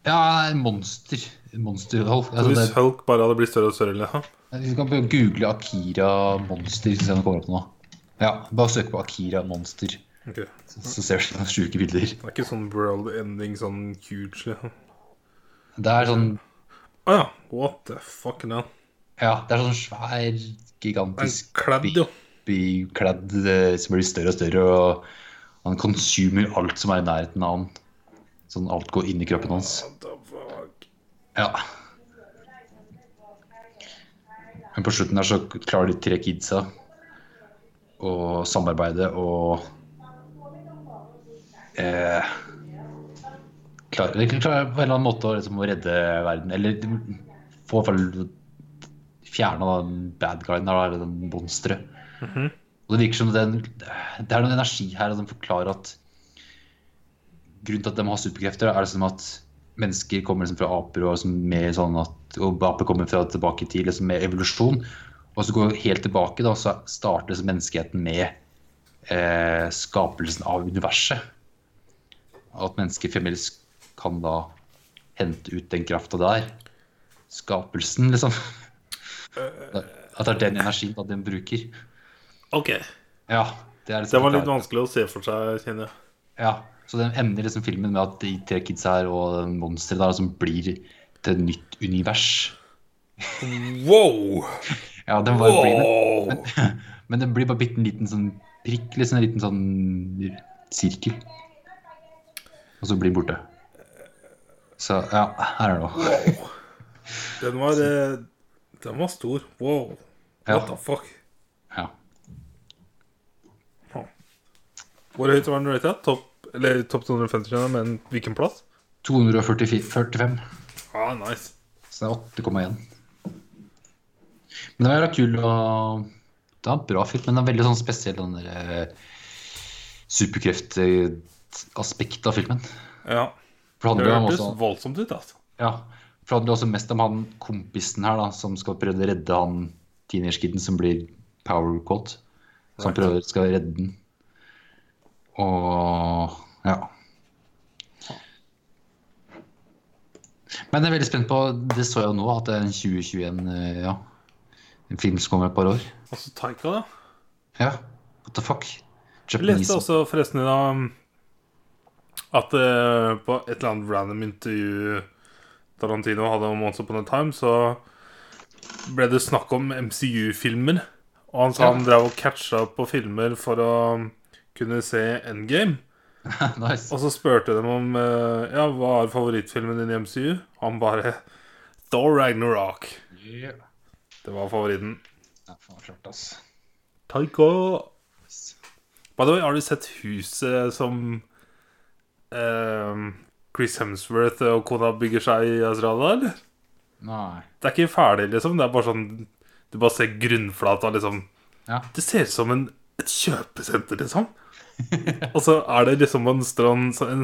A: Ja, monster. Monster, altså,
B: Hvis
A: det,
B: Hulk bare hadde blitt større liksom. og større, eller?
A: Du kan prøve å google Akira Monster. Hvis jeg kommer opp nå. Ja, Bare søk på Akira Monster,
B: Ok.
A: så, så ser du noen sjuke bilder.
B: Det er ikke sånn world ending, sånn huge, liksom.
A: Det er sånn
B: Å ja. What the fuck now?
A: ja, det er sånn svær,
B: Den
A: gigantisk
B: kledd, jo.
A: bykledd eh, som blir større og større. Og han consumer alt som er i nærheten av han. Sånn alt går inn i kroppen hans.
B: What the fuck?
A: Ja. Men på slutten der så klarer de tre kidsa å samarbeide og eh, klarer, De klarer på en eller annen måte å, liksom, å redde verden. Eller de få i hvert fall fjerna den bad guyen, eller den monsteret. Og det virker som det er en- det er noen energi her, og de forklarer at grunnen til at de har superkrefter, er liksom at mennesker kommer liksom fra aper, og, liksom med sånn at, og aper kommer fra tilbake i tid liksom med evolusjon. Og så går vi helt tilbake, da, så starter liksom menneskeheten med eh, skapelsen av universet. Og at mennesker fremdeles kan da hente ut den krafta der. Skapelsen, liksom.
B: Eh,
A: At det er den energien da den bruker.
B: OK.
A: Ja, det, er liksom
B: Det var litt vanskelig å se for seg, kjenner jeg.
A: Ja, så den ender liksom filmen med at de tre kidsa her og den monsteret der som blir til et nytt univers.
B: Wow!
A: Ja, den var blid, men, men, men den blir bare bitte en liten sånn prikk, liksom en liten sånn sirkel. Og så blir den borte. Så ja, her er det noe.
B: Wow. Den var, eh, den var stor. Wow. What
A: Ja.
B: the fuck?
A: Ja.
B: Hvor høyt var den rated? Topp eller topp 250, skjønner jeg, men hvilken plass?
A: 245.
B: Ah, nice.
A: Så det er 8,1. Men det var jævla kul og Det var en bra film, men det er veldig sånn spesiell den der superkreftaspektet av filmen.
B: Ja.
A: For det
B: Det
A: handler jo om
B: hørtes
A: også
B: voldsomt ut, altså.
A: Ja, for det handler også mest om han kompisen her da, som skal prøve å redde han teenage-kiden som blir power caught. Som
B: Right.
A: prøver skal redde den. Og ja. Men jeg er veldig spent på, det så jeg jo nå, at det er en 2021, eh, ja. En film som kommer om et par år.
B: Og så Taika, da.
A: Ja, what the fuck?
B: Jeg leste
A: Japanese.
B: også forresten i dag um, at eh, på et eller annet random intervju Tarantino hadde om Once Upon a Time, så ble det snakk om MCU-filmer. Og han sa
A: Ja.
B: han drev og catcha på filmer for å um, kunne se Endgame.
A: nice.
B: Og så spurte de om eh, Ja, hva er favorittfilmen din i MCU. Han bare Thor Ragnarok.
A: Yeah.
B: Det var favoritten.
A: Ja, faen, klart, ass.
B: Taika By the way, har du sett huset som ehm, Chris Hemsworth og kona bygger seg i Australia, eller?
A: Nei.
B: Det er ikke ferdig, liksom. Det er bare sånn Du bare ser grunnflata, liksom.
A: Ja.
B: Det ser ut som en, et kjøpesenter, liksom. og så er det liksom en strand så en,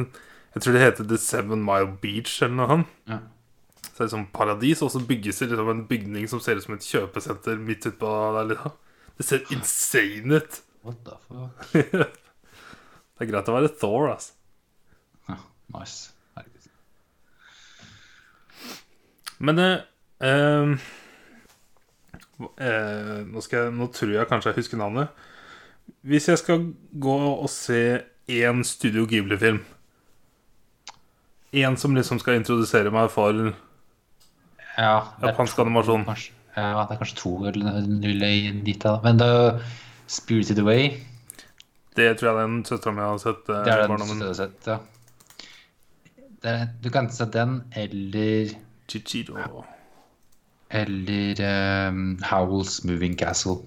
B: Jeg tror det heter The Seven Mile Beach eller noe sånt.
A: Ja.
B: Så det er liksom paradis, og så bygges det liksom en bygning som ser ut som et kjøpesenter midt utpå der, liksom. Det ser insane ut.
A: What the fuck?
B: det er greit å være Thor, altså.
A: Ja, nice. Herregud.
B: Men eh, ehm, eh, nå, skal jeg, nå tror jeg kanskje jeg husker navnet. Hvis jeg skal gå og se én Studio Ghibli-film En som liksom skal introdusere meg for
A: Ja, det er
B: japansk animasjon.
A: kanskje, ja, det er kanskje to eller null dit, da. Men det er Spirited Away.
B: Det tror jeg den søstera mi har sett. eh,
A: Det er
B: i
A: den
B: barndommen.
A: større sett, ja. Det er, du kan se den, eller
B: Chichiro.
A: Eller ehm, Howls Moving Castle.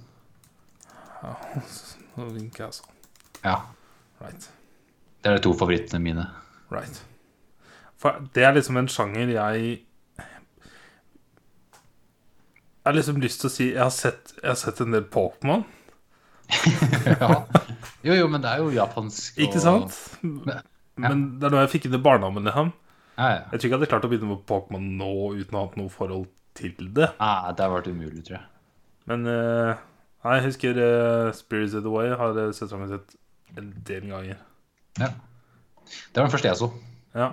B: Nå vinker jeg, altså.
A: Ja.
B: Right.
A: Det er de to favorittene mine.
B: Right. For det er liksom en sjanger jeg Jeg har liksom lyst til å si Jeg har sett, jeg har sett en del Pokémon,
A: ja. Jo, jo, men det er jo japansk.
B: ikke
A: og-
B: sant? Men det er noe jeg fikk inn i barndommen. Liksom.
A: Ja, ja.
B: Jeg tror ikke jeg hadde klart å begynne med Pokémon nå uten å ha hatt noe forhold til det.
A: Nei, Ah, det har vært umulig, tror jeg.
B: Men eh, nei, jeg husker eh, Spirits of the Way har eh, søstera mi sett en del ganger.
A: Ja. Det var den første jeg så.
B: Ja.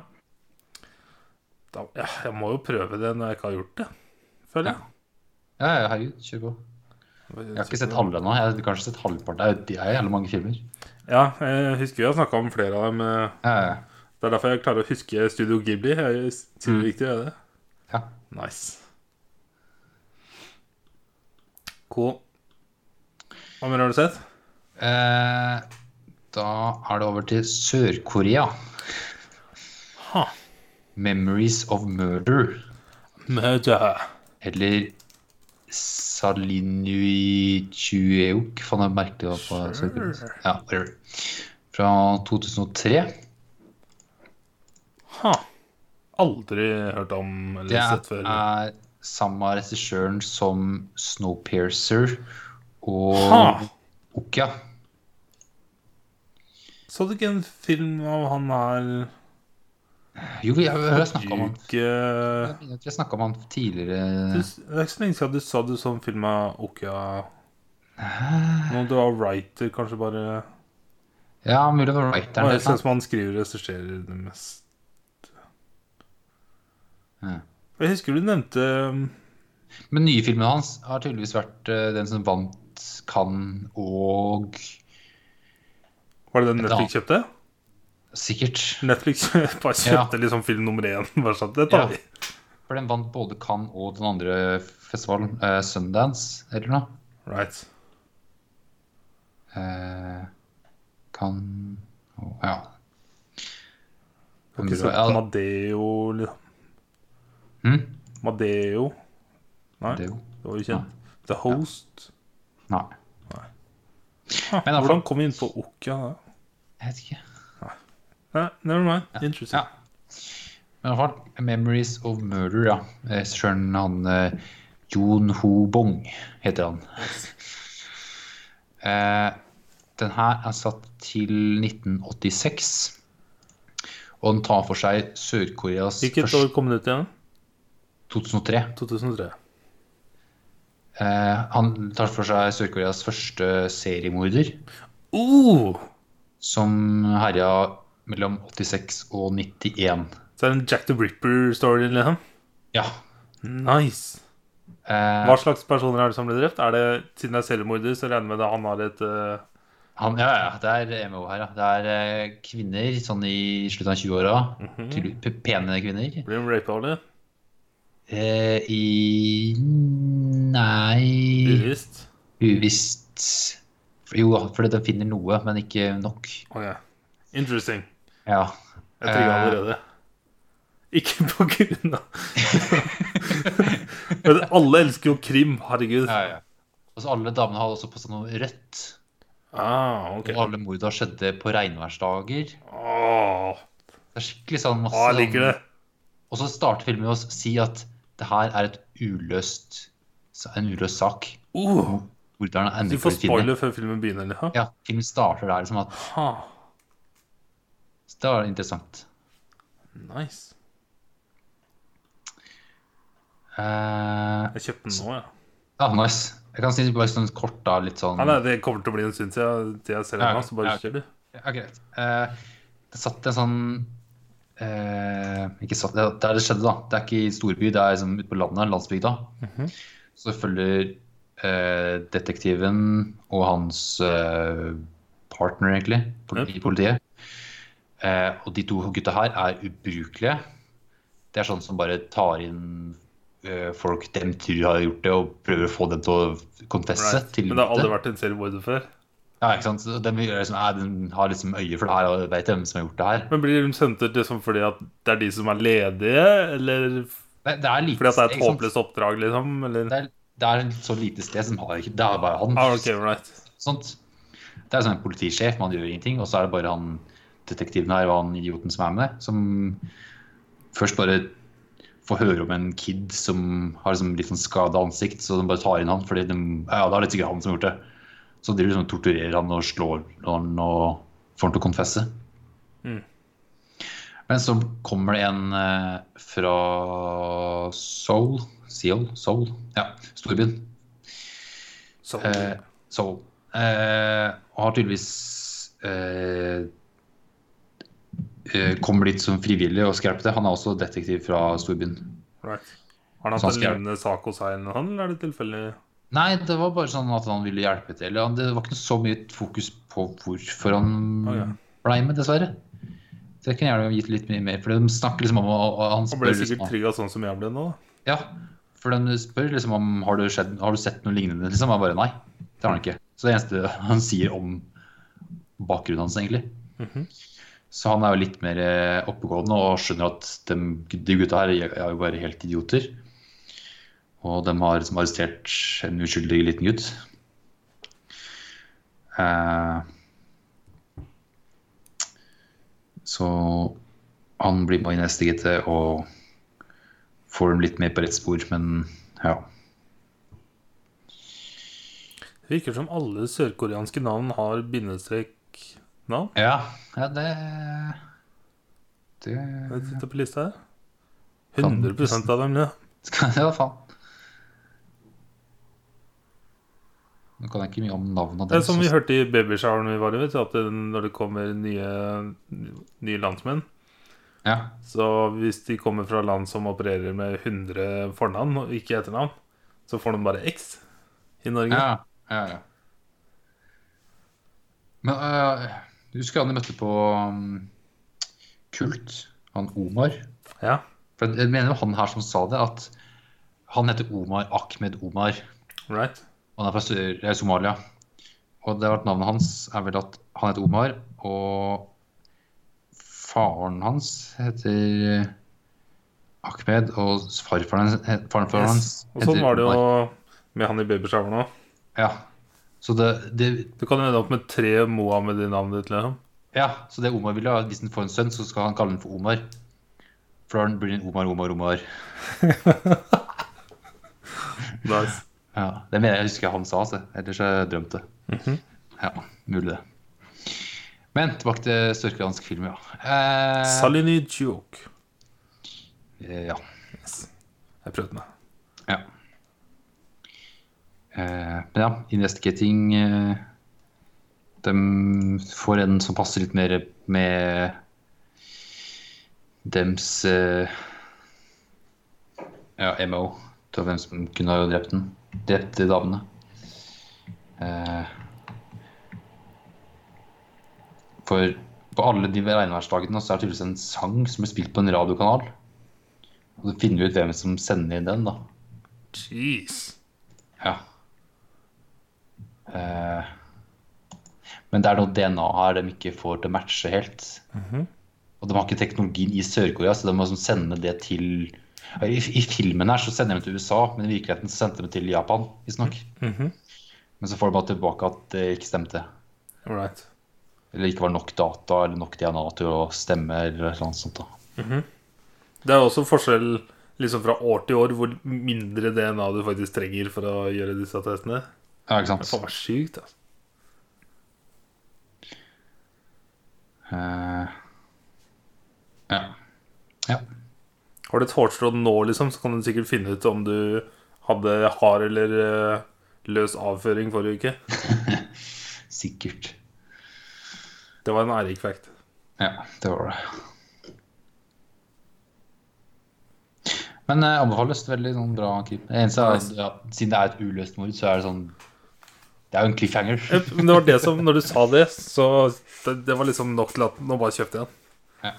B: Da, ja, jeg må jo prøve det når jeg ikke har gjort det, føler jeg.
A: Ja, ja, herregud, kjør på. Jeg har ikke sett alle ennå. Jeg har kanskje sett halvparten. Det er jo- Det er jo jævlig mange filmer.
B: Ja, jeg husker vi har snakka om flere av dem. eh,
A: Ja, ja, ja.
B: Det er derfor jeg klarer å huske Studio Ghibli. Jeg
A: Mm.
B: sier det riktig, er det?
A: Ja.
B: Nice. Cool. Hva mer har du sett?
A: Eh, da er det over til Sør-Korea.
B: Ha.
A: 'Memories of Murder',
B: Murder.
A: eller Salinui Chueok Faen, det er merkelig å på Sør-Korea.
B: Sure.
A: Ja, whatever. Fra 2003.
B: Ha. Aldri hørt om eller
A: Det
B: sett før.
A: er samme regissøren som 'Snowpiercer' og
B: Ha.
A: Okja.
B: Så du ikke en film av han her
A: Jo, jeg har snakka om han.
B: Juke Det
A: Jeg tror jeg snakka om han tidligere.
B: er ikke så lenge siden du sa du så en film av Okia. Når du var writer, kanskje bare
A: Ja, mulig det var
B: Det er
A: writeren.
B: det
A: det, da.
B: som han skriver og regisserer det mest.
A: Ja.
B: Jeg husker du nevnte um,
A: Men nye filmen hans har tydeligvis vært eh, den som vant Cannes og
B: Var det den
A: Et
B: Netflix kjøpte?
A: sikkert
B: Netflix bare
A: Ja.
B: kjøpte liksom film nummer én. Bare sånn, det tar
A: Ja.
B: vi.
A: For for den vant både Cannes og den andre festivalen, eh, Sundance, eller noe.
B: Right.
A: Eh, Cannes og- Ja.
B: Ikke så
A: Ja,
B: Madeo liksom.
A: hm?
B: Madeo. Nei,
A: Det er
B: det
A: jo
B: var jo kjent. The Host.
A: Nei. Men i
B: Ah,
A: hvert fall-
B: hvordan kom vi inn på Okja? da?
A: Jeg vet ikke.
B: Nei, never mind. Interesting.
A: Ja. Men i hvert fall 'Memories of Murder', ja. Regissøren han eh, Jon Ho Bong heter han. Eh, den her er satt til 1986. Og den tar for seg Sør-Koreas
B: Hvilket
A: første-
B: år kom den ut igjen?
A: 2003.
B: 2003.
A: Eh, han tar for seg Sør-Koreas første seriemorder,
B: Oh!
A: som herja mellom 86 og 91.
B: Så er det en Jack the Ripper-story, liksom.
A: Ja.
B: Nice.
A: Eh,
B: Hva slags personer er det som ble drept? Er det, Siden det er selvmorder, så regner jeg med at han har et eh,
A: Han, ja, ja, det er MO her, ja. Det er eh, kvinner sånn i slutten av 20-åra.
B: Mhm.
A: Tydelig- p- Pene kvinner.
B: Blir han rapa, eller?
A: Eh, I Nei
B: Bevisst?
A: Uvisst. For- Jo, fordi de finner noe, men ikke nok.
B: Ok. Interesting.
A: Ja.
B: Jeg trigga
A: Eh.
B: allerede. Ikke på grunn av Men alle elsker jo krim, herregud.
A: ja, ja. Og så Altså, alle damene hadde også på seg noe rødt.
B: Ah, ok.
A: Og alle morda skjedde på regnværsdager. Det
B: Åh,
A: er skikkelig sånn masse
B: ah, jeg liker
A: sånn-
B: det.
A: Og så starter filmen med å si at det her er et uløst, en uløst sak.
B: Oh,
A: Morderen er
B: du
A: ennå
B: får
A: ikke funnet.
B: spoiler før filmen begynner. Eller?
A: Ja, filmen starter der. Liksom at,
B: Ha,
A: så det var interessant.
B: nice.
A: Eh,
B: Jeg kjøpte den nå, ja.
A: ja, nice. Jeg kan si bare sånn kort da, litt sånn
B: Nei, nei, det kommer til å bli en stund siden jeg- til jeg ser den
A: Ja,
B: nå, så bare
A: ja.
B: kjør, du.
A: Ja, greit. Eh, det satt en sånn eh, Ikke satt, det, det er det skjedde, da. Det er ikke i storby, det er liksom ute på landet, landsbygda.
B: Mhm.
A: Så følger eh, detektiven og hans eh, partner, egentlig, politi,
B: Yep.
A: politiet. Eh, og de to gutta her er ubrukelige. Det er sånn som bare tar inn eh, folk dem tror har gjort det, og prøver å få dem til å konfesse.
B: Right.
A: Til
B: Men det har
A: det.
B: aldri vært en seriemorder før.
A: Ja, ikke sant? Så Den, vil gjøre liksom, «Nei, den har liksom øye for det her og vet hvem som har gjort det her.
B: Men blir de sendt ut liksom fordi at det er de som er ledige, eller
A: Det, det er lite,
B: fordi at det er et
A: ikke sant?
B: håpløst oppdrag, liksom? Eller?
A: Det er, det er et så lite sted som har ikke Det er bare han.
B: Ah, ok, right.
A: Sånt. Det er sånn en politisjef, man gjør ingenting, og så er det bare han detektiven her og han idioten som er med, som først bare får høre om en kid som har liksom litt sånn skada ansikt, så de bare tar inn han fordi de, ja, det er litt sikkert han som har gjort det. Så de liksom torturerer han og slår han og får han til å konfesse.
B: Mm.
A: Men så kommer det en eh, fra Seoul, Seoul, Seoul, ja, storbyen.
B: Så,
A: Eh, så eh, og har tydeligvis eh, eh, kommer dit som frivillig og skal hjelpe til. Han er også detektiv fra storbyen.
B: right. Har han
A: så
B: hatt en
A: Sånn skal jeg-
B: lignende sak hos seg, eller, noe, eller er det tilfeldig?
A: Nei, det var bare sånn at han ville hjelpe til. Ja, Det var ikke så mye fokus på hvorfor han
B: Å, ja.
A: blei med, dessverre. Så jeg kunne gjerne gitt litt mye mer, for de snakker liksom om og, og han
B: Han ble
A: spør
B: sikkert
A: liksom,
B: trigga sånn som jeg ble nå. da.
A: ja, for de spør liksom om har du, skjedd, har du sett noe lignende, liksom. Jeg bare nei, det har han ikke. Så det eneste han sier om bakgrunnen hans, egentlig.
B: Mhm.
A: Så han er jo litt mer eh, oppegående og skjønner at dem- de gutta her er jo bare helt idioter. Og de har liksom arrestert en uskyldig liten gutt. Eh, så han blir med i neste GT og får dem litt mer på rett spor, men ja.
B: Det virker som alle sørkoreanske navn har bindestrek-navn.
A: Ja, ja det Det
B: Jeg titter på lista her.
A: Kan-
B: 100 av dem, ja.
A: Skal Ja, faen. Nå kan jeg ikke mye om navnet
B: Det er
A: deres.
B: som vi
A: altså.
B: hørte i babyshoweren vi var i, vet du, at det- når det kommer nye, nye landsmenn
A: Ja.
B: Så hvis de kommer fra land som opererer med 100 fornavn og ikke etternavn, så får de bare X i Norge.
A: Ja, ja, ja. Men øh, du husker mm, han jeg møtte på um, Kult? Han Omar
B: Ja.
A: fra For jeg mener jo han her som sa det, at han heter Omar Ahmed Omar.
B: Right?
A: og Han er fra Sør eh, Somalia. Og det har vært navnet hans er vel at han heter Omar, og faren hans heter eh, Ahmed, og farfaren, hans- he- farfaren hans
B: Yes. Og sånn var det jo med han i babyshoweren òg.
A: Ja. Så det, det,
B: Du kan jo ende opp med tre Mohammed i navnet ditt. Liksom.
A: ja, så det Omar vil ha, hvis han får en sønn, så skal han kalle han for Omar. For da blir han Omar, Omar, Omar.
B: Nice.
A: Ja, Det mener jeg husker han sa, altså. ellers har jeg drømt det.
B: Mhm.
A: Ja, mulig det. Men tilbake til sørkoreansk film, ja. Eh,
B: Salini Juok.
A: eh, ja.
B: Yes. Jeg prøvde meg.
A: ja. Eh, men ja, Investigating eh, De får en som passer litt mer med dems eh, ja, MO. Til hvem som kunne ha drept den. Drept de damene. Eh, for på alle de regnværsdagene så er det tydeligvis en sang som blir spilt på en radiokanal. Og så finner vi ut hvem som sender inn den, da.
B: Jeez.
A: Ja. Eh, men det er noe DNA her de ikke får til å matche helt. Og de har ikke teknologien i Sør-Korea, så de må liksom sende det til I, I filmen her så sender de det til USA, men i virkeligheten så sendte de det til Japan, visstnok.
B: Mhm.
A: Men så får de bare tilbake at det ikke stemte.
B: Alright.
A: Eller ikke var nok data eller nok DNA til å stemme eller noe sånt. da.
B: Det er også forskjell liksom fra år til år hvor mindre DNA du faktisk trenger for å gjøre disse testene.
A: Ja, ikke
B: Det er faen
A: sant?
B: meg sjukt, altså.
A: Eh, ja. ja.
B: Har du et hårstrå nå, liksom, så kan du sikkert finne ut om du hadde hard eller eh, løs avføring forrige uke.
A: Sikkert.
B: Det var en ærik fact.
A: Ja, det var det. Men eh, anbefales veldig sånn bra klipp. Det eneste er at ja, siden det er et uløst mord, så er det sånn Det er jo en cliffhanger.
B: Jep, Eh, Men det var det som, når du sa det, så det, det var liksom nok til at nå bare kjøpte jeg
A: Ja.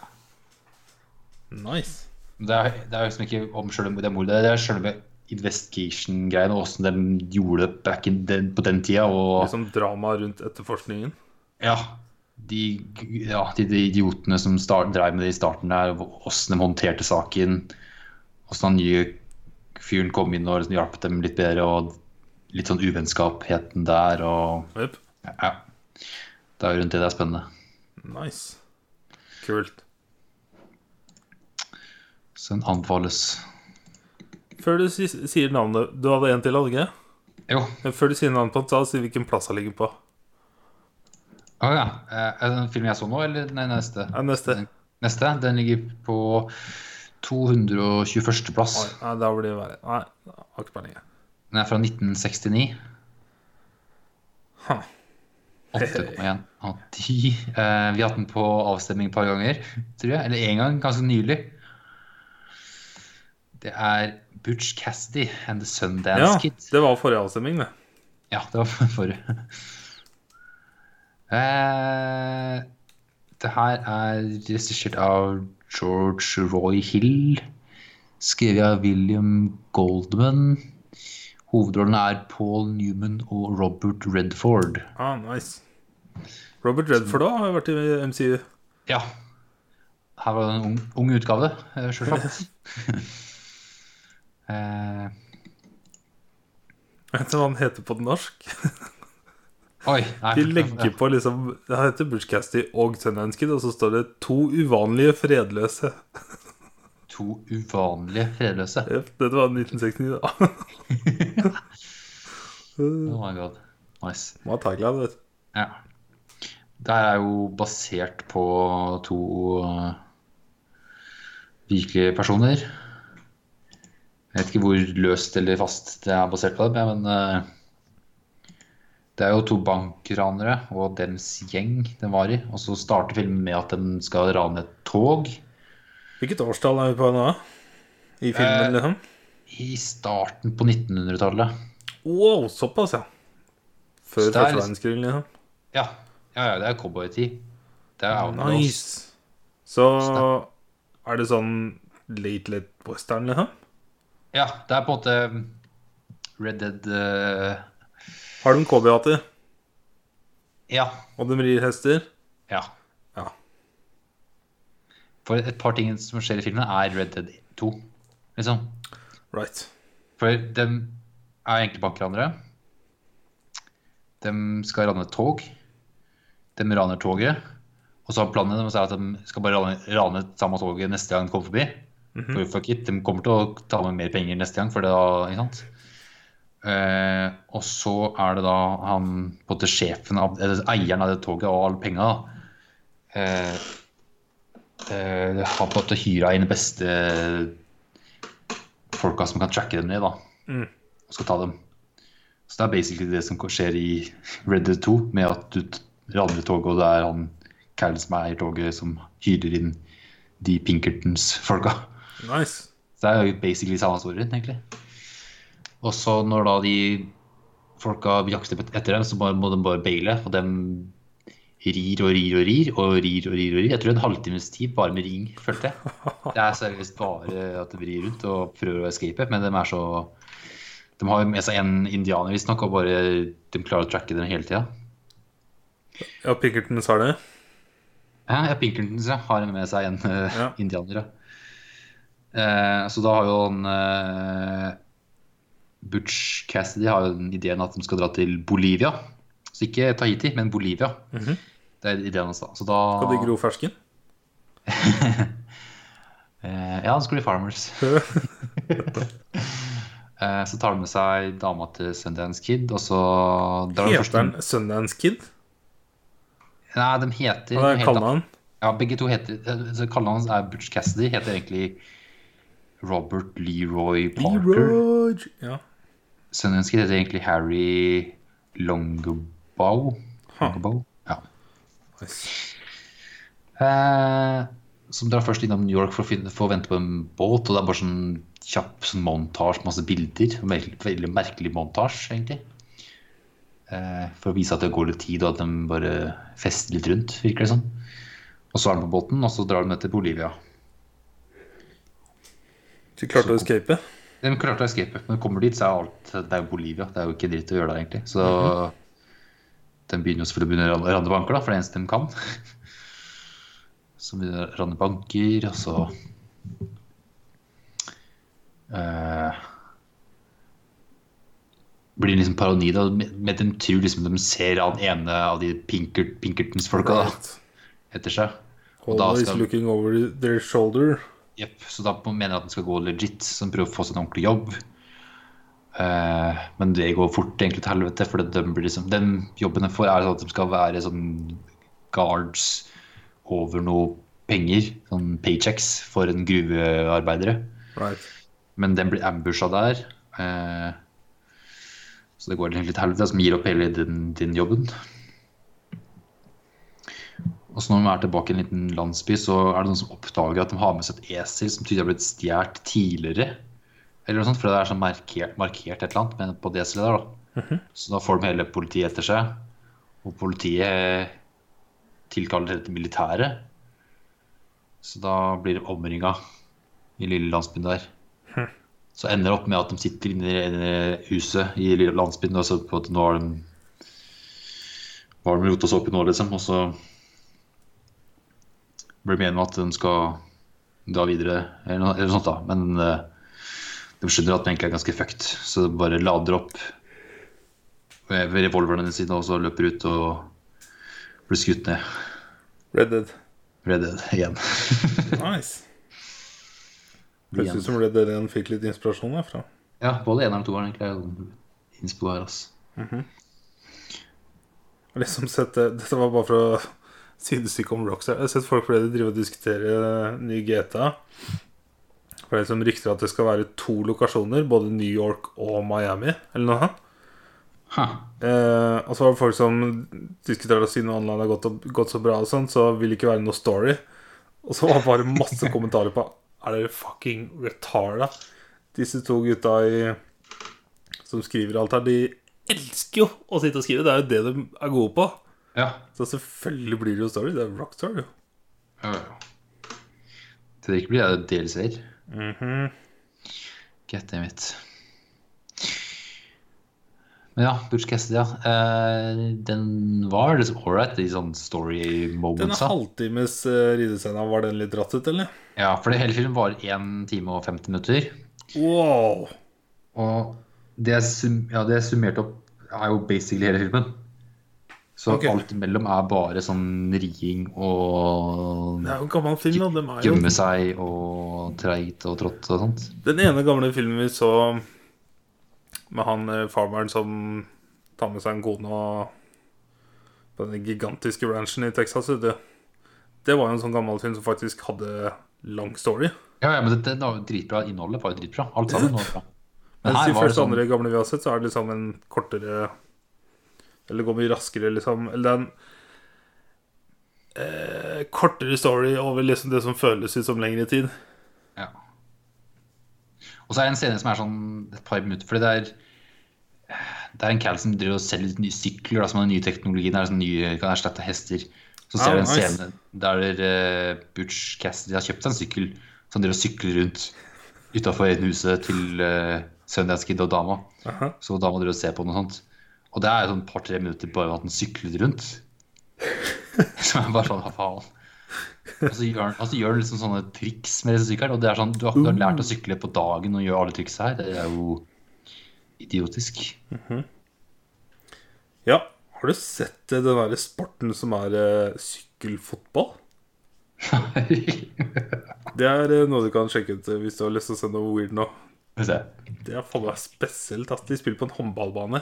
B: den. Nice.
A: Det er, det er liksom ikke om selve det mordet, det er selve investigation-greiene, og åssen de gjorde det back in den, på den tida. Og
B: Liksom drama rundt etterforskningen.
A: ja, de, ja, de, de idiotene som start, drev med det i starten der, åssen de håndterte saken, åssen han nye fyren kom inn og liksom hjalp dem litt bedre, og litt sånn uvennskapheten der og
B: Jep.
A: Ja. Det er jo rundt det det er spennende.
B: Nice. Kult.
A: Så den anbefales.
B: Før du si- sier navnet Du hadde en til, hadde du ikke?
A: Jo.
B: Men Før du sier navnet på den, ta og si hvilken plass han ligger på.
A: Å ja. Eh, Er det den filmen jeg så nå, eller nei, neste?
B: Ja, neste.
A: Neste. Den ligger på 221. plass.
B: Oi, Nei, da blir det verre. Nei, jeg har ikke peiling. jeg.
A: Den er fra 1969.
B: Huh.
A: 8,1 av 10. Eh, vi har hatt den på avstemning et par ganger, tror jeg. Eller én gang, ganske nylig. Det er Butch Cassidy and The Sundance
B: Ja,
A: Kid.
B: det var forrige avstemning, det.
A: Ja, det var for- forrige. Eh, det her er regissert av George Roy Hill. Skrevet av William Goldman. Hovedrollene er Paul Newman og Robert Redford.
B: Ah, nice. Robert Redford òg har vært i MCU.
A: Ja. Her var det en ung, ung utgave, eh, selvsagt. eh,
B: Vet du hva han heter på norsk?
A: oi. Nei,
B: De legger på liksom Han heter Bushcasty og Sundance Kid, og så står det 'To uvanlige fredløse'.
A: To uvanlige fredløse.
B: Jep, Dette var 1969, da.
A: Oh my god. Nice.
B: Må ha tagline, vet du.
A: Ja. Det her er jo basert på to eh, virkelige personer. Jeg vet ikke hvor løst eller fast det er basert på det, men eh, det er jo to bankranere og deres gjeng den var i. Og så starter filmen med at de skal rane et tog.
B: Hvilket årstall er vi på nå? I filmen,
A: Eh.
B: liksom?
A: I starten på 1900-tallet.
B: Wow, såpass, ja. Før
A: Så det er
B: første
A: liksom-
B: verdenskrig, liksom.
A: Ja. ja, ja, det er cowboytid. Det er outlaws.
B: Nice. Så er det sånn Late Late Western, liksom?
A: Ja, det er på en måte eh, Red Dead eh,
B: Har de cowboyhatter?
A: Ja.
B: Og de rir hester?
A: Ja.
B: Ja.
A: For et par ting som skjer i filmen, er Red Dead 2, liksom.
B: Right.
A: For de er egentlig bankranere. De skal rane et tog. De raner toget. Og så har planen deres er at de skal bare rane, rane samme toget neste gang de kommer forbi. For fuck it, De kommer til å ta med mer penger neste gang, for det da Ikke sant? Eh, og så er det da han på en måte sjefen av eller eieren av det toget og alle penga, da. Eh, eh, har på en måte hyra inn de beste folka som kan tracke dem ned, da.
B: Mm.
A: Og skal ta dem. Så det er basically det som skjer i Red Dead 2, med at du t- raner toget, og det er han Callen som eier toget, som hyrer inn de Pinkertons-folka.
B: Nice.
A: Så det er jo basically samme storyen, egentlig. Og så når da de folka jakter etter dem, så bare, må de bare baile, og de rir og rir og rir og rir og rir. og rir. Jeg tror en halvtimes tid bare med ring, følte jeg. Det er seriøst bare at de rir rundt og prøver å escape, men de er så De har jo med seg en indianer, visstnok, og bare de klarer å tracke dem hele tida.
B: Ja, Pinkerton sa det.
A: Hæ? Ja, Pinkerton så har med seg en eh,
B: Ja.
A: indianer. ja. Eh, så da har jo han eh, Butch Cassidy har jo den ideen at de skal dra til Bolivia. Så ikke Tahiti, men Bolivia.
B: Mhm.
A: Det er ideen hans, da. Så da
B: Skal de gro fersken?
A: Eh, ja, han skulle bli Farmers. Eh, så tar de med seg dama til Sundance Kid, og så drar de
B: Heter han Sundance Kid?
A: Nei, de heter de
B: Hva er
A: heter-
B: kallenavnet?
A: Ja, begge to heter eh, så Kallenavnet er Butch Cassidy. Heter egentlig Robert Leroy Parker.
B: Leroy Ja.
A: Sønnensket heter egentlig Harry Longbow.
B: Ha.
A: Longbow? Ja.
B: Nice.
A: Eh, som drar først innom New York for å, finne, for å vente på en båt. Og det er bare sånn kjapp sånn montasje, masse bilder. En Veldig, veldig merkelig montasje, egentlig. Eh, for å vise at det går litt tid, og at de bare fester litt rundt, virker det som. Og så er de på båten, og så drar de til Bolivia.
B: Du klarte å escape?
A: De klarte å escape, men kommer dit, så er alt Det er jo Bolivia. Det er jo ikke dritt å gjøre der, egentlig. Så de begynner jo selvfølgelig å begynne å ran- ranne banker, da, for det er det eneste de kan. Så begynner de å ranne banker, og så eh, blir det liksom paranoid. da, Med med de tror liksom de ser han ene av de Pinkert, Pinkertons-folka da,
B: Right.
A: etter seg. Og da
B: Always
A: skal-
B: looking over their shoulder.
A: Jepp, så da mener jeg at den skal gå legit, så den prøver å få seg en ordentlig jobb. Eh, men det går fort egentlig til helvete, for det, de blir liksom, den jobben de får, er sånn at de skal være sånn guards over noe penger, sånn paychecks for en gruvearbeidere.
B: Right.
A: Men den blir ambusha der. Eh, så det går egentlig til helvete, som gir opp hele den, den jobben. Og så når de er tilbake i en liten landsby, så er det noen som oppdager at de har med seg et esel som tydelig har blitt stjålet tidligere. Eller noe sånt, for det er sånn markert, markert et eller annet med- på det eselet der, da. Så da får de hele politiet etter seg. Og politiet eh, tilkaller dette militæret. Så da blir de omringa i lille landsbyen der. Så ender det opp med at de sitter inne i inne i huset i lille landsbyen. Og så på at nå har de Hva har de rota seg opp i nå, liksom? Og så blir de enige om at de skal dra videre, eller noe, eller noe sånt, da. Men eh, de skjønner at de egentlig er ganske fucked, så de bare lader opp med revolverne sine og så løper ut og blir skutt ned.
B: Red Dead.
A: Red Dead igjen.
B: Nice. Høres ut som Red Dead 1 fikk litt inspirasjon derfra.
A: Ja, både eneren og toeren egentlig er jo innspo her, altså.
B: Jeg har Liksom sett det. Dette var bare fra sidestykket om Rockstar. Jeg har sett folk fordi de driver og diskuterer ny GTA. For det er liksom rykter at det skal være to lokasjoner, både New York og Miami. Eller noe sånt.
A: Huh.
B: Eh, og så var det folk som diskuterte at siden online har gått, opp- gått så bra, og sånn, så vil det ikke være noe story. Og så var det bare masse kommentarer på Er dere fucking retarda? Disse to gutta i, som skriver alt her, de elsker jo å sitte og skrive. Det er jo det de er gode på.
A: Ja.
B: Så selvfølgelig blir det jo story. Det er rockstar, jo.
A: ja, ja. Så det ikke blir jeg delser.
B: Mhm.
A: Get damn it. Men ja, Butch Cassidy, ja. Eh, den var liksom ålreit, de sånn story
B: Denne
A: momentsa.
B: halvtimes eh, ridescena, var den litt dratt ut, eller?
A: Ja, for det hele filmen var 1 time og 50 minutter.
B: Wow!
A: Og det jeg, sum- ja, det jeg summerte opp, er jo basically hele filmen. Så
B: Ok.
A: alt imellom er bare sånn riing og
B: Det er jo en gammel film, da. Dem er jo
A: gjemme seg og treigt og trått og sånt.
B: Den ene gamle filmen vi så med han eh, farmeren som tar med seg en kone og på den gigantiske ranchen i Texas, vet du. Det var jo en sånn gammel film som faktisk hadde lang story.
A: Ja, ja, men det, det var jo dritbra. Innholdet var jo dritbra. Alt sammen var bra. Men
B: Mens
A: her var
B: de
A: det
B: første
A: sånn
B: andre gamle vi har sett, så er det liksom en kortere Eller går mye raskere, liksom. Eller en eh, kortere story over liksom det som føles ut som lengre tid.
A: Ja. Og så er det en scene som er sånn et par minutter, fordi det er det er en cal som driver og selger litt nye sykler, da, som har den nye teknologien er, som nye, kan erstatte hester. Så ser
B: Ah,
A: du en
B: nice.
A: scene der eh, Butch Cassidy har kjøpt seg en sykkel, så han driver og sykler rundt utafor huset til uh, Sundance Kid og dama.
B: Aha.
A: Så dama driver og ser på noe sånt. Og det er jo sånn par-tre minutter bare med at han syklet rundt. Som er bare sånn, hva faen. Og så gjør han, og så gjør han liksom sånne triks med disse sykkelen. Og det er sånn, du har,
B: Uh.
A: du har lært å sykle på dagen og gjøre alle triksa her. Det er jo idiotisk.
B: Ja, har du sett eh, den derre sporten som er eh, sykkelfotball?
A: Skal
B: Det er eh, noe du kan sjekke ut eh, hvis du har lyst til å se noe weird nå.
A: vi se.
B: Det er faen meg spesielt at de spiller på en håndballbane.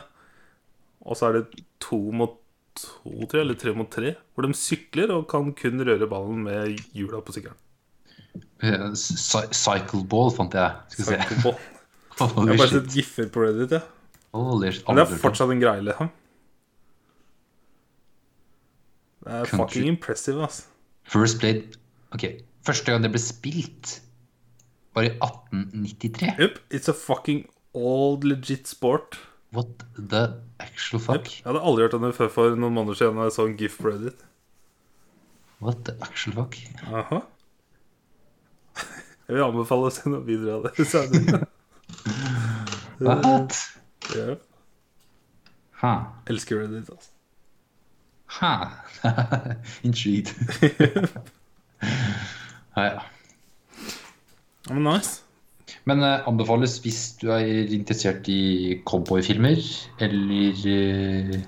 B: Og så er det to mot to, tre, eller tre mot tre, hvor de sykler og kan kun røre ballen med hjula på sykkelen.
A: Eh, cy- Cycleball fant jeg. Skal vi se.
B: Håndball. Jeg
A: Holy
B: har bare
A: shit.
B: sett giffer på Reddit, jeg.
A: Holy shit.
B: Men
A: Aldri
B: det er
A: hørt om.
B: fortsatt en greie, liksom. Det er
A: Country.
B: fucking impressive, ass.
A: First played Ok, første gang det ble spilt, var i 1893.
B: Yep, it's a fucking old legit sport.
A: What the actual
B: Jep,
A: fuck?
B: Jeg hadde aldri hørt om det før for noen måneder siden da jeg så en gif på Reddit.
A: What the actual fuck?
B: Aha. Jeg vil anbefale å se noe videre av det senere.
A: What?
B: Ja.
A: Ha.
B: Elsker Reddit, altså.
A: Ha. Intrigued. ja, ja.
B: Ja, Men nice.
A: Men eh, anbefales hvis du er interessert i cowboyfilmer eller eh,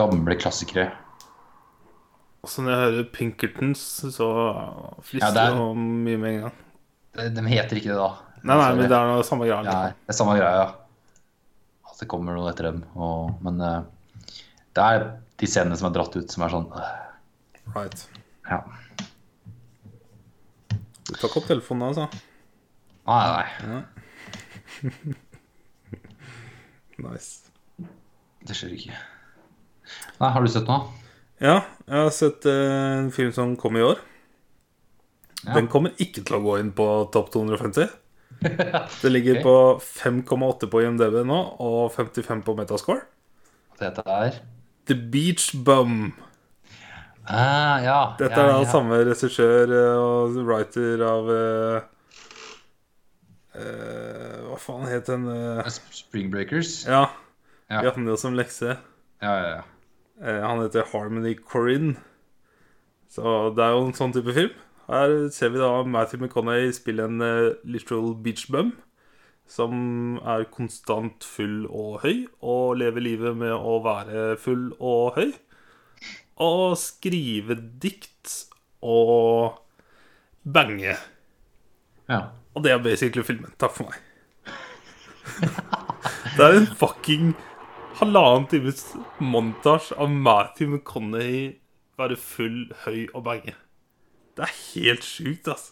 A: gamle klassikere.
B: Også når jeg hører Pinkertons, så frister
A: Ja, det
B: det
A: er-
B: mye med en gang.
A: De de heter ikke det, da.
B: Nei, nei,
A: Dessverre.
B: men det er noe samme
A: Det
B: greia.
A: er, det er samme greia. At det kommer noe etter dem. Og, men eh, det er de scenene som er dratt ut, som er sånn eh,
B: Right.
A: Ja.
B: Du tar ikke opp telefonen, altså.
A: Nei, nei.
B: Nice.
A: Det skjer ikke. Nei, har du sett noe?
B: Ja, jeg har sett eh, en film som kom i år.
A: Ja.
B: Den kommer ikke til å gå inn på topp 250. Det ligger
A: Ok.
B: på 5,8 på IMDb nå, og 55 på Metascore.
A: Det er
B: The Beach Bum.
A: ah, Ja.
B: Dette
A: ja,
B: er da
A: ja.
B: samme regissør eh, og writer av eh, eh, Hva faen het den eh,
A: Sp- Spring Breakers?
B: Ja,
A: Ja.
B: vi hadde den jo som lekse.
A: Ja, ja, ja.
B: Eh, han heter Harmony Corinne. Så det er jo en sånn type film. Her ser vi da Matthew McConaughey spille en eh, literal beach bum. Som er konstant full og høy, og lever livet med å være full og høy. Og skrive dikt og bange.
A: ja.
B: Og det er basically filmen. Takk for meg. det er en fucking halvannen times montasje av Matthew McConaughey være full, høy og bange. Det er helt sjukt, ass.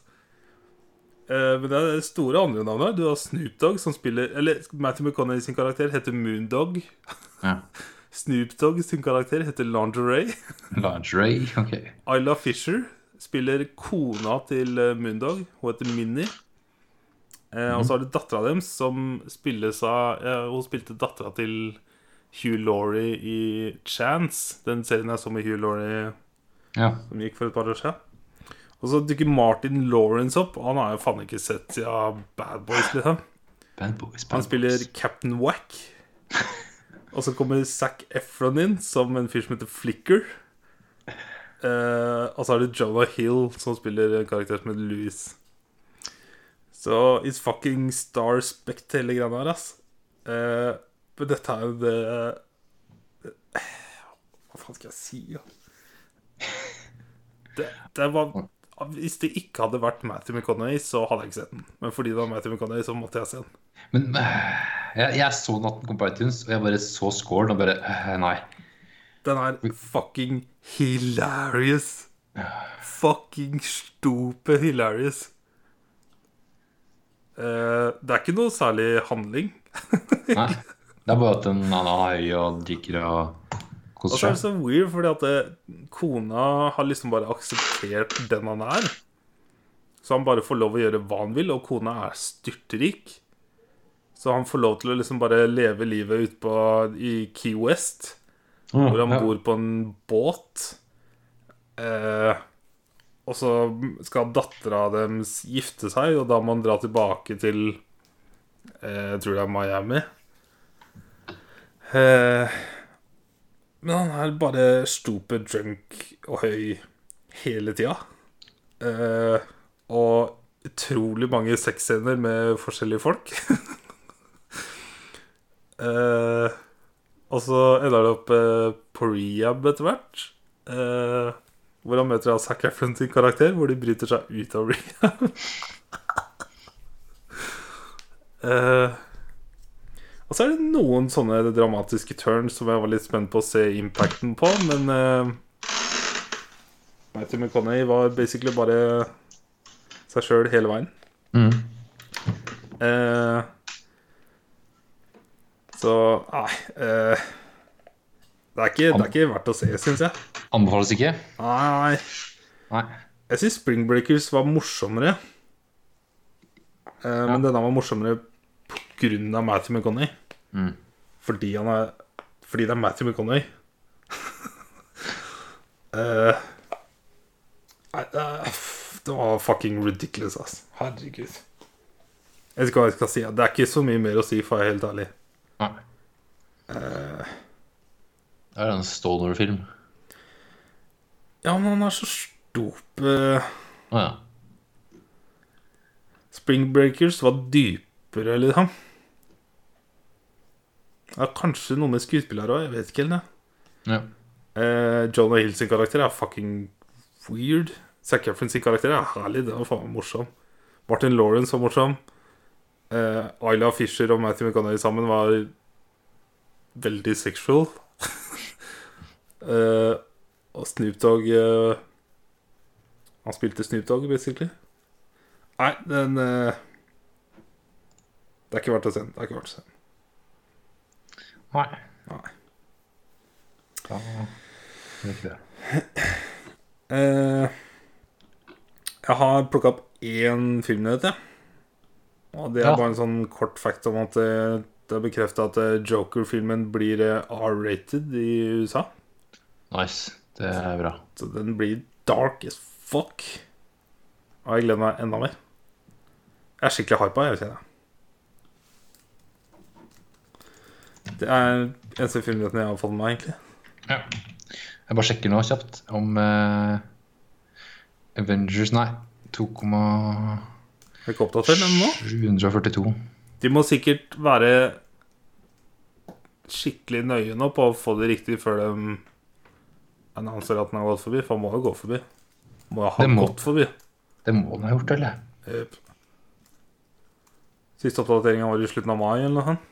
B: Eh, men det er store andre navn her. Du har Snoop Dogg, som spiller Eller Matthew McConaughey sin karakter heter Moondog.
A: ja.
B: Snoop Dogg sin karakter heter Lingerie.
A: Lingerie, ok.
B: Ayla Fisher spiller kona til eh, Moondog. Hun heter Minnie. Eh, Og så har du dattera deres, som spilles av eh, Hun spilte dattera til Hugh Laurie i Chance. Den serien jeg så med Hugh Laurie
A: Ja.
B: som gikk for et par år siden. Og Og så dukker Martin Lawrence opp. Og han har jeg faen ikke sett siden Bad Boys, liksom.
A: Bad boys, bad
B: Han spiller
A: boys.
B: Captain Whack. Og så kommer Zac Efron inn som en fyr som heter Flicker. Eh, og så er det Jonah Hill som spiller en karakter som heter Louis. Så it's fucking star spect, hele greia der, ass. Eh, men dette er jo det eh, Hva faen skal jeg si, da? Det, det var Hvis det ikke hadde vært Matthew McConaughey, så hadde jeg ikke sett den. Men fordi det var Matthew McConaughey, så måtte jeg se den.
A: Men eh, jeg, jeg så Natten kom på iTunes, og jeg bare så scoren og bare eh, Nei.
B: Den er fucking hilarious. Fucking stupe hilarious. Eh, det er ikke noe særlig handling.
A: nei. Det er bare at en han er høy og drikker og
B: Og
A: koser
B: så
A: seg.
B: er det så weird, fordi at eh, kona har liksom bare akseptert den han er. Så han bare får lov å gjøre hva han vil, og kona er styrtrik. Så han får lov til å liksom bare leve livet ute på, i Key West.
A: Ja,
B: Hvor han
A: ja.
B: bor på en båt. Eh, og så skal dattera deres gifte seg, og da må han dra tilbake til eh, Jeg tror det er Miami. Eh, men han er bare stupe drunk og høy hele tida. Eh, og utrolig mange sexscener med forskjellige folk. eh, og så ender det opp eh, på rehab etter hvert. Eh, hvor han møter Zac Efron sin karakter, hvor de bryter seg ut av rehab. eh, og så er det noen sånne dramatiske turns som jeg var litt spent på å se impacten på, men eh, Matthew McConaughey var basically bare seg sjøl hele veien.
A: Mm.
B: Eh, så nei eh, det, er ikke, det er ikke verdt å se, syns jeg.
A: Anbefales ikke?
B: Nei,
A: Nei.
B: jeg syns Spring Breakers var morsommere. Eh, Men denne var morsommere pga. Matthew McConney.
A: Mm.
B: Fordi han er Fordi det er Matthew McConney. Eh, nei, det er- det var fucking ridiculous, ass. Herregud. Jeg vet ikke hva jeg skal si. Det er ikke så mye mer å si, for å være helt ærlig.
A: nei.
B: Eh.
A: Det er en stoner-film.
B: Ja, men han er så eh, stupe.
A: Å ja.
B: Spring Breakers var dypere, liksom. Ja, kanskje noe med skuespillere òg. Jeg vet ikke helt. det.
A: ja.
B: Eh, Jonah Hill sin karakter er fucking weird. Zac Efron sin karakter er herlig. Den var faen meg morsom. Martin Lawrence var morsom. Eh, Ayla Fisher og Matthew McConaughey sammen var veldig sexual. eh, og Snoop Dogg eh, Han spilte Snoop Dogg, basically. Nei, den eh, Det er ikke verdt å se den. Det er ikke verdt å se den.
A: Nei.
B: Nei.
A: Da det er ikke det.
B: Eh, jeg har plukka opp én filmnyhet, jeg. Og det er
A: Ja.
B: bare en sånn kort fact om at eh, det er bekrefta at eh, Joker-filmen blir eh, R-rated i USA.
A: Nice. Det er bra.
B: Så den blir dark as fuck. Og jeg gleder meg enda mer. Jeg er skikkelig hypa, jeg kjenner det. Det er eneste filmnyheten jeg har fått med meg, egentlig.
A: Ja. Jeg bare sjekker nå kjapt om eh, Avengers Nei, 2,742.
B: Jeg er ikke oppdatert den nå. De må sikkert være skikkelig nøye nå på å få det riktig før de annonserer at den har gått forbi. For den må jo gå forbi. Må jo ha
A: Det må.
B: gått forbi.
A: Det må den ha gjort, eller?
B: Jep. Siste oppdateringa var i slutten av mai eller noe sånt.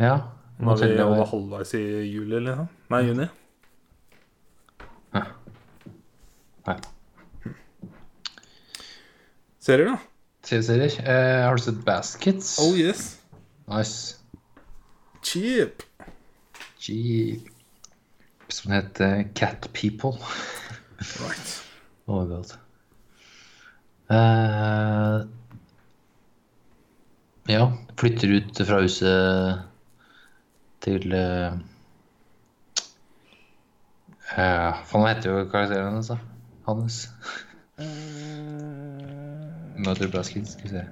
A: Ja.
B: Nå er vi
A: teller
B: over
A: jeg.
B: halvveis i juli eller noe. Nei, juni.
A: Nei.
B: Serier, da?
A: TV-serier. Eh, har du sett Baskets?
B: Oh yes.
A: Nice.
B: Cheap.
A: Gee. Som heter Cat People.
B: Right.
A: Oh my god. Eh, ja, flytter ut fra huset til eh, eh, Faen, hva heter jo karakteren hennes, da? Hans.
B: Eh,
A: Mother Baskins, skal vi se.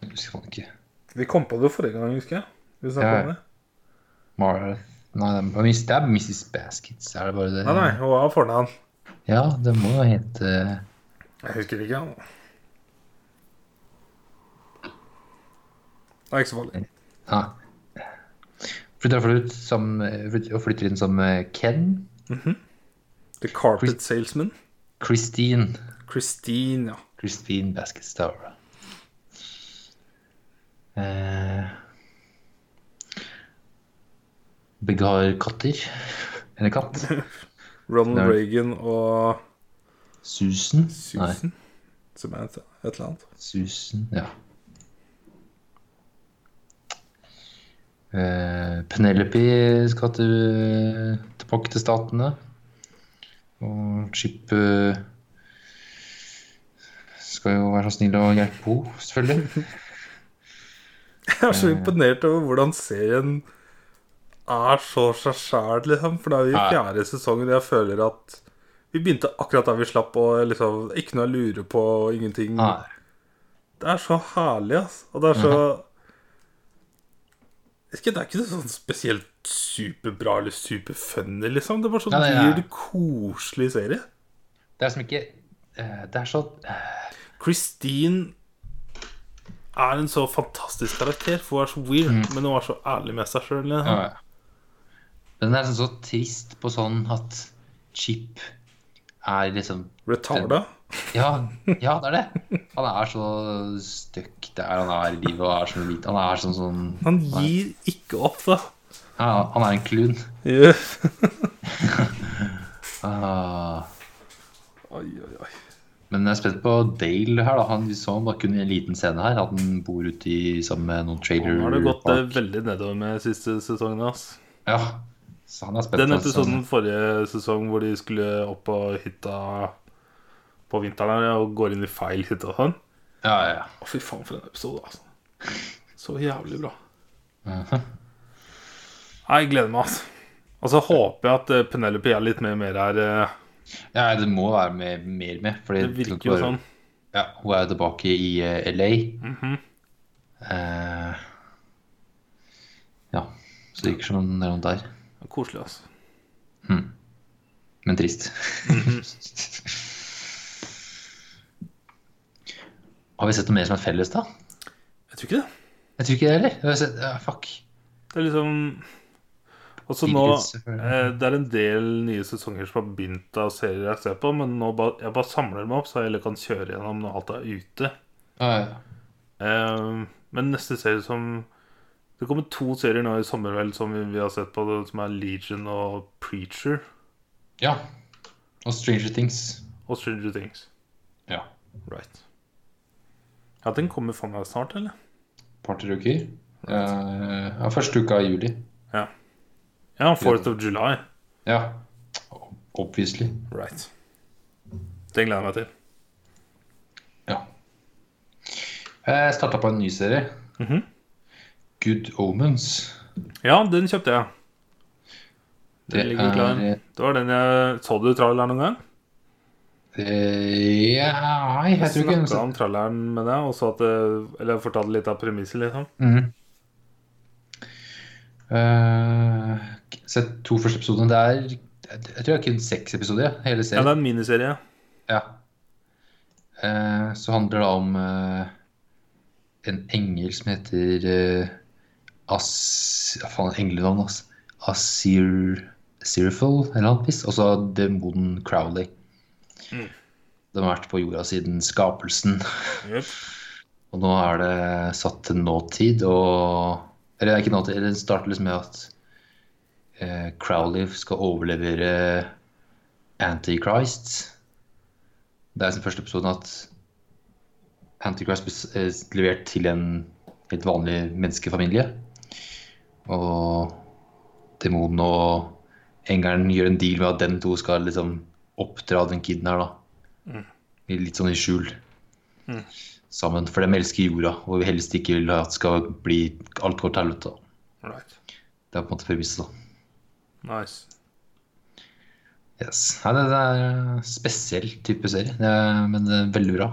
A: Jeg husker faen ikke.
B: Vi kom på det forrige gang, husker jeg. Vi snakket
A: Ja.
B: om det.
A: Marth Nei, det er Miss- det er Mrs. Baskins, er det bare det?
B: Nei, nei, hun har fornavn.
A: Ja, det må jo hete eh,
B: Jeg husker ikke. han. Det er ikke så farlig.
A: Ja. Flytter derfor ut som, flytter- og flytter inn som eh, Ken.
B: The Carpet Salesman.
A: Christine.
B: Christine, ja.
A: Christine Baskets Tower. Eh, begge har katter. Eller katt.
B: Ronald
A: Det er-
B: Reagan og
A: Susan. Nei,
B: Susan. Som er et, et eller annet.
A: Susan, ja. Eh, Penelope skal til, tilbake til Statene. Og Chip eh, skal jo være så snill å hjelpe henne, selvfølgelig.
B: Jeg er så imponert over hvordan serien er så seg sjæl, liksom. For det er jo i
A: Ja.
B: fjerde sesongen jeg føler at vi begynte akkurat da vi slapp, og liksom ikke noe å lure på, og ingenting.
A: Nei.
B: Det er så herlig, ass. Og det er så Ikke, Det er ikke sånn spesielt superbra eller superfunny, liksom. Det er bare sånn
A: Nei, nei, nei.
B: weird, koselig serie.
A: Det er som ikke eh, Det er så
B: Christine er en så fantastisk karakter, for hun er så weird, men hun er så ærlig med seg liksom. sjøl.
A: Mm. Ja, ja. Den er sånn så trist på sånn at Chip er liksom
B: Retarda.
A: Ja, ja det er det. Han er så stuck der han er i livet og er så hvit. Han er sånn sånn
B: Han gir ikke opp, da.
A: ja, Han er en klun.
B: Yeah.
A: Ah,
B: Oi, oi, oi.
A: men jeg er spent på Dale her. da Han vi så han bare kun i en liten scene her. At han bor ute i sammen med noen trailer
B: Nå har det gått eh,
A: park.
B: veldig nedover med siste sesongen. ass
A: Ja, så han er spent på sånn-
B: Den
A: det, så-
B: episoden forrige sesong hvor de skulle opp på hytta på vinteren her, og går inn i feil hytte og sånn.
A: Ja, ja, ja.
B: Å, fy faen, for en episode, altså. Så jævlig bra. Nei, Jeg gleder meg, altså. Og så håper jeg at eh, Penelope er litt mer, mer her. eh,
A: Ja, det må være med, mer med. Fordi
B: Det virker jo sånn. Mhm.
A: Ja, hun er jo tilbake i eh, LA. Eh, ja, så det virker som hun er rundt der.
B: Koselig, altså.
A: Men trist. Mhm. Har vi sett noe mer som er felles, da?
B: Jeg tror ikke det.
A: Jeg tror ikke det heller. Jeg har sett- ja, fuck.
B: Det er liksom Og så nå eh, Det er en del nye sesonger som har begynt av serier jeg ser på, men nå ba, jeg bare samler dem opp, så jeg heller kan kjøre gjennom når alt er ute.
A: Ja, ja.
B: Eh, men neste serie som Det kommer to serier nå i sommer vel som vi, vi har sett på, det, som er Legion og Preacher
A: ja. Og Stranger Things.
B: og Stranger Things.
A: Ja.
B: Right. Ja, den kommer for meg snart, eller?
A: Et par-tre uker. Eh, ja, første uka i juli.
B: Ja. Ja, 4th of July.
A: Ja. Obviously.
B: Right. Den gleder jeg meg til.
A: Ja. Eh, Jeg starta på en ny serie.
B: Mhm.
A: Good Omens.
B: Ja, den kjøpte jeg. Den
A: Det
B: ligger klar.
A: er-
B: Det var den jeg Så du traileren noen gang?
A: Eh, Ja, nei, jeg tror ikke
B: Jeg
A: den
B: snakka om traileren med deg, og så at det- Eller jeg fortalte litt av premisset, liksom.
A: Mhm. Eh, Sett to første episoder. Det er jeg tror det er kun seks episoder, ja, hele
B: Ja,
A: serien.
B: det er en miniserie.
A: Ja. Eh, så handler det om eh, en engel som heter eh, As... Hva faen er englenavnet hans? Asir... Sirful, eller noe piss. Og så demonen Crowley.
B: Mm.
A: De har vært på jorda siden skapelsen.
B: Yep.
A: Og nå er det satt til nåtid, og Eller ikke nåtid, eller det starter liksom med at eh, Crowley skal overlevere Antichrist. Det er som første episoden at Antichrist blir eh, levert til en helt vanlig menneskefamilie. Og demonen og engelen gjør en deal med at dem to skal liksom oppdra den kiden her, da. Litt sånn i skjul sammen, for de elsker jorda, og vi helst ikke vil at skal bli alt går til helvete. da.
B: Right.
A: Det er på en måte premisset, da.
B: Nice.
A: Yes. Nei, det, det er en spesiell type serie, det er, men det er veldig bra.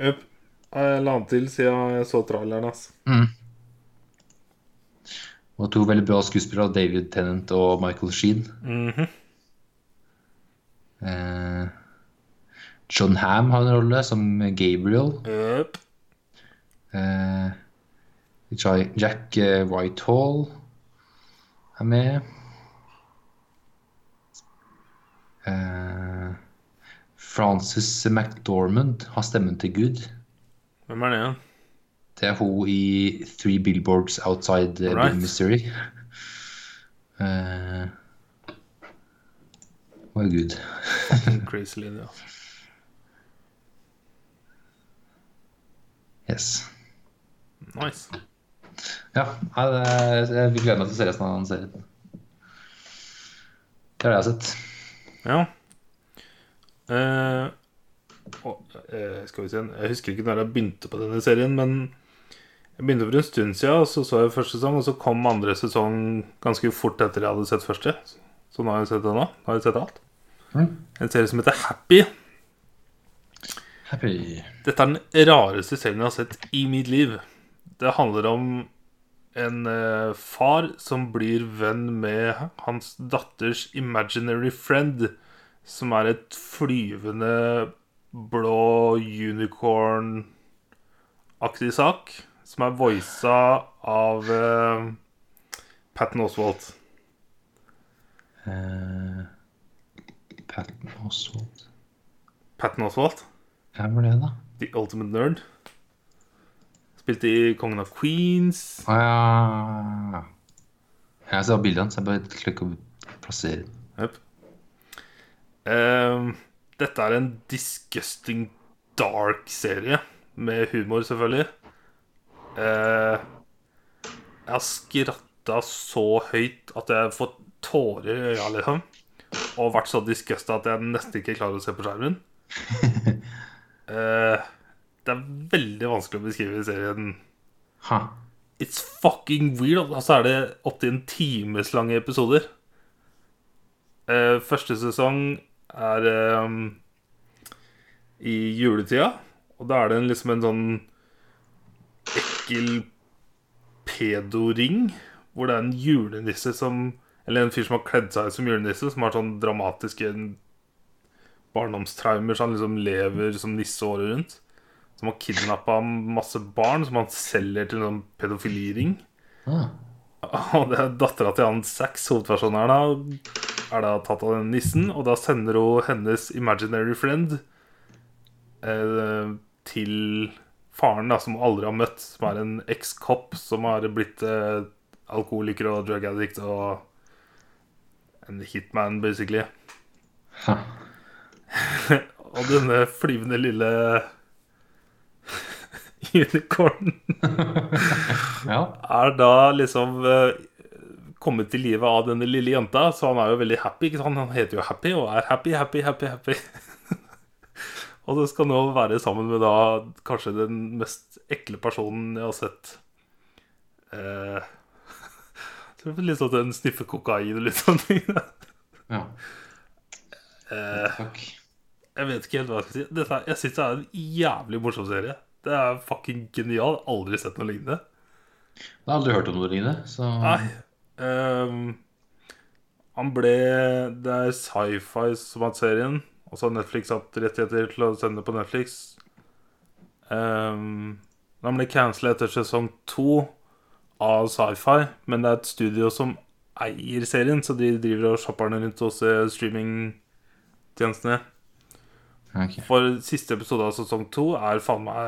B: Jøp. Jeg la den til siden jeg så traileren, ass.
A: Mm. Og to veldig bra skuespillere, David Tennant og Michael Sheen.
B: Mhm.
A: Eh, John Ham har en rolle som Gabriel.
B: Jøp.
A: Eh, Jai- Jack eh, Whitehall er med. Eh, Frances McDormand har stemmen til Gud.
B: Hvem er det igjen?
A: Det er hun i Three Billboards Outside eh,
B: Alright.
A: Big Missouri. Eh, Å, gud.
B: Crazy Linja.
A: Yes.
B: Nice.
A: Ja, nei, det er, jeg gleder meg til å se resten av den serien. Det er det jeg har sett.
B: Ja. Eh, og, eh, skal vi se Jeg husker ikke når jeg begynte på denne serien, men jeg begynte for en stund siden, og så så jeg første sesong, og så kom andre sesong ganske fort etter jeg hadde sett første. Så nå har jeg sett det nå. Nå har jeg sett alt.
A: Mhm.
B: En serie som heter Happy.
A: Happy.
B: Dette er den rareste serien jeg har sett i mitt liv. Det handler om en eh, far som blir venn med hans datters imaginary friend, som er et flyvende blå unicorn-aktig sak, som er voisa av eh, Patton Oswalt.
A: Eh, Patton Oswald.
B: Patton Oswalt,
A: Hvem var det, da?
B: The Ultimate Nerd. Spilte i Kongen av Queens.
A: Å Ah, ja. Jeg ser bildet hans. Jeg bare klikker og plasserer.
B: Jep. Ehm, dette er en disgusting dark serie, med humor, selvfølgelig. Eh, jeg har skratta så høyt at jeg har fått tårer i øya, liksom. Og vært så disgusta at jeg nesten ikke klarer å se på skjermen. Eh, det er veldig vanskelig å beskrive serien.
A: Ha.
B: It's fucking weird. Og så er det opptil en times lange episoder. Eh, første sesong er ehm, i juletida. Og da er det en, liksom en sånn ekkel pedoring. Hvor det er en julenisse som Eller en fyr som har kledd seg ut som julenisse, som har sånn dramatiske barndomstraumer, så han liksom lever som nisse året rundt som har kidnappa masse barn, som han selger til en sånn pedofiliring.
A: Ah.
B: Og det er dattera til han Sax, hovedpersonen her, da, er da tatt av den nissen. Og da sender hun hennes imaginary friend eh, til faren, da, som hun aldri har møtt, som er en eks-kopp som har blitt eh, alkoholiker og drug addict og en hitman, basically.
A: Ha.
B: Og denne flyvende lille unicornen
A: Ja.
B: er da liksom eh, kommet til livet av denne lille jenta, så han er jo veldig happy. Ikke sant? Han heter jo Happy og er happy, happy, happy. happy Og så skal nå være sammen med da kanskje den mest ekle personen jeg har sett. Eh, så det blir litt sånn at den sniffer kokain og litt sånne ting.
A: ja.
B: Eh,
A: Takk.
B: jeg vet ikke helt hva jeg skal si. Dette er, jeg syns det er en jævlig morsom serie. Det er fucking genial. Aldri sett noe lignende.
A: Jeg har aldri hørt om noe lignende, så
B: Nei. ehm, han ble Det er sci-fi som har hatt serien. Og så har Netflix hatt rettigheter til å sende det på Netflix. Ehm, han ble cancela etter sesong to av sci-fi, men det er et studio som eier serien, så de driver og shopper den rundt hos eh, streamingtjenestene.
A: Ok.
B: For siste episode av sesong to er faen meg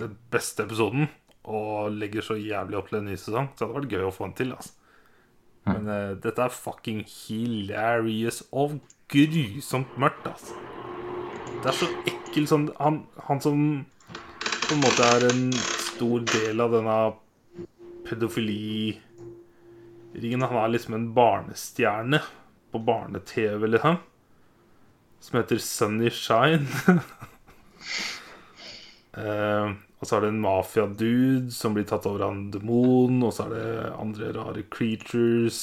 B: den beste episoden. Og legger så jævlig opp til en ny sesong. Så det hadde vært gøy å få den til. altså Men eh, dette er fucking hilarious og grusomt mørkt, altså. Det er så ekkel sånn han, han som på en måte er en stor del av denne pedofiliringen Han er liksom en barnestjerne på barne-TV, liksom som heter Sunny Shine. Eh, og så er det en mafia-dude som blir tatt over av en demon, og så er det andre rare creatures.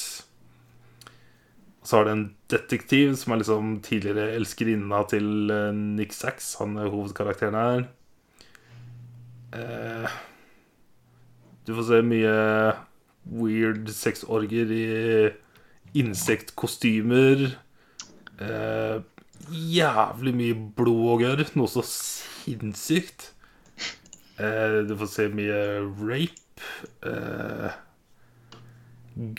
B: Og så er det en detektiv som er liksom tidligere elskerinna til eh, Nick Sax, han er hovedkarakteren her. eh, Du får se mye weird sexorger i insektkostymer. Eh, jævlig mye blod og gørr. Noe så sinnssykt. Eh, du får se mye rape. Eh,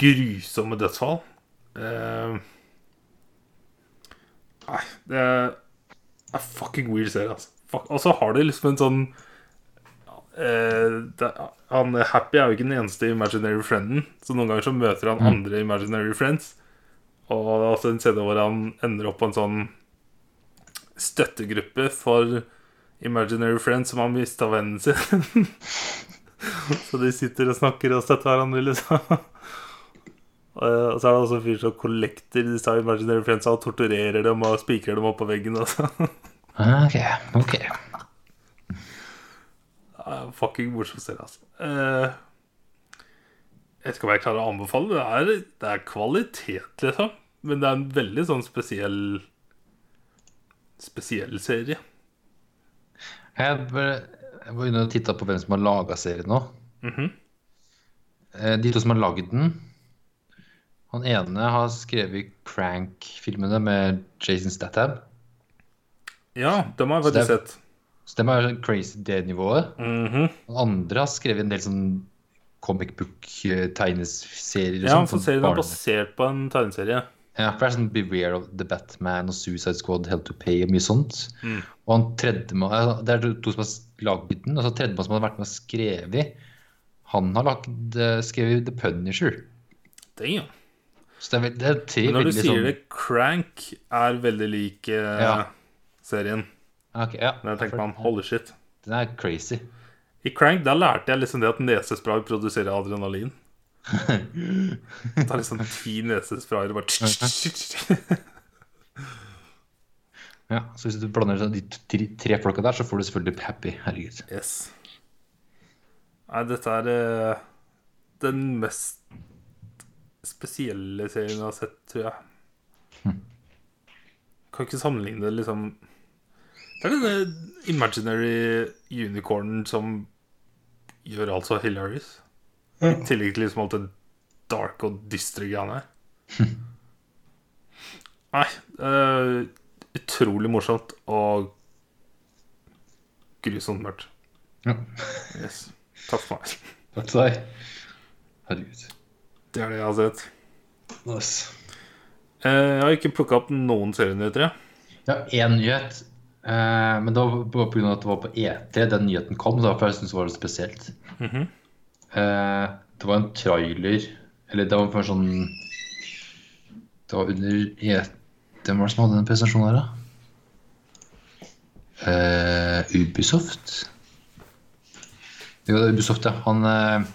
B: grusomme dødsfall. Eh, nei, det er er fucking weird serie, altså. Fuck. Og så har de liksom en sånn eh, det, Han Happy er jo ikke den eneste imaginary frienden, så noen ganger så møter han andre imaginary friends. Og det er også en CD hvor han ender opp på en sånn støttegruppe for imaginary friends som har mista vennen sin. så de sitter og snakker og støtter hverandre, liksom. Eh, Og så er det også en fyr som kollekter disse imaginary friendsa og torturerer dem og spikrer dem opp på veggen. Altså.
A: Ah, Ok, ok.
B: Det er en fucking morsom serie, altså. Eh, jeg vet ikke om jeg klarer å anbefale det. Det er, det er kvalitet, liksom. Men det er en veldig sånn spesiell Spesiell serie.
A: Jeg bare- jeg var inne og titta på hvem som har laga serien nå.
B: Mhm.
A: Eh, De to som har lagd den Han ene har skrevet Crank-filmene med Jason Statham.
B: Ja, dem har jeg
A: Så
B: faktisk
A: det
B: sett.
A: Så dem er sånn crazy dead-nivået.
B: Mhm.
A: Han andre har skrevet en del sånn comic eh, book-tegneserier.
B: Ja, for serien er basert på en tegneserie.
A: sånn Ja, for det er sånn Beware of the Batman og Suicide Squad, Hell to Pay og mye sånt.
B: Mm.
A: Og han tredje mann, eh, Det er to- to som har lagd den, og så tredjemann som har vært med og skrevet Han har lagd, eh, skrevet The Punisher.
B: Damn.
A: Så det er, veld, det er tre
B: Men når du
A: veldig
B: sier
A: sånn-
B: det, Crank er veldig lik eh,
A: Ja.
B: serien.
A: Ja, ok, ja.
B: Der tenker man holy shit.
A: Den er crazy.
B: I Crank da lærte jeg liksom det at nesespray produserer adrenalin. Det er liksom ti nesesprayer og bare
A: Ja, så hvis du blander sånn de t- tre, tre folka der, så får du selvfølgelig Happy. Herregud.
B: Yes. Nei, dette er eh, den mest spesielle serien jeg har sett, tror jeg. Kan ikke sammenligne det liksom Det er denne imaginary unicornen som gjør alt så hilarious. I tillegg til liksom alt det dark og dystre greiene her. Nei, eh, utrolig morsomt og grusomt mørkt.
A: Ja.
B: Yes. Takk for meg.
A: Takk til deg. Herregud.
B: Det er det jeg har sett.
A: Nice.
B: Eh, jeg har ikke plukka opp noen serienyheter. jeg.
A: Ja, én nyhet. Eh, men det var på- på grunn av at det var på E3 den nyheten kom. Det var derfor jeg syntes det var litt spesielt.
B: Mhm.
A: eh, det var en trailer Eller det var for sånn Det var under E3 Hvem var det som hadde den presentasjonen her, da? Eh, Ubisoft? Jo, det er Ubisoft, ja. Han eh,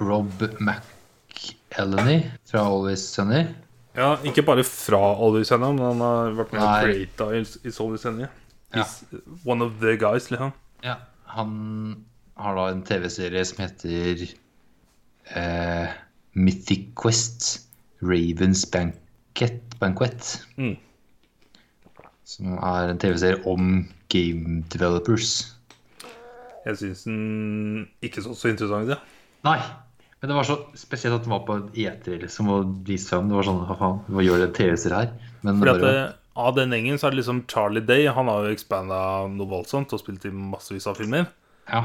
A: Rob McElhenney fra Always Sunny.
B: Ja, ikke bare fra Oljesenda, men han har vært med og
A: Nei.
B: creata i, i Oljesenda.
A: Ja.
B: He's one of the guys, liksom.
A: Ja, han har da en TV-serie som heter eh, Mythic Quest Ravens Banquet, Banquet
B: Mm.
A: som er en TV-serie om game developers.
B: Jeg syns den ikke så så interessant ut.
A: Nei, men det var så spesielt at den var på en E3 liksom, og vist frem. Det var sånn, hva faen, hva gjør det TV-serie her? Men
B: Fordi at
A: bare,
B: eh, Av den gjengen så er det liksom Charlie Day. Han har jo expanda noe voldsomt og spilt i massevis av filmer.
A: ja,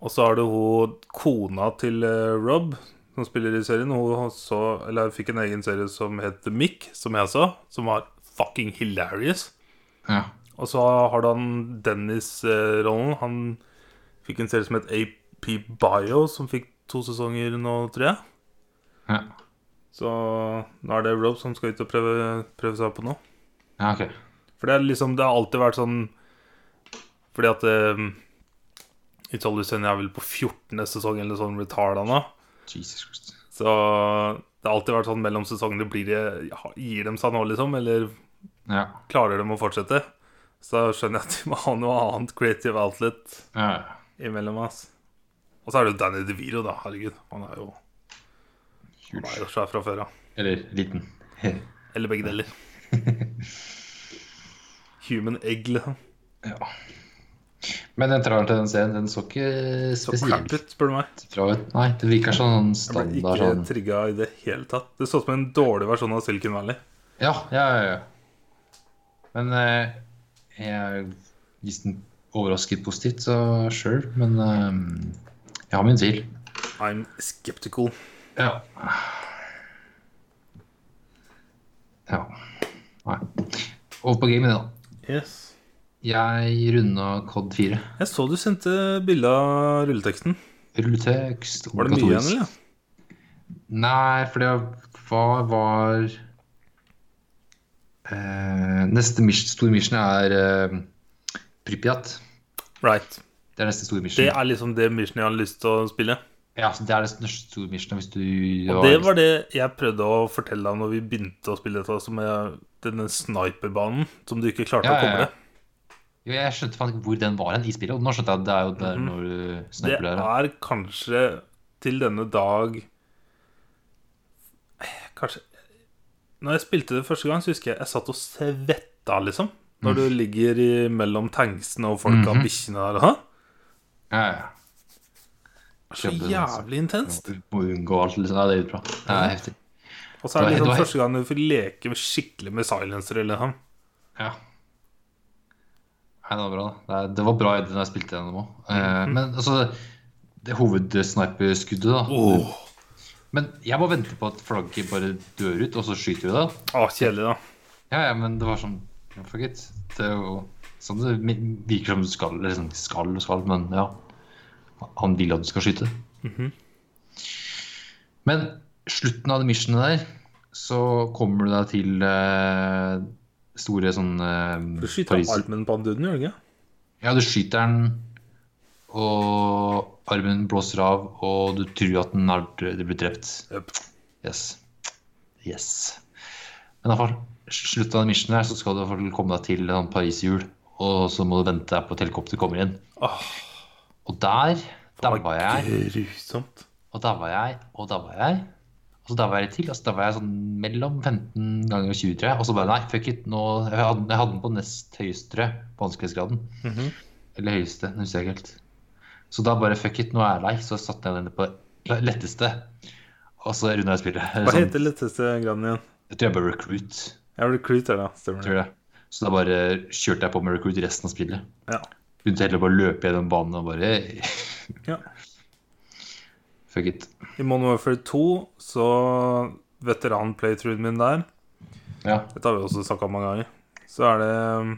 B: Og så har du hun kona til eh, Rob, som spiller i serien. Hun så, eller fikk en egen serie som het The Mick, som jeg så, som var fucking hilarious.
A: ja,
B: Og så har du han Dennis-rollen. Han fikk en serie som het AP Bio, som fikk to sesonger nå, tror jeg.
A: ja,
B: Så nå er det Rob som skal ut og prøve, prøve seg på noe.
A: ja, ok.
B: For det er liksom, det har alltid vært sånn Fordi at eh, Italien er vel på 14. sesong eller sånn retarda nå.
A: Jesus Christ.
B: Så det har alltid vært sånn mellom sesongene blir det, Gir de seg nå, liksom? Eller
A: Ja,
B: klarer de å fortsette? Så da skjønner jeg at de må ha noe annet creative outlet
A: ja, ja.
B: imellom. ass Og så er det jo Danny DeViro, da. Herregud. Han er jo, han er jo svær fra før av.
A: Eller liten.
B: Eller begge deler. Human egg, liksom.
A: Ja. Men den traileren til den serien den så ikke
B: Så crap
A: spesielt
B: ut, spør du meg.
A: bra ut. Nei, det virker sånn
B: Jeg ble ikke
A: standard sånn
B: trigga i det hele tatt. Det så ut som en dårlig versjon av Silicon Valley.
A: Ja, ja, ja. ja. Men eh, jeg hvis den overrasket positivt, så sure. Men eh, jeg har min tvil.
B: I'm skeptical.
A: Ja. Ja. Nei. Over på gamet, da.
B: Yes.
A: Jeg runda Cod 4.
B: Jeg så du sendte bilde av rulleteksten.
A: Rulletekst.
B: Var det mye igjen,
A: obligatorisk.
B: eller?
A: Nei, for det var, var eh, Neste mis- store mission er eh, Pripyat.
B: Right.
A: Det er neste store mission.
B: Det er liksom det mission jeg hadde lyst til å spille.
A: Ja, så det er det største store missionet hvis du
B: Og det var det jeg prøvde å fortelle deg når vi begynte å spille dette, som er denne sniperbanen som du ikke klarte
A: Ja,
B: å
A: ja, ja.
B: koble.
A: Jo, Jeg skjønte faen ikke hvor den var hen i spillet, og nå skjønte jeg at det er jo der når du
B: Mhm. Det
A: snapper der.
B: er kanskje til denne dag Kanskje Når jeg spilte det første gang, så husker jeg jeg satt og svetta, liksom. Når du ligger i, mellom tanksene og folka,
A: Mhm.
B: bikkjene der. Hæ?
A: Ja, ja.
B: Så
A: Kjempe-
B: jævlig intenst.
A: Du må unngå alt, liksom. Ja, det er bra. Det
B: Mhm.
A: er heftig.
B: Og så er det
A: Du
B: liksom
A: har-
B: første gang du får leke med- skikkelig med silencer. Eller noe.
A: Ja. Nei, det var bra. da. Det, er- det var bra i det når jeg spilte gjennom òg.
B: Mhm.
A: Men altså, det hovedsniperskuddet, da.
B: Åh,
A: Men jeg må vente på at flagget bare dør ut, og så skyter vi det.
B: Åh, kjedelig, da.
A: Ja, ja, men det var sånn ja, Fuck it. Det er jo sånn det mi- virker som du skal, eller sånn skal og skal, men ja. Han vil at du skal skyte.
B: Mhm.
A: Men slutten av det missionet der, så kommer du deg til eh, store sånn eh,
B: Du skyter
A: Paris-
B: armen på han duden, gjør du ikke?
A: Ja, du skyter den, og armen blåser av, og du tror at den er, det blir drept.
B: Yep.
A: Yes. Yes. Men i hvert fall, slutt av den missionen her, så skal du i hvert fall komme deg til en Paris-jul, og så må du vente deg på at helikopteret kommer inn.
B: Åh,
A: Og der
B: det
A: daua
B: var
A: jeg,
B: Grusomt.
A: og daua jeg, og daua jeg. Og så daua jeg litt til, og så daua jeg sånn mellom 15 ganger 20, tror jeg. Og så bare nei, fuck it, nå Jeg hadde, jeg hadde den på nest høyeste vanskelighetsgraden.
B: Mhm.
A: Eller høyeste, det husker jeg ikke helt. Så da bare fuck it, nå er jeg lei, så satte jeg den på letteste. Og så runda jeg spillet. Sånn,
B: Hva heter letteste graden igjen?
A: Jeg tror jeg bare recruit.
B: Jeg var recruiter, da. Stemmer
A: Tror
B: det.
A: jeg. Så da bare kjørte jeg på med recruit resten av spillet.
B: Ja.
A: Begynte heller bare å løpe gjennom banen og bare hey,
B: ja.
A: Fuck it.
B: I Modern Warfare 2, så veteran-playthroughen min der
A: Ja.
B: Dette har vi også snakka om mange ganger. Så er det um,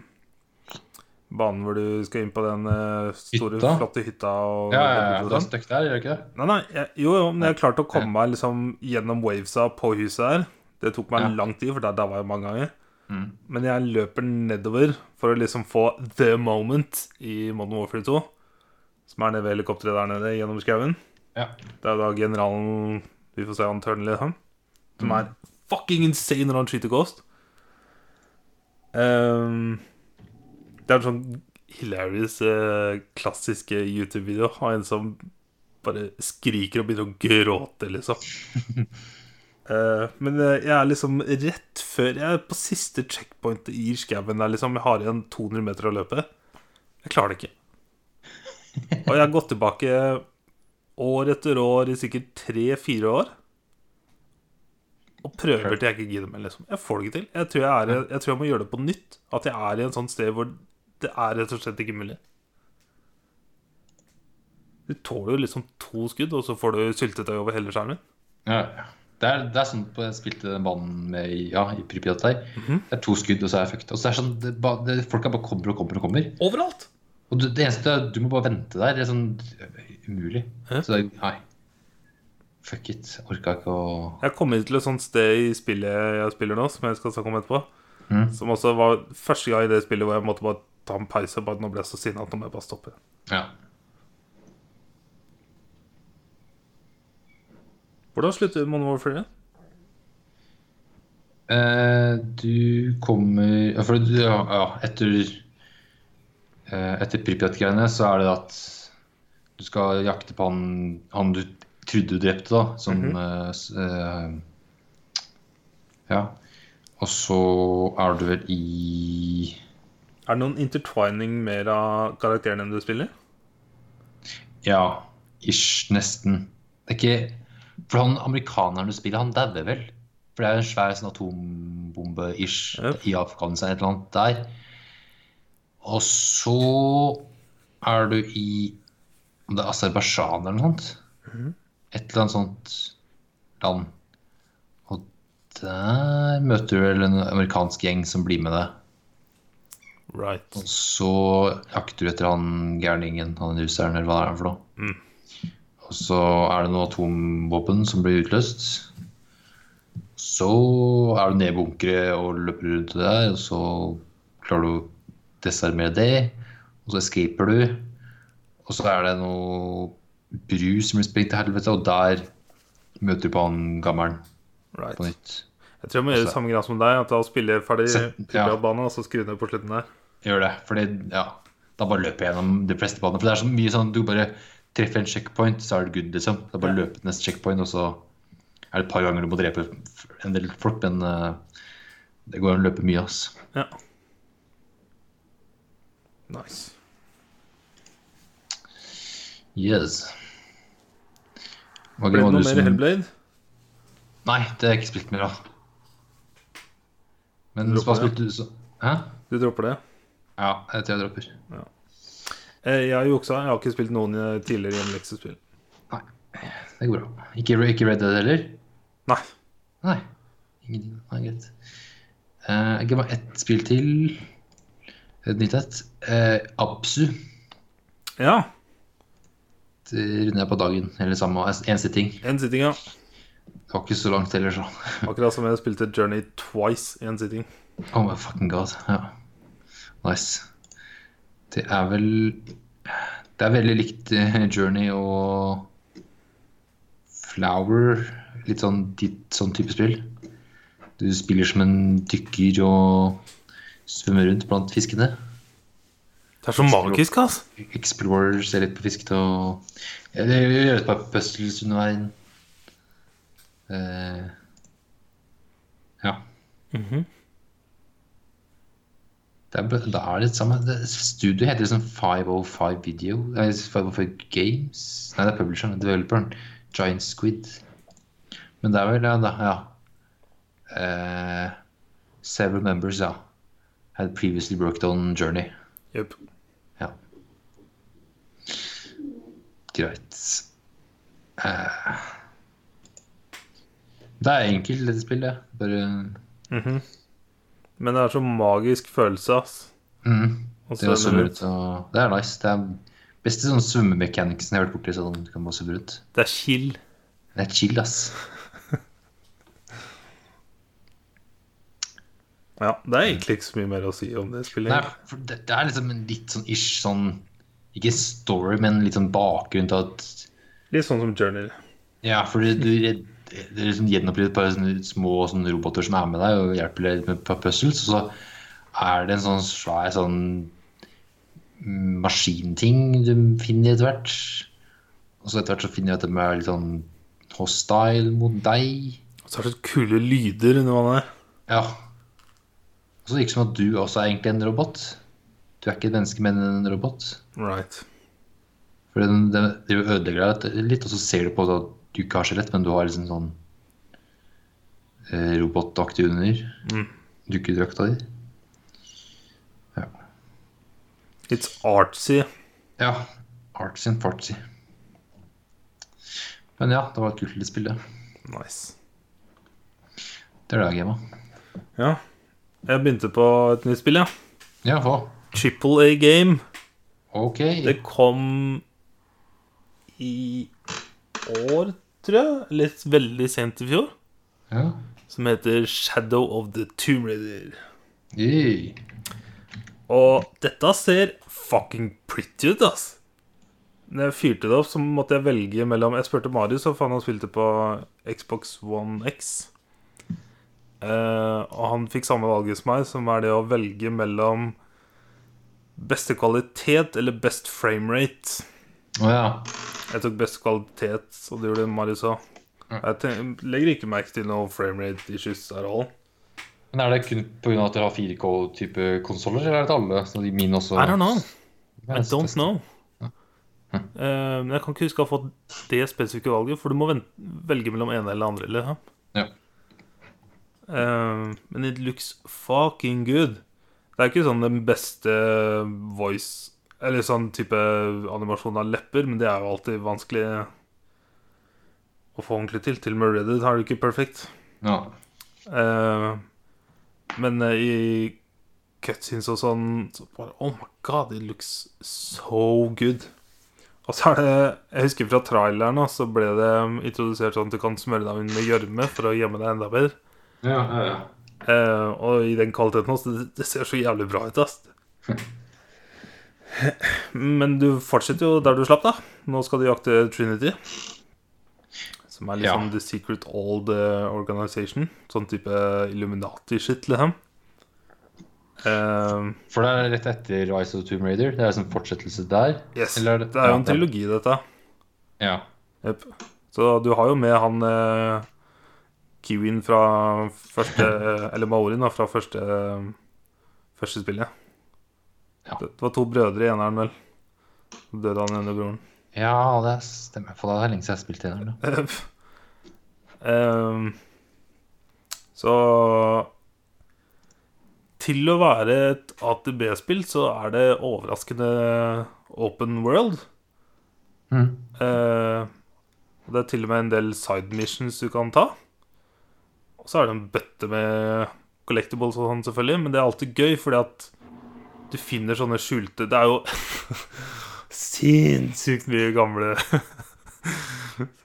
B: banen hvor du skal inn på den eh, store,
A: Hytta?
B: flotte hytta. Og
A: Ja, ja, ja.
B: og
A: Du er
B: sånn.
A: stuck der, gjør du ikke det?
B: Nei, nei, jeg, jo, jo, men jeg klarte å komme meg liksom gjennom wavesa på huset her. Det tok meg
A: Ja.
B: lang tid, for der daua jeg mange ganger.
A: Mm.
B: Men jeg løper nedover for å liksom få the moment i Modern Warfare 2. Som er nede ved helikopteret der nede gjennom skauen.
A: Ja.
B: Det er jo da generalen Vi får se han Turnley han, Som er fucking insane når han skyter ghost Ehm, Det er en sånn hilarious eh, Klassiske YouTube-video Av en som bare skriker Og begynner å gråte liksom Eh, Men eh, jeg er liksom rett før Jeg er på siste checkpointet i skaven der liksom Jeg har igjen 200 meter å løpe Jeg klarer det ikke Og jeg har gått tilbake år etter år i sikkert tre-fire år. Og prøver til jeg ikke gidder mer. Liksom. Jeg får det ikke til. Jeg tror jeg, er, jeg tror jeg må gjøre det på nytt. At jeg er i en sånn sted hvor det er rett og slett ikke mulig. Du tåler jo liksom to skudd, og så får du syltetøy over hele skjermen.
A: ja. ja. Det er, det er sånn på, jeg spilte den banen med i- ja, i Pripyat der.
B: Mhm.
A: Det er to skudd, og så er jeg fucked. Og så er det sånn, det, ba- det, Folka bare kommer og kommer og kommer.
B: Overalt!
A: Og du, det eneste er at du må bare vente der. Det er sånn umulig.
B: Hæ?
A: Så det er Nei. Fuck it. Orka ikke å
B: Jeg kom inn til et sånt sted i spillet jeg spiller nå, som jeg skal snakke om etterpå.
A: Mhm.
B: Som også var første gang i det spillet hvor jeg måtte bare ta en pause. Bare nå ble jeg så sinna at nå må jeg bare stoppe.
A: Ja.
B: Hvordan slutter Modern Warfare?
A: Eh, du kommer ja, For du, ja, ja, etter eh, Etter Pripyat-greiene så er det at du skal jakte på han, han du trodde du drepte, da, som eh, s- eh, Ja. Og så er du vel i
B: Er det noen intertwining mer av karakterene du spiller?
A: Ja, ish, nesten. Det er ikke For han amerikaneren du spiller, han dauer vel? For det er jo en svær sånn atombombe-ish
B: Yep.
A: i Afghanistan, et eller annet der. Og så er du i Om det er Aserbajdsjan eller noe sånt? Et eller annet sånt land. Og der møter du vel en amerikansk gjeng som blir med deg.
B: Right.
A: Og så jakter du etter han gærningen, han russeren, eller hva det er for noe.
B: Mm.
A: Og så er det noen atomvåpen som blir utløst. Så er du nede i bunkeret og løper rundt der, og så klarer du å desarmere det. Og så escaper du. Og så er det noe bru som blir sprengt til helvete, og der møter du på han gammelen
B: right.
A: på nytt.
B: Jeg tror jeg må gjøre det samme greia som deg. At da spiller jeg ferdig
A: Se- ja.
B: piratbanen, og så skru ned på slutten der.
A: Gjør det. Fordi, ja, da bare løper jeg gjennom de fleste banene. For det er så mye sånn du bare treffer en checkpoint, så er det good, liksom. Det er bare å løpe til neste checkpoint, og så er det et par ganger du må drepe en del folk, men eh, det går an å løpe mye, ass.
B: Ja. Nice.
A: Yes. Hva
B: Ble det
A: var
B: noe
A: du
B: mer
A: som-
B: Hellblade?
A: Nei, det har jeg ikke spilt mer av. Men
B: Dropper
A: hva
B: det.
A: spilte du så Hæ?
B: Du dropper det?
A: Ja, jeg tror jeg dropper.
B: Eh, Jeg har juksa. Jeg har ikke spilt noen eh, tidligere hjemmeleksespill.
A: Det går bra. Ikke, ikke Red Dead heller?
B: Nei.
A: Nei. Ingenting. Nei, greit. Eh, jeg ga meg ett spill til. Et nytt et. Eh, Absu.
B: Ja.
A: Det runder jeg på dagen. Eller samme en sitting.
B: Én sitting, ja.
A: Det var ikke så langt heller, så.
B: Akkurat som jeg spilte Journey twice i en sitting.
A: Oh my fucking god. Ja. Nice. Det er vel Det er veldig likt eh, Journey og Flower. Litt sånn, ditt, sånn type spill. Du spiller som en dykker og svømmer rundt blant fiskene.
B: Det er så magisk, ass.
A: Explorer, se litt på fisk og ja, det gjør gjør et par puzzles under veien. Eh, ja. Det er, bl- det er litt samme det- Studio heter liksom 505 Video nei, 505 Games Nei, det er publisheren, developeren Giant Squid Men det er vel, ja, da, ja. Eh, Several members, ja Had previously worked on Journey
B: Jøp.
A: Greit. Eh, Det er enkelt, dette spillet. Bare
B: Mhm. Men det er så magisk følelse, ass.
A: mm,
B: Og
A: Det å
B: så-
A: svømme rundt og Det er nice. Det er beste sånn svømmemekaniksen jeg har vært borti. Sånn, du kan bare svømme rundt.
B: Det er chill.
A: Det er chill, ass.
B: Ja, Det er egentlig ikke så mye mer å si om det spillet.
A: Nei, for det, det er liksom en litt sånn ish sånn Ikke story, men litt sånn bakgrunn til at
B: Litt sånn som Journey.
A: Ja, for du, du redd- det er liksom gjenoppliver et par sånne små sånne roboter som er med deg og hjelper deg litt med et par puzzles, og så er det en sånn svær sånn mm, maskinting du finner etter hvert. Og så etter hvert så finner du at de er litt sånn hostile mot deg.
B: Og så er det så kule lyder under vannet.
A: Ja. Og så virker det som at du også er egentlig en robot. Du er ikke et menneske, men en robot.
B: Right.
A: For den, den, det ødelegger deg litt, og så ser du på det at du ikke har skjelett, men du har liksom sånn eh, robotaktig under.
B: Mm.
A: Dukkedrakta di.
B: It's artsy.
A: Ja. Artsy and fartsy. Men ja, det var et kult lite spill, det.
B: Nice.
A: Det er det jeg gama.
B: Ja. Jeg begynte på et nytt spill, ja.
A: Ja, hva?
B: Triple A Game.
A: OK.
B: Det kom i år, tror jeg. Litt veldig sent i fjor.
A: Ja.
B: Som heter Shadow of the Tomb Raider.
A: Yay.
B: Og dette ser fucking pretty ut, ass. Når jeg fyrte det opp, så måtte jeg velge mellom Jeg spurte Marius, og faen, han spilte på Xbox One X. Eh, og han fikk samme valget som meg, som er det å velge mellom beste kvalitet eller best framerate.
A: Å ja.
B: Jeg tok best kvalitet, og det Mm. gjorde Marius òg. Jeg ten- legger ikke merke til noe framerate issues at all.
A: Men er det kun pga. at dere har 4K-type konsoller, eller er det til alle? Så de mine også
B: I don't know. I don't know. Eh, men jeg kan ikke huske å ha fått det spesifikke valget, for du må ven- velge mellom ene eller andre. Eller?
A: Ja.
B: Eh, men it looks fucking good. Det er ikke sånn den beste voice Eller sånn type animasjon av lepper, men det er jo alltid vanskelig å få ordentlig til. Til og med Reddit har det ikke perfekt.
A: Ja.
B: Eh, men eh, i cutscenes og sånn så bare, Oh my god, it looks so good. Og så er det Jeg husker fra traileren da, så ble det mm, introdusert sånn at du kan smøre deg inn med gjørme for å gjemme deg enda bedre.
A: Ja, ja, ja.
B: Eh, og i den kvaliteten også, det, det ser så jævlig bra ut, ass. Men du fortsetter jo der du slapp, da. Nå skal du jakte Trinity. Som er liksom
A: Ja.
B: The Secret Old eh, Organization. Sånn type Illuminati-shit, liksom. Eh,
A: For det er rett etter Rise of the Tomb Raider. Det er liksom fortsettelse der.
B: yes.
A: Eller er
B: det,
A: det-
B: er jo
A: ja,
B: en
A: det-
B: trilogi, dette.
A: Ja.
B: Jep. Så du har jo med han eh, Kiwin fra første Eller Maorin, da, fra første Første spillet.
A: Ja.
B: Det, det var to brødre i eneren, vel. Så døde han ene broren.
A: ja, det stemmer. For det er lenge siden jeg har spilt eneren. da.
B: Ehm, så Til å være et ATB-spill, så er det overraskende open world.
A: Mhm.
B: Eh, og det er til og med en del side missions du kan ta. Og så er det en bøtte med collectibles og sånn, selvfølgelig, men det er alltid gøy fordi at du finner sånne skjulte Det er jo sinnssykt mye gamle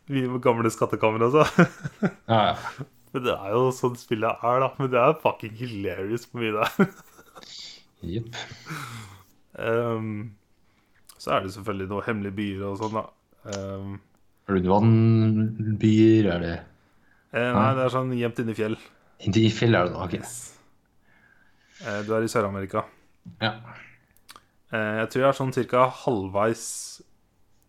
B: Mye gamle skattkammer, altså.
A: Ja, ja.
B: Men det er jo sånn spillet er, da. Men det er fucking hilarious hvor mye det er.
A: Jepp.
B: Ehm, så er det selvfølgelig noen hemmelige byer og sånn, da. Ehm,
A: Rundvannbyer, er det
B: eh, nei, det er sånn gjemt inni fjell.
A: Inntil i fjell er det da, ok.
B: Eh, Du er i Sør-Amerika.
A: Ja.
B: Eh, Jeg tror jeg er sånn cirka halvveis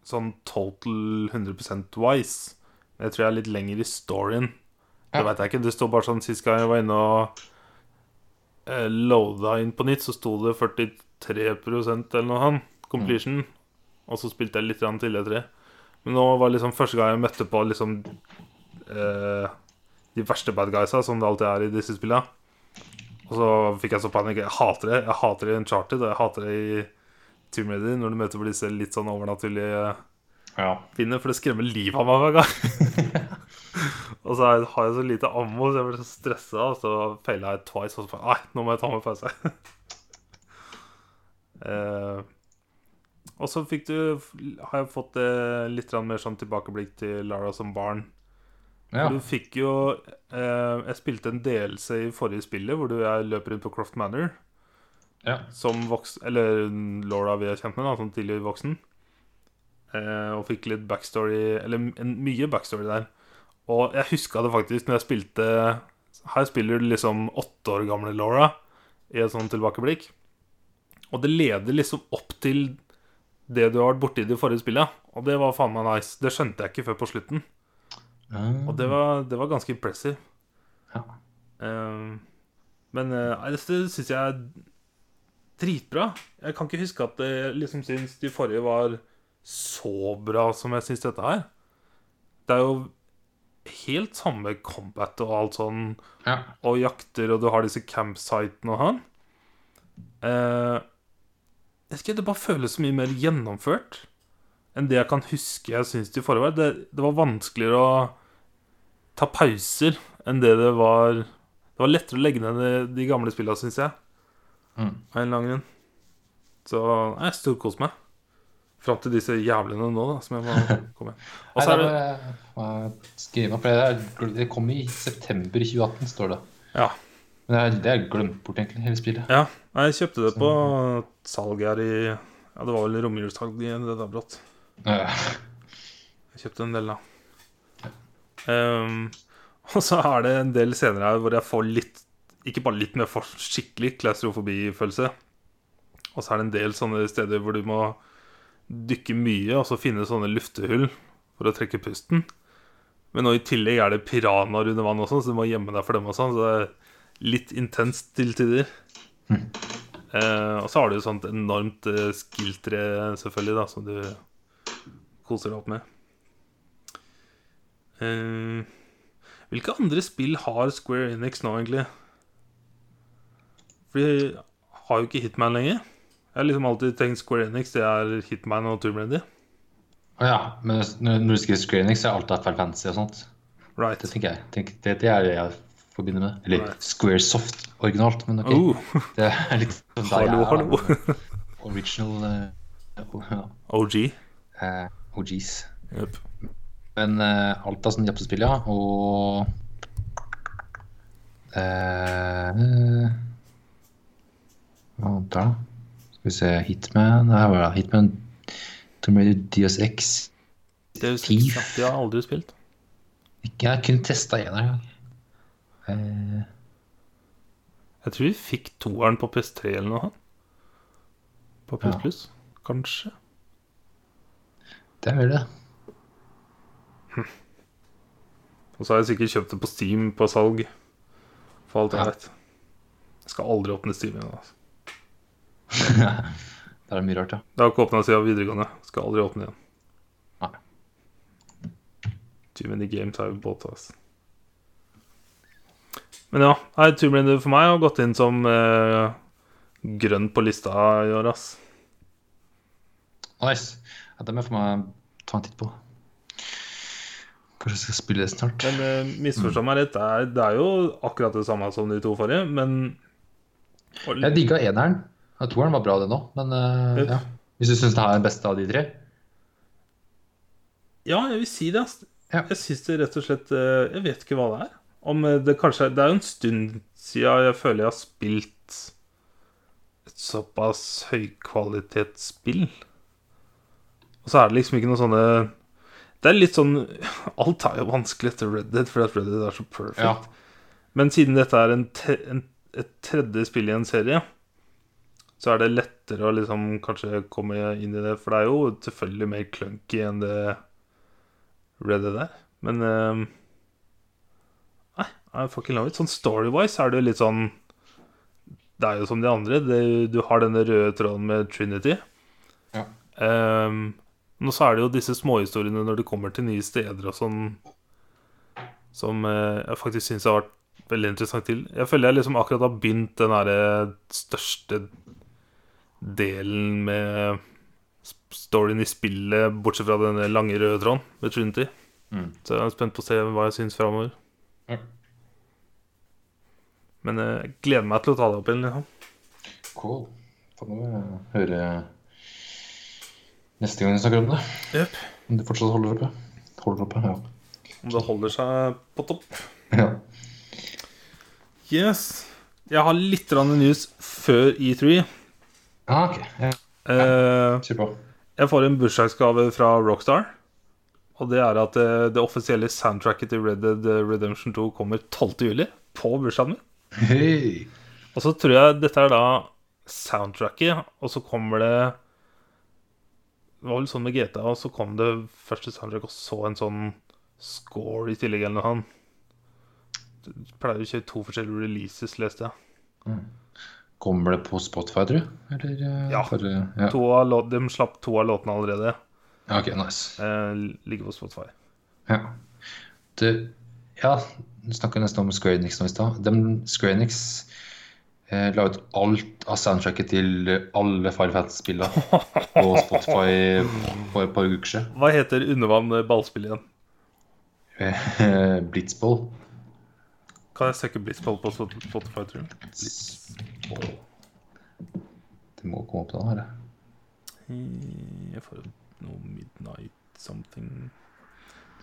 B: Sånn total 100 wise. Jeg tror jeg er litt lenger i storyen. Det
A: Ja.
B: veit jeg ikke. Det står bare sånn sist gang jeg var inne og eh, loada inn på nytt, så sto det 43 eller noe sånn completion. Og så spilte jeg litt grann til etter det. Men nå var liksom første gang jeg møtte på liksom eh, de verste bad guysa, som det alltid er i disse spilla. Og så fikk jeg så panikk. Jeg hater det. Jeg hater det i Uncharted, og jeg hater det i Tomb Raider når du møter på disse litt sånn overnaturlige
A: ja.
B: pinne, for det skremmer livet av meg hver gang. og så har jeg- har jeg så lite ammo, så jeg blir så stressa, og så feila jeg twice. Og så bare, nei, nå må jeg ta meg pause. eh, og så fikk du har jeg fått eh, litt grann mer sånn tilbakeblikk til Lara som barn.
A: ja.
B: Du fikk jo eh, Jeg spilte en delelse i forrige spillet hvor du jeg løper rundt på Croft Manor
A: ja.
B: som voksen Eller Laura vi er kjent med, da, som tidligere voksen. Eh, og fikk litt backstory Eller en, mye backstory der. Og jeg huska det faktisk når jeg spilte Her spiller du liksom åtte år gamle Laura i et sånt tilbakeblikk. Og det leder liksom opp til det du har vært borti i det forrige spillet. Og det var faen meg nice. Det skjønte jeg ikke før på slutten.
A: Ah,
B: Og det var, det var ganske impressive.
A: Ja.
B: Eh, men eh, nei, dette syns jeg er dritbra. Jeg kan ikke huske at jeg liksom syns de forrige var så bra som jeg syns dette her. Det er jo helt samme combat og alt sånn,
A: ja.
B: og jakter, og du har disse campsitene og han. Eh, jeg vet ikke, Det bare føles så mye mer gjennomført enn det jeg kan huske jeg syns de forrige var. Det, det var vanskeligere å ta pauser enn det det var Det var lettere å legge ned de, de gamle spillene, syns jeg.
A: Mm.
B: Av en eller annen grunn. Så nei, jeg storkoser meg. Fram til disse jævlene nå, da, som jeg må komme Og så er det
A: Skriv meg, for det, er, det kom i september 2018, står det.
B: Ja.
A: Men det er, det er glemt bort, egentlig, hele spillet.
B: Ja, nei, jeg kjøpte det på salg her i Ja, det var vel romjulssalg i det der brått.
A: Ja.
B: Jeg kjøpte en del, da. Ehm, og så er det en del scener her hvor jeg får litt Ikke bare litt, men jeg får skikkelig klaustrofobifølelse. Og så er det en del sånne steder hvor du må dykke mye og så finne sånne luftehull for å trekke pusten. Men nå i tillegg er det piranhaer under vann også, så du må gjemme deg for dem og sånn. Så det er litt intenst til tider. Eh, og så har du jo sånt enormt eh, skilltre, selvfølgelig, da, som du koser deg opp med. Eh, hvilke andre spill har Square Enix nå, egentlig? For de har jo ikke Hitman lenger. Jeg har liksom alltid tenkt Square Enix, det er Hitman og Tomb Raider.
A: Å ja, men når når du skriver Screenix, så er alt Final Fantasy og sånt.
B: Right.
A: Det tenker jeg. Tenk, det, det er det jeg forbinder med. Eller
B: Right.
A: Squaresoft originalt, men ok.
B: Oh,
A: Det er litt sånn der jeg
B: hallo,
A: er,
B: hallo.
A: Original eh, oh, ja.
B: OG.
A: Eh, OGs.
B: Jep.
A: Men eh, alt av sånne japsespill, ja. Og eh, Hva annet da? Skal vi se Hitman. Nei, hva er det? Hitman Tomb Raider DSX.
B: Det er jo
A: Thief.
B: sikkert sant, jeg har aldri spilt.
A: Ikke- Jeg har kun testa én en gang. Eh,
B: Jeg tror vi fikk toeren på PS3 eller noe. På PS
A: Ja.
B: Plus, kanskje.
A: det er vel det.
B: Og så har jeg sikkert kjøpt det på Steam på salg. For alt jeg
A: Ja.
B: vet. Jeg skal aldri åpne Steam igjen. Altså.
A: Det er mye rart, ja.
B: Det har ikke åpna siden videregående. Skal aldri åpne igjen.
A: Nei.
B: Too many games har vi båt, altså. Men ja, nei, Tomb Raider for meg har gått inn som eh, grønn på lista i år, ass.
A: Nice. Ja, det må jeg få meg ta en titt på. Kanskje jeg skal spille det snart.
B: Men eh, misforstå meg rett, det er, det er jo akkurat det samme som de to forrige, men og,
A: Jeg digga eneren. Ja, Toeren var bra, den òg, men eh,
B: Ja.
A: ja. Hvis du syns det her er den beste av de tre?
B: Ja, jeg vil si det. ass.
A: Ja.
B: Jeg syns det rett og slett eh, Jeg vet ikke hva det er. Om eh, det kanskje er- Det er jo en stund siden jeg føler jeg har spilt et såpass høykvalitetsspill. Og så er det liksom ikke noe sånne Det er litt sånn Alt er jo vanskelig etter Red Dead, fordi at Red Dead er så perfect.
A: Ja.
B: Men siden dette er en te en, et tredje spill i en serie, så er det lettere å liksom kanskje komme inn i det. For det er jo selvfølgelig mer clunky enn det Red Dead er. Men ehm, Nei, I fucking love it. Sånn story-wise er det jo litt sånn Det er jo som de andre. Det, du har denne røde tråden med Trinity.
A: Ja.
B: Ehm, men så er det jo disse småhistoriene når du kommer til nye steder og sånn, som eh, jeg faktisk syns har vært veldig interessant til. Jeg føler jeg liksom akkurat har begynt den derre største delen med eh, sp- storyen i spillet, bortsett fra denne lange røde tråden med Trinity.
A: Mm.
B: Så jeg er spent på å se hva jeg syns framover.
A: Ja.
B: Men eh, jeg gleder meg til å ta det opp igjen. Liksom.
A: Cool. Får nå eh, høre neste gang vi snakker om det.
B: Jep.
A: Om det fortsatt holder oppe. Holder oppe, ja.
B: Om det holder seg på topp.
A: ja.
B: Yes. Jeg har litt grann news før E3.
A: Ah, ok. Ja,
B: Eh,
A: Kjør på.
B: jeg får en bursdagsgave fra Rockstar. Og det er at eh, det offisielle soundtracket til Red Dead Redemption 2 kommer 12. juli. På bursdagen min.
A: Hei!
B: Og så tror jeg dette er da soundtracket, og så kommer det Det var vel sånn med GTA, og så kom det første soundtrack, og så en sånn score i tillegg eller noe sånt. Du pleier å kjøre to forskjellige releases, leste jeg.
A: Kommer det på Spotify, tror du? Eller eh,
B: Ja.
A: bare ja.
B: To av lå- de slapp to av låtene
A: ja.
B: allerede.
A: Ok, nice.
B: Eh, ligger på Spotify.
A: Ja. Du, ja, du snakka nesten om Square Enix nå i stad. Dem- Square Enix eh, la ut alt av soundtracket til alle Fire Fats-spilla på Spotify for et par uker siden.
B: Hva heter undervann ballspill igjen?
A: Eh, Blitzball.
B: Kan jeg søke Blitzball på Spot- Spotify, tror du?
A: Blitzball. Det må komme opp da, her.
B: Eh, Jeg får noe Midnight something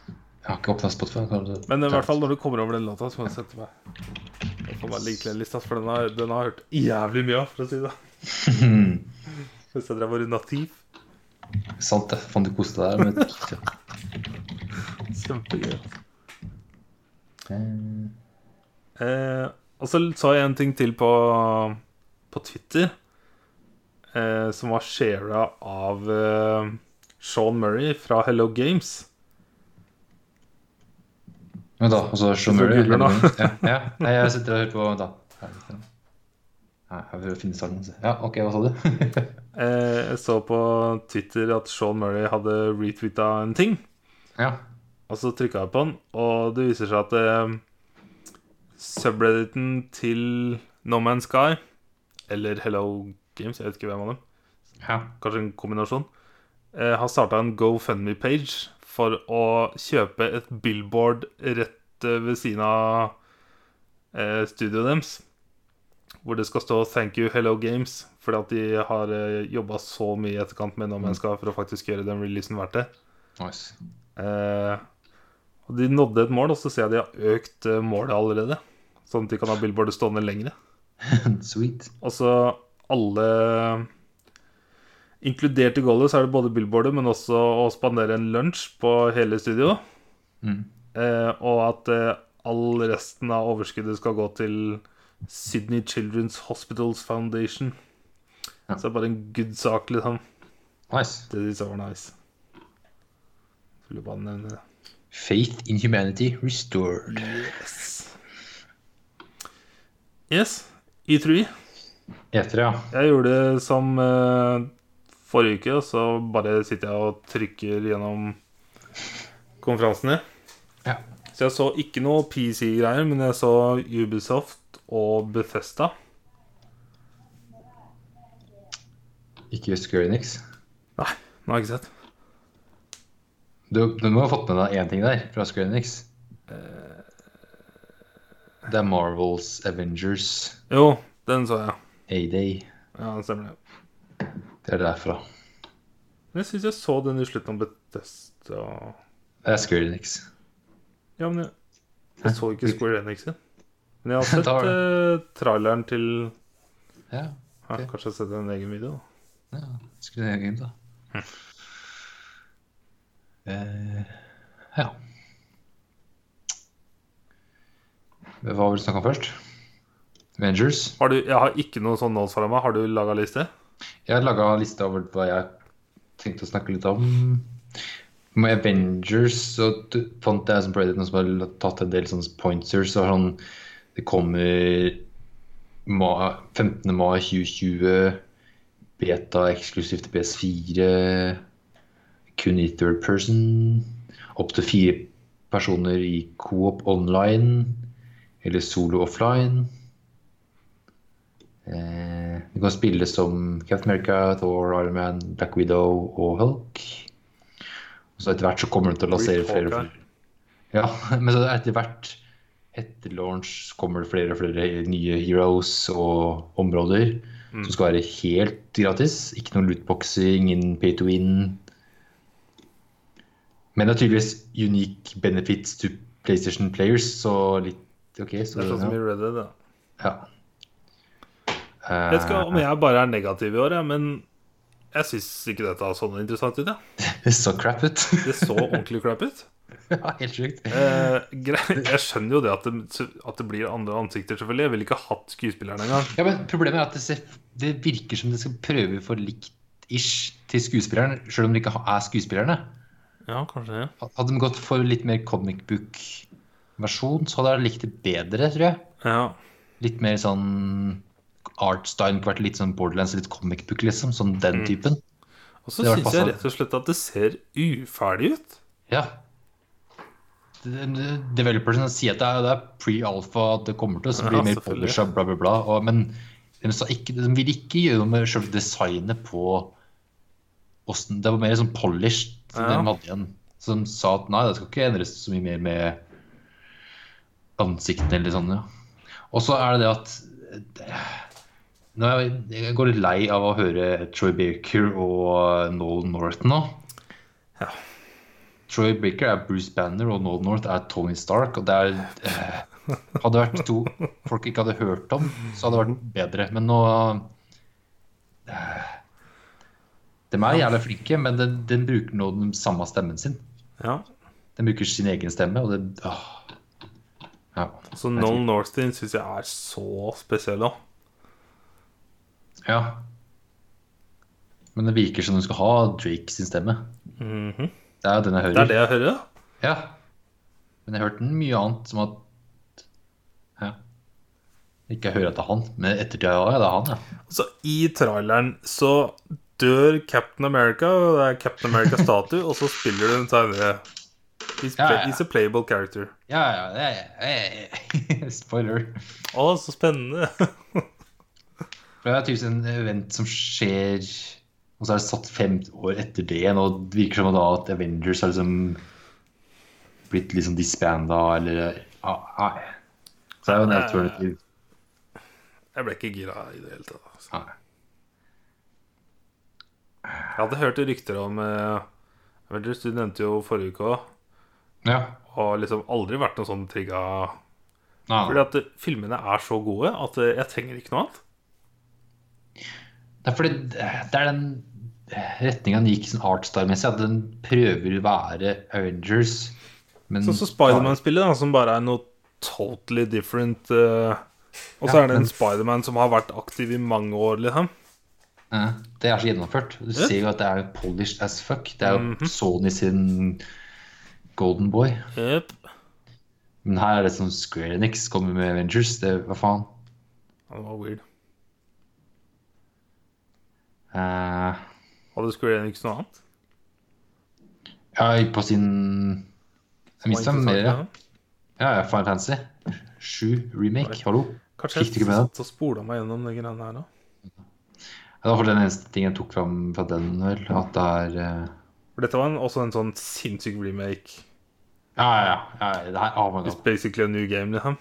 A: Jeg har ikke åpna Spotify. kan du-
B: Men eh, i hvert fall når du kommer over den låta, så må du sette meg. Jeg får bare like den lista, for den har, den har jeg hørt jævlig mye av, for å si det. Hvis jeg drev og runda TIF.
A: Sant det. Faen, du koste deg der. Men...
B: Kjempegøy. altså.
A: Eh,
B: Eh, og så så jeg en ting til på, på Twitter, eh, som var shara av eh, Sean Murray fra Hello Games.
A: Vent da, altså Sean
B: Så
A: Murray
B: googler
A: altså, ja, ja. Nei, jeg sitter og hører på Vent da Er det ikke den? Nei, jeg prøver å finne starten. Ja, OK, hva sa du?
B: Eh, Jeg så på Twitter at Sean Murray hadde retweeta en ting.
A: ja.
B: Og så trykka jeg på den, og det viser seg at eh, subredditen til No Man's Sky, eller Hello Games, jeg vet ikke hvem av dem,
A: ja.
B: kanskje en kombinasjon, eh, har starta en GoFundMe-page for å kjøpe et billboard rett eh, ved siden av eh, studioet deres. Hvor det skal stå 'Thank you, Hello Games', fordi at de har eh, jobba så mye i etterkant med No Man's Sky for å faktisk gjøre den releasen verdt det.
A: Nice.
B: Eh, og de nådde et mål, og så ser jeg de har økt eh, målet allerede. Sånn at de kan ha billboardet stående lengre.
A: Sweet.
B: Og så Altså, alle Inkludert i gulvet så er det både billboardet, men også å spandere en lunsj på hele studio.
A: Mm.
B: Eh, og at eh, all resten av overskuddet skal gå til Sydney Children's Hospitals Foundation.
A: Ja.
B: Så det er bare en good sak, liksom.
A: Nice.
B: Det synes jeg var nice. Skulle bare nevne det.
A: Faith in humanity restored.
B: Yes. Yes, E E3.
A: Etter, ja.
B: Jeg gjorde det som eh, forrige uke, og så bare sitter jeg og trykker gjennom konferansene.
A: Ja.
B: Så jeg så ikke noe PC-greier, men jeg så Ubisoft og Bethesda.
A: Ikke Square Enix.
B: Nei, nå har jeg ikke sett.
A: Du, du må ha fått med deg én ting der fra Square Enix. Eh, Det er Marvels Avengers
B: Jo, den så jeg.
A: A-Day.
B: Ja, den stemmer det.
A: Det er derfra.
B: Men jeg syns jeg så den i slutten av Bethesda
A: Det er Square Enix.
B: Ja, men jeg, jeg så ikke Square Enix sin. Men jeg har sett
A: Da har
B: eh, traileren til
A: Ja,
B: ja,
A: Ok.
B: Kanskje jeg har sett en egen video. da.
A: ja. skulle jeg egentlig da. Eh, ja. Hva vil du snakke om først? Avengers?
B: Har du, jeg har ikke noen sånn notes foran meg. Har du laga liste?
A: Jeg har laga liste over hva jeg tenkte å snakke litt om. Med Avengers så t- fant jeg som Brady noen som har tatt en del sånne pointers. Og sånn, det kommer ma- 15. mai 2020, beta eksklusivt til PS4, kun i third person. Opptil fire personer i coop online eller solo offline. Eh, Du kan spille som Captain America, Thor, Iron Man, Black Widow og Hulk. Og så etter hvert så kommer du til å lansere
B: Rip
A: flere og
B: Hawkeye.
A: flere. Ja, men så etter hvert etter launch kommer det flere og flere nye heroes og områder
B: Mm.
A: som skal være helt gratis. Ikke noen lootboxer, ingen pay to win. Men det er tydeligvis unique benefits to PlayStation players, så litt OK, så
B: Det er sånn som i Red Dead. da.
A: ja.
B: Jeg vet ikke om jeg bare er negativ i år, jeg, men jeg syns ikke dette så noe interessant ut. jeg.
A: Det Eh, så crap ut.
B: Det så ordentlig crap ut.
A: ja, helt sjukt.
B: Eh, grei- jeg skjønner jo det at det, at det blir andre ansikter, selvfølgelig. Jeg ville ikke hatt skuespillerne engang.
A: Ja, men Problemet er at det, ser, det virker som det skal prøve for likt-ish til skuespilleren, sjøl om det ikke er skuespillerne.
B: Ja, kanskje det.
A: Hadde de gått for litt mer comic book-versjon, så hadde jeg likt det bedre, tror jeg.
B: Ja.
A: Litt mer sånn artstyle, vært litt sånn borderlands, litt comic book, liksom. Sånn den
B: Mm.
A: typen.
B: Og så
A: Det var
B: syns jeg
A: passende.
B: rett og slett at det ser uferdig ut.
A: Ja. De- de- Developerne sier at det er, det er pre-alfa, at det kommer til å bli
B: Ja,
A: mer
B: selvfølgelig.
A: polish og bla, bla, bla. Og, men de, sa ikke, de vil ikke gjøre noe med selve designet på åssen Det var mer sånn polished som
B: Ja.
A: de hadde igjen. Så de sa at nei, det skal ikke endres så mye mer med ansiktene eller sånn, ja. Og så er det det at det, nå er jeg, jeg går litt lei av å høre Troy Baker og Noel North nå. Troy Baker er Bruce Banner, og Nold North er Tony Stark. Og det er eh, Hadde vært to folk ikke hadde hørt om, så hadde det vært bedre. Men nå eh, De er jævlig flinke, men den, den bruker nå den samme stemmen sin.
B: Ja.
A: Den bruker sin egen stemme, og det åh. Ja.
B: Så Noel Northin syns jeg er så spesiell òg.
A: ja. Men det virker som du skal ha Drake sin stemme.
B: Mhm.
A: Det er jo den jeg hører.
B: Det er det jeg hører. da.
A: Ja. Men jeg hørte mye annet som at ja. Ikke jeg hører at det er han, men ettertida ja, ja, det er han, ja.
B: Så i traileren så dør Captain America, og det er Captain America-statue, og så spiller du en tegnere. He's,
A: Ja,
B: play,
A: ja, ja.
B: he's a playable character.
A: Ja, ja, det er, eh, Spoiler.
B: Å, så spennende.
A: For det er tydeligvis en event som skjer Og så er det satt fem år etter det igjen, og det virker som da at Avengers har liksom blitt liksom disbanda, eller ah, ah. Så det er jo en alternativ
B: Jeg ble ikke gira i det hele tatt. altså.
A: ah.
B: Jeg hadde hørt rykter om eh, Avengers, du nevnte jo forrige uke òg,
A: Ja.
B: og liksom aldri vært noe sånn trigga
A: Nei,
B: Fordi
A: nei.
B: at eh, filmene er så gode at eh, jeg trenger ikke noe annet.
A: Det er fordi det er den retninga den gikk sånn artstyle-messig, at den prøver å være Avengers, men
B: Sånn som Spiderman-spillet, da, som bare er noe totally different eh, Og
A: Ja,
B: så er det en
A: men-
B: Spiderman som har vært aktiv i mange år, liksom.
A: Ja, Det er så gjennomført. Du ser jo at det er jo polished as fuck. Det er jo
B: Mhm.
A: Sony sin Golden Boy.
B: Yep.
A: Men her er det som Square Enix kommer med Avengers. Det, hva faen?
B: Ja, det var weird.
A: Eh,
B: Hadde Square Enix noe annet?
A: ja, på sin Jeg mista
B: Var
A: mer,
B: interessant,
A: ja. ja. ja, Final Fantasy. Sju remake, hallo.
B: Kanskje
A: Fikk du
B: jeg
A: ikke med den?
B: satt og spola meg gjennom de greiene her nå.
A: Ja, Det var for den eneste ting jeg tok fram fra den, vel. At det er eh,
B: For dette var en, også en sånn sinnssyk remake.
A: Ja, ja, ja. ja, Det her, oh my
B: It's
A: god.
B: basically a new game, liksom.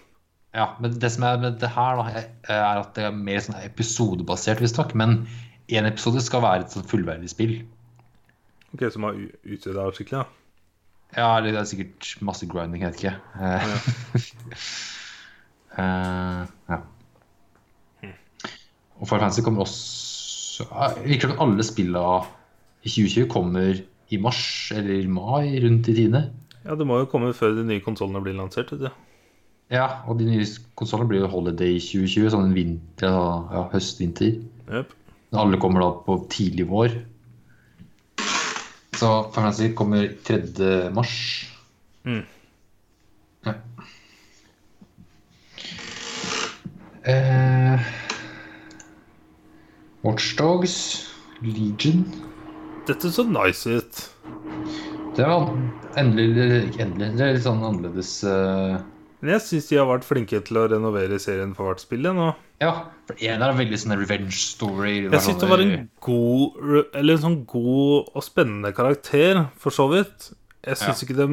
A: Ja, men det som er med det her, da, er at det er mer sånn episodebasert, visstnok. Men én episode skal være et sånn fullverdig spill.
B: Ok, Som har utvida skikkelig, da.
A: Ja, eller det er sikkert masse grinding, jeg vet ikke. Eh, eh, ja. Og Far Fancy kommer også ja, det Virker som alle spillene i 2020 kommer i mars eller mai rundt i tide.
B: Ja, det må jo komme før de nye konsollene blir lansert. vet du.
A: Ja, og de nye konsollene blir jo Holiday 2020, sånn en vinter, ja, høst-vinter.
B: Jep.
A: Men Alle kommer da på tidlig vår. Så Far Fancy kommer 3. mars.
B: Mm.
A: Ja. Eh, Watchdogs, Legion
B: Dette så nice ut.
A: Det var endelig, eller ikke endelig, det er litt sånn annerledes eh,
B: Men jeg syns de har vært flinke til å renovere serien for hvert spill. jeg, nå.
A: Ja, for en er en veldig sånn revenge story. sånn,
B: Jeg syns det var en god re- Eller en sånn god og spennende karakter, for så vidt. Jeg syns ikke de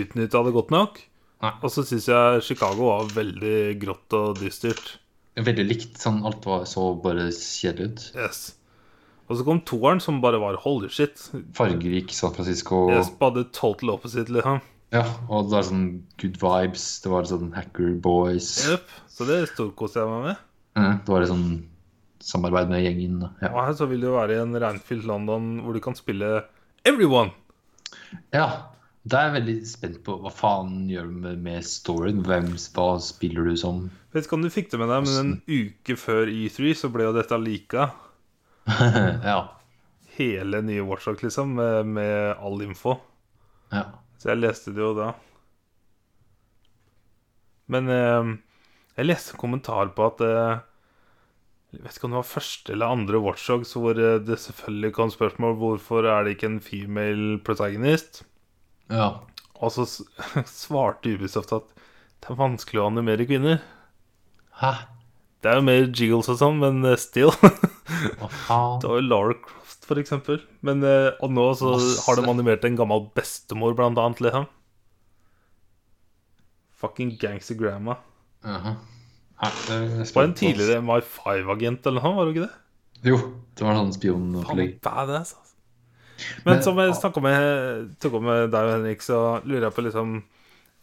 B: utnytta det godt nok.
A: Nei.
B: Og så syns jeg Chicago var veldig grått og dystert.
A: Veldig likt. sånn Alt var så bare kjedelig ut.
B: Yes. Og så kom toeren, som bare var holy shit.
A: Fargerik San Francisco.
B: Jeg spadde total opposite, liksom.
A: Ja, og det er sånn good vibes. Det var sånn hacker boys.
B: Jep. Så det storkoste jeg meg med.
A: Eh, Det var litt sånn samarbeid med gjengen. da. Ja.
B: Og her så vil det jo være i en regnfylt London hvor du kan spille everyone.
A: Ja, da er jeg veldig spent på hva faen gjør du med, med storyen? Hvem, hva spiller du som?
B: Jeg vet ikke om du fikk det med deg, men en uke før E3 så ble jo dette lika.
A: ja,
B: Hele nye Watchdog, liksom, med, med all info.
A: ja.
B: Så jeg leste det jo da. Men eh, jeg leste en kommentar på at eh, Jeg vet ikke om det var første eller andre Watchdogs hvor eh, det selvfølgelig kom spørsmål hvorfor er det ikke en female protagonist.
A: Ja.
B: Og så s- svarte Ubisoft at det er vanskelig å animere kvinner.
A: Hæ?
B: Det er jo mer jiggles og sånn, men eh, still.
A: Hva faen?
B: Det var jo Lara Croft, for eksempel. Men, eh, og nå så
A: Masse.
B: har de animert en gammel bestemor, blant annet, liksom. Fucking gangster grandma.
A: Jaha. Uh-huh. Hæ, det er
B: Det var en
A: spennende.
B: tidligere MI5-agent eller noe, var det ikke det?
A: Jo, det var sånn
B: Han var
A: spionopplegg.
B: badass, altså. Men
A: Men-
B: som jeg snakket med, tok opp med deg og Henrik, så lurer jeg på liksom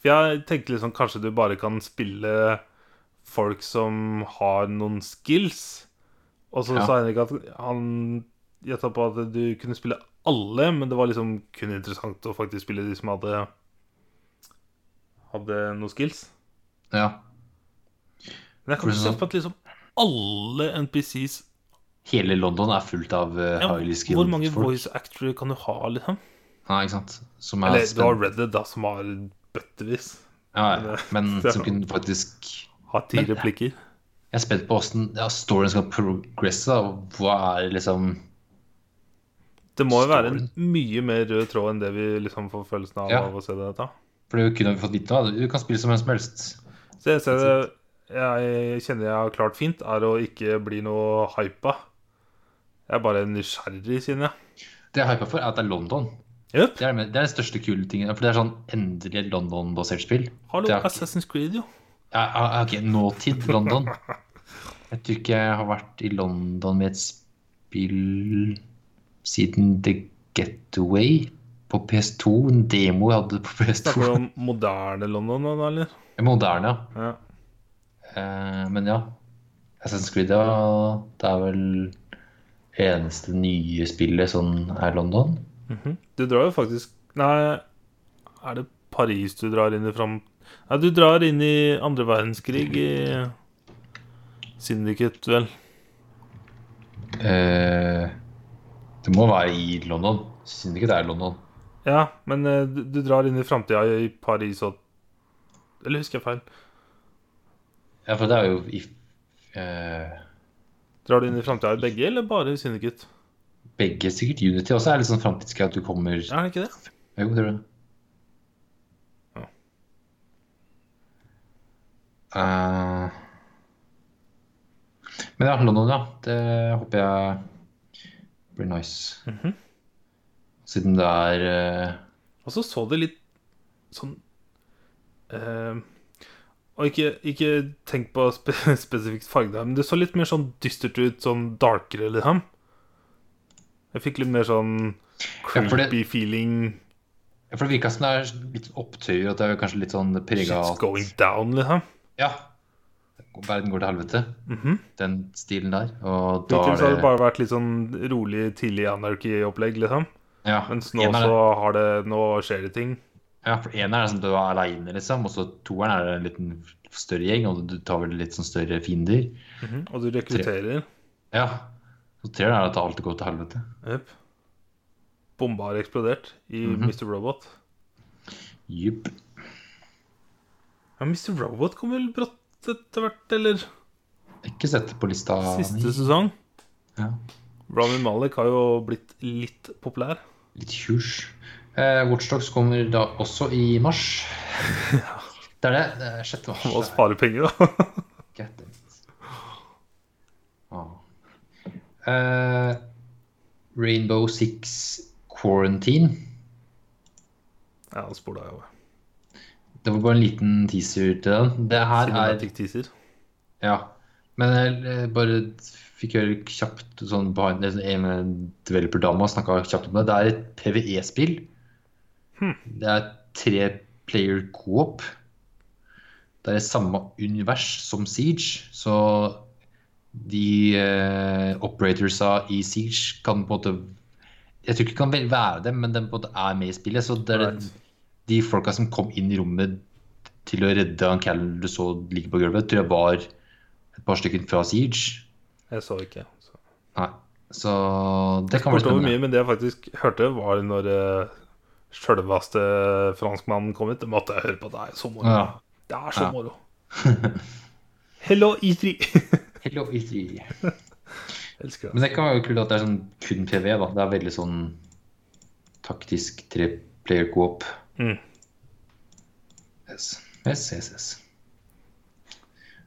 B: For jeg tenkte liksom kanskje du bare kan spille folk som har noen skills. Og så
A: Ja.
B: sa Henrik at han gjetta på at du kunne spille alle, men det var liksom kun interessant å faktisk spille de som hadde Hadde noen skills.
A: Ja.
B: Men jeg kan ikke se
A: Hvordan da?
B: på at liksom alle NPCs
A: Hele London er fullt av uh,
B: ja,
A: highly skilled
B: Hvor mange
A: folk.
B: voice actors kan du ha, liksom?
A: Ja, ikke sant? Som er
B: Eller du har
A: spennende.
B: Reddit, da, som har bøttevis.
A: Ja, ja. Men
B: Ja.
A: som kunne faktisk
B: Har ti
A: Men-
B: replikker.
A: Jeg er spent på hvordan ja, storyen skal progresse. da, og Hva er liksom
B: Det må jo være en mye mer rød tråd enn det vi liksom får følelsen av
A: Ja.
B: av å se dette.
A: For det kunne vi fått vite av. Du kan spille som hvem som helst.
B: Så jeg ser det jeg kjenner jeg har klart fint, er å ikke bli noe hypa. Jeg er bare nysgjerrig, kjenner jeg.
A: Det jeg er hypa for, er at det er London.
B: Jøp.
A: Det er, det med- det er den største kule tingen. For det er sånn endelig et London-basert spill.
B: Hallo,
A: Det er ikke-
B: Assassin's Creed, jo.
A: Ja, ja, ja, ok, nåtid London. Jeg tror ikke jeg har vært i London med et spill siden The Getaway på PS2. En demo jeg hadde på
B: Snakker du
A: PS2.
B: om moderne London nå, da, eller?
A: Moderne, ja.
B: Ja.
A: Eh, men ja. Assassin's Creed, ja. Det er vel eneste nye spillet sånn er London.
B: Mhm. Du drar jo faktisk Nei, er det Paris du drar inn i fram... Nei, du drar inn i andre verdenskrig i Syndicate, vel.
A: Eh, det må være i London. Syns ikke det er London.
B: Ja, men eh, du, du drar inn i framtida i Paris og Eller husker jeg feil?
A: Ja, for det er jo i eh,
B: Drar du inn i framtida i begge, eller bare i Syndicate?
A: begge sikkert Unity også er litt sånn framtidsgreie at du kommer
B: Er det ikke det?
A: Jo, tror det.
B: Ja.
A: Eh, men ja, London, ja. Det håper jeg blir nice.
B: Mhm.
A: Siden det er eh,
B: Og så så det litt sånn eh, Og ikke, ikke tenk på spe spesifikt farge der, men det så litt mer sånn dystert ut, sånn darkere, liksom. Jeg fikk litt mer sånn
A: Ja, for
B: creepy
A: det-
B: feeling.
A: ja, For det virka som det er litt opptøyer, at det er kanskje litt sånn prega
B: Shit's going down, liksom.
A: Ja. Verden går til helvete.
B: Mhm.
A: Den stilen der. Og da
B: Hittil så
A: er
B: har det
A: det
B: bare vært litt sånn rolig, tidlig anarki-opplegg, liksom.
A: ja,
B: Mens nå
A: en er-
B: så har det Nå skjer det ting.
A: Ja, for en er sånn du er aleine, liksom. Og så toeren er en liten større gjeng, og du tar vel litt sånn større fiender.
B: Mhm. Og du rekrutterer.
A: Ja. Så treeren er at alt går til helvete.
B: Jep. Bomba har eksplodert i
A: Mhm.
B: Mr. Robot.
A: Jupp.
B: Ja, Mr. Robot kom vel brått etter hvert, eller?
A: Ikke sett det på lista
B: Siste
A: mi.
B: sesong.
A: Ja.
B: Rami Malik har jo blitt litt populær.
A: Litt husj. Eh, Watchdogs kommer da også i mars. Det er det. det er 6.
B: Må
A: mars.
B: spare penger, da.
A: Get it. Ah. Eh, Rainbow Six Quarantine.
B: Ja, han spola jo.
A: Det var bare en liten teaser til den. Det her er
B: Cinematic teaser.
A: Ja. Men jeg eh, bare fikk høre kjapt sånn behind En en developer-dama snakka kjapt om det. Det er et PVE-spill. Det er tre player co-op. Det er i samme univers som Siege, så de eh, operatorsa i Siege kan på en måte Jeg tror ikke det kan vel- være dem, men de på en måte er med i spillet. Så det er
B: Right.
A: de folka som kom inn i rommet til å redde han Callen du så ligge på gulvet, tror jeg var et par stykker fra Siege.
B: Jeg så ikke. Så.
A: Nei. Så det kan være
B: Spurte over
A: spennende.
B: mye, men det jeg faktisk hørte, var når uh, sjølveste franskmannen kom hit. Det måtte jeg høre på. Det er så moro.
A: Ja.
B: Det er så
A: Ja.
B: moro. Hello, E3.
A: Hello, E3.
B: Elsker det.
A: Men det kan være kult at det er sånn kun PV, da. Det er veldig sånn taktisk tre-player co-op.
B: Mm.
A: Yes. yes, yes, yes.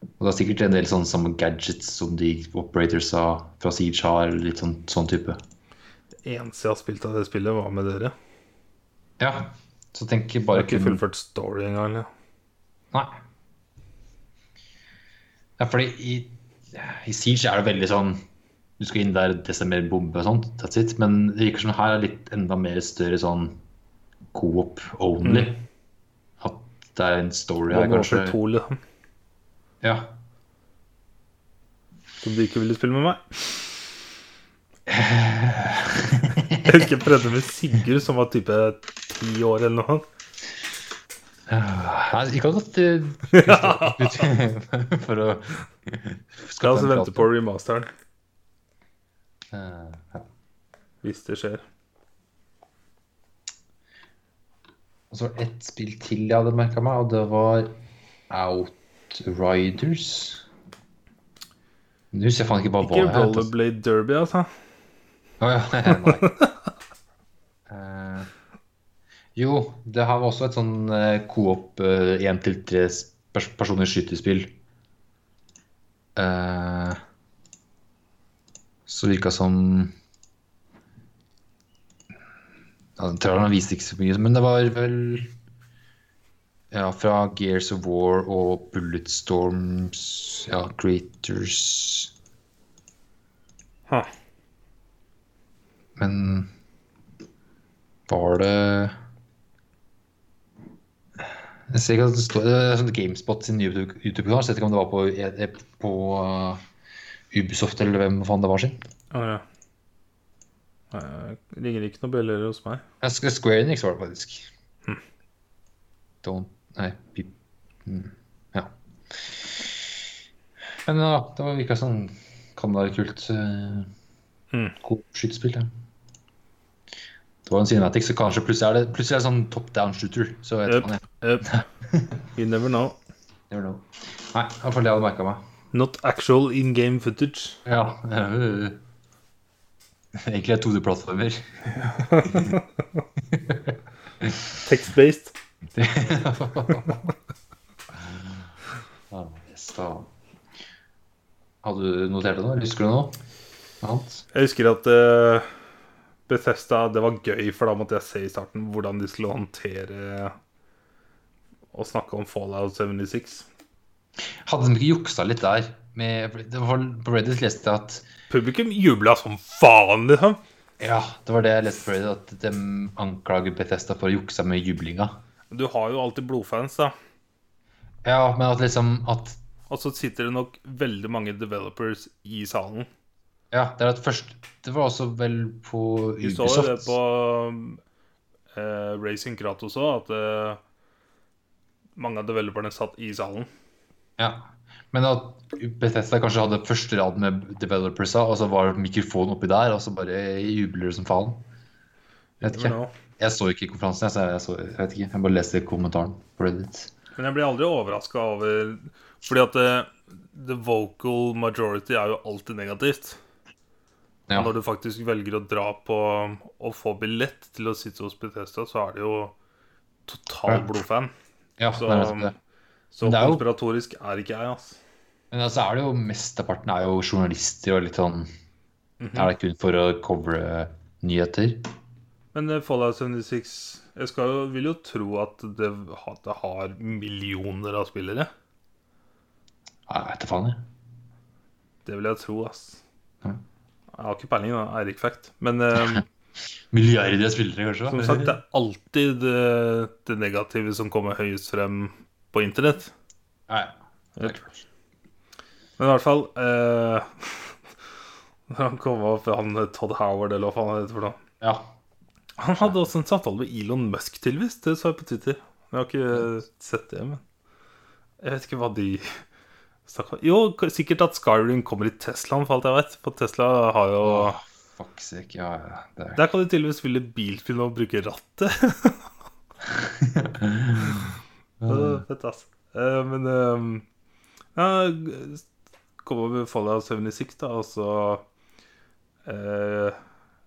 A: Og det er sikkert en del sånne samme gadgets som de operators sa fra Siege har, eller litt sånn, sånn type.
B: Eneste jeg har spilt av det spillet, var med dere.
A: Ja, så tenk
B: Jeg
A: bare
B: har ikke
A: kun
B: fullført story engang. eller?
A: Nei. Ja, fordi i, i Siege er det veldig sånn Du skal inn der, desimere bombe og sånt. That's it. Men det virker som her er litt enda mer større sånn co-op only. At det er en story her,
B: Modern
A: kanskje.
B: Warfare 2, liksom.
A: Ja.
B: Som du ikke ville spille med meg? Jeg husker jeg prøvde med Sigurd, som var type ti år eller noe.
A: Eh, Nei, ikke at du For å
B: Skal altså
A: en
B: vente
A: prat.
B: på remasteren,
A: Eh, ja.
B: hvis det skjer.
A: Og så var det ett spill til jeg hadde merka meg, og det var Outriders. Du husker jeg faen ikke bare hva jeg
B: Ikke
A: het. altså.
B: Rollerblade Derby, altså.
A: Å ja. Nei. Eh, jo, det her var også et sånn eh, co-op én til tre pers personers skytespill. Eh, så virka som ja, Traileren viste ikke så mye, men det var vel ja, fra Gears of War og Bulletstorms, ja, Creators
B: Ha.
A: Men var det Jeg ser ikke at det står det er sånn GameSpot sin YouTube- YouTube-kanal. så Jeg vet ikke om det var på, eh, på eh, Ubisoft eller hvem faen det var sin.
B: Å ja. Eh, ringer ikke noen bjeller hos meg.
A: Ja, Sk- Square Enix var det faktisk. Don't Nei. Pip, mm, ja. Men ja, det var virka sånn Kan være kult. Uh,
B: Mm.
A: Skytespill, ja. Det var en cinematic, så kanskje plutselig er det, plutselig er det sånn top down shooter. Så vet
B: Yep.
A: man, ja.
B: Yep. Eh, You never know.
A: Never know. Nei, i hvert fall det jeg hadde merka meg.
B: Not actual in game footage.
A: Ja. Egentlig er 2D-plattformer.
B: Text-based.
A: Ja, yes, da. Hadde du notert det nå? Husker du noe annet?
B: Jeg husker at eh, Bethesda Det var gøy, for da måtte jeg se i starten hvordan de skulle håndtere å snakke om Fallout 76.
A: Hadde de ikke juksa litt der? Med, det var, på Reddit leste jeg at
B: Publikum jubla som faen, liksom.
A: Ja, det var det jeg leste på Reddit, at de anklager Bethesda for å jukse med jublinga.
B: Du har jo alltid blodfans, da.
A: Ja, men at liksom at
B: Og så sitter det nok veldig mange developers i salen.
A: Ja, det er at først Det var også vel på
B: Vi så jo det
A: Ubisoft.
B: på eh, Racing Kratos òg, at eh, mange av developerne satt i salen.
A: Ja. Men at Bethesda kanskje hadde første rad med developersa, og så var mikrofonen oppi der, og så bare jubler det som faen. Jeg vet
B: Never
A: ikke.
B: know.
A: Jeg så ikke konferansen, jeg, så jeg, så, jeg vet ikke. Jeg bare leste kommentaren på Reddit.
B: Men jeg blir aldri overraska over Fordi at eh, the vocal majority er jo alltid negativt.
A: Ja.
B: Når du faktisk velger å dra på og få billett til å sitte hos Bethesda, så er det jo total
A: Ja.
B: blodfan.
A: ja
B: Så-
A: det er nettopp det.
B: Så
A: Men det er jo-
B: konspiratorisk er ikke jeg, altså.
A: Men altså er det jo mesteparten er jo journalister og litt sånn
B: Mhm.
A: Er det kun for å covre nyheter?
B: Men eh, Fallout 76 Jeg skal jo, vil jo tro at det, at det har millioner av spillere.
A: Nei, Jeg vet da faen, jeg.
B: Det vil jeg tro, ass.
A: Ja.
B: Jeg har ikke peiling, da. Eirik Fact. Men eh,
A: Milliarder av spillere, kanskje?
B: som sagt, det er alltid det, det negative som kommer høyest frem på internett.
A: Nei.
B: Men i hvert fall eh, Når han kom opp, han eh, Todd Howard, eller hva faen han heter for noe
A: Ja.
B: Han hadde også en samtale med Elon Musk, tydeligvis. Det så jeg på Twitter. Jeg har ikke sett det, men Jeg vet ikke hva de snakka om. Jo, k- sikkert at Skyrim kommer i Teslaen, for alt jeg vet. For Tesla har jo
A: Åh, fuck sake. Ja, ja. Det er
B: Der kan de tydeligvis spille bilspill og bruke rattet. Det er Fett, ass. Eh, Men eh, ja, kom over Fallout 76, da, og så eh,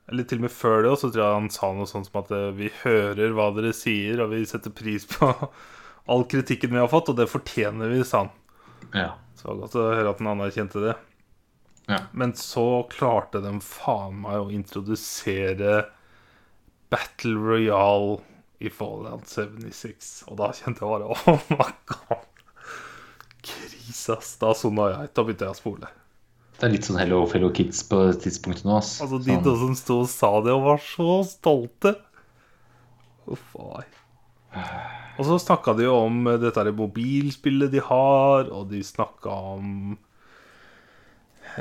B: Eller til og med før det, og så tror jeg han sa noe sånt som at eh, vi hører hva dere sier, og vi setter pris på all kritikken vi har fått, og det fortjener vi, sa han.
A: Ja.
B: Så det var godt å høre at den anerkjente det.
A: Ja.
B: Men så klarte de faen meg å introdusere Battle Royale i Fallout 76. Og da kjente jeg bare Oh my god! Krise, ass. Da sona jeg ut. Da begynte jeg å spole.
A: Det er litt sånn Hello Fellow Kids på tidspunktet nå, ass.
B: Altså, de to
A: sånn,
B: som sto og sa det, og var så stolte. Uff ai. Og så snakka de jo om eh, dette her mobilspillet de har, og de snakka om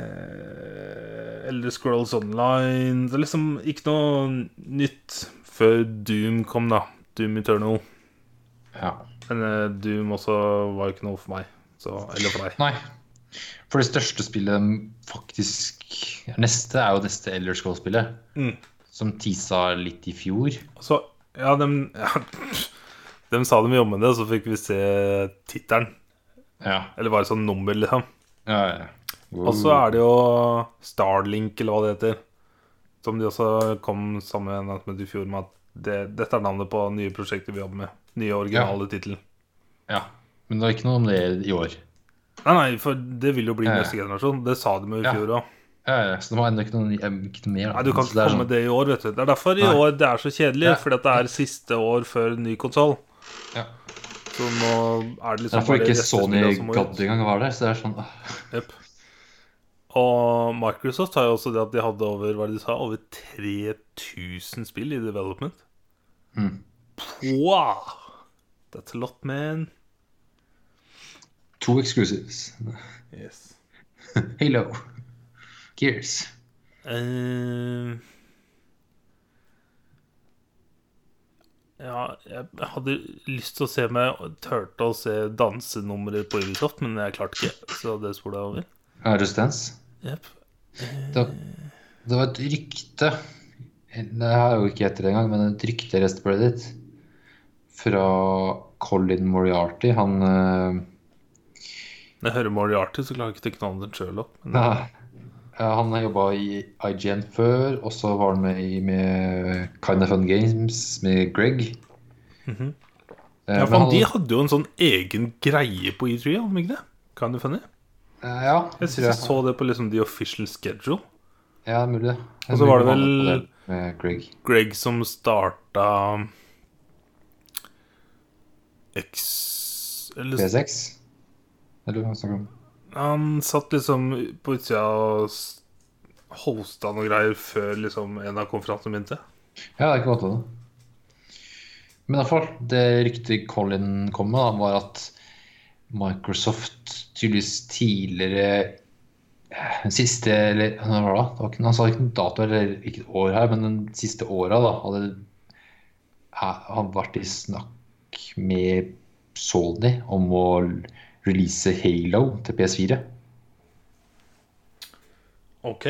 B: eh, Elder Scrolls Online Det er liksom ikke noe nytt før Doom kom, da. Doom Eternal.
A: ja.
B: Men eh, Doom også var ikke noe for meg. Så, eller for deg.
A: Nei. For det største spillet de faktisk Neste er jo neste Elder Scrolls-spillet.
B: Mm.
A: Som tisa litt i fjor.
B: Så, ja, dem ja, Dem sa de jobba med det, og så fikk vi se tittelen.
A: Ja.
B: Eller bare sånn nummer, liksom.
A: ja, ja.
B: Og så er det jo Starlink, eller hva det heter. Som de også kom sammen med i fjor med at det, dette er navnet på nye prosjekter vi jobber med. Nye originale tittel.
A: Ja. Men det var ikke noe om det i år.
B: Nei, nei, for det vil jo bli
A: Ja, ja.
B: neste generasjon. Det sa de jo i
A: Ja.
B: fjor òg.
A: Ja, ja, så det var ennå ikke noe, eh, ikke noe mer. da.
B: Nei, du kan
A: Så er
B: ikke
A: sånn-
B: komme med det i år, vet du. Det er derfor i
A: Nei.
B: år det er så kjedelig.
A: Ja.
B: Fordi at det er siste år før ny konsoll.
A: Ja.
B: Så nå er det
A: Det er
B: liksom
A: derfor
B: bare
A: ikke Sony
B: restespillene som må ut.
A: Gadd engang var der. Så det er sånn ah,
B: Jep. Og Microsoft har jo også det at de hadde over hva er det de sa, over 3000 spill i development.
A: Mm.
B: Wow! That's a lot, man.
A: To exclusives.
B: Yes.
A: Halo. Gears.
B: Eh, ja, jeg hadde lyst til å se meg turte å se dansenumre på Ubisoft, men jeg klarte ikke, så det spola jeg over.
A: Ja, Just Dance.
B: Jep.
A: Det, det var et rykte Det har jeg jo ikke etter det engang, men et rykte resten på Reddit fra Colin Moriarty. Han eh,
B: Når jeg hører Moriarty, så klarer jeg ikke å knane den sjøl opp. Men
A: Nei. Ja, Han har jobba i IGN før, og så var han med i med Kind of Fun Games med Greg.
B: Mhm.
A: Eh,
B: Ja,
A: men
B: for
A: han-
B: De hadde jo en sånn egen greie på E3, hadde de ikke det? Kind of funny.
A: eh, ja,
B: Jeg
A: det
B: synes
A: tror
B: jeg så det på liksom the official schedule.
A: Ja, det er mulig det.
B: Og så var det
A: Jeg
B: vel-
A: lurer på han på det Med Greg.
B: Greg som starta X eller,
A: P6? Eller hva snakker du om?
B: Han satt liksom på utsida og s- hosta noe greier før liksom en av konferansene begynte.
A: Ja, det er ikke godt å det. Men i hvert fall, det ryktet Colin kom med, da, var at Microsoft tydeligvis tidligere eh, den siste, eller hva var det da? Det var ikke, Han sa ikke noen dato eller ikke et år her, men den siste åra da, hadde ha- han vært i snakk med Sony om å release Halo til PS4.
B: OK.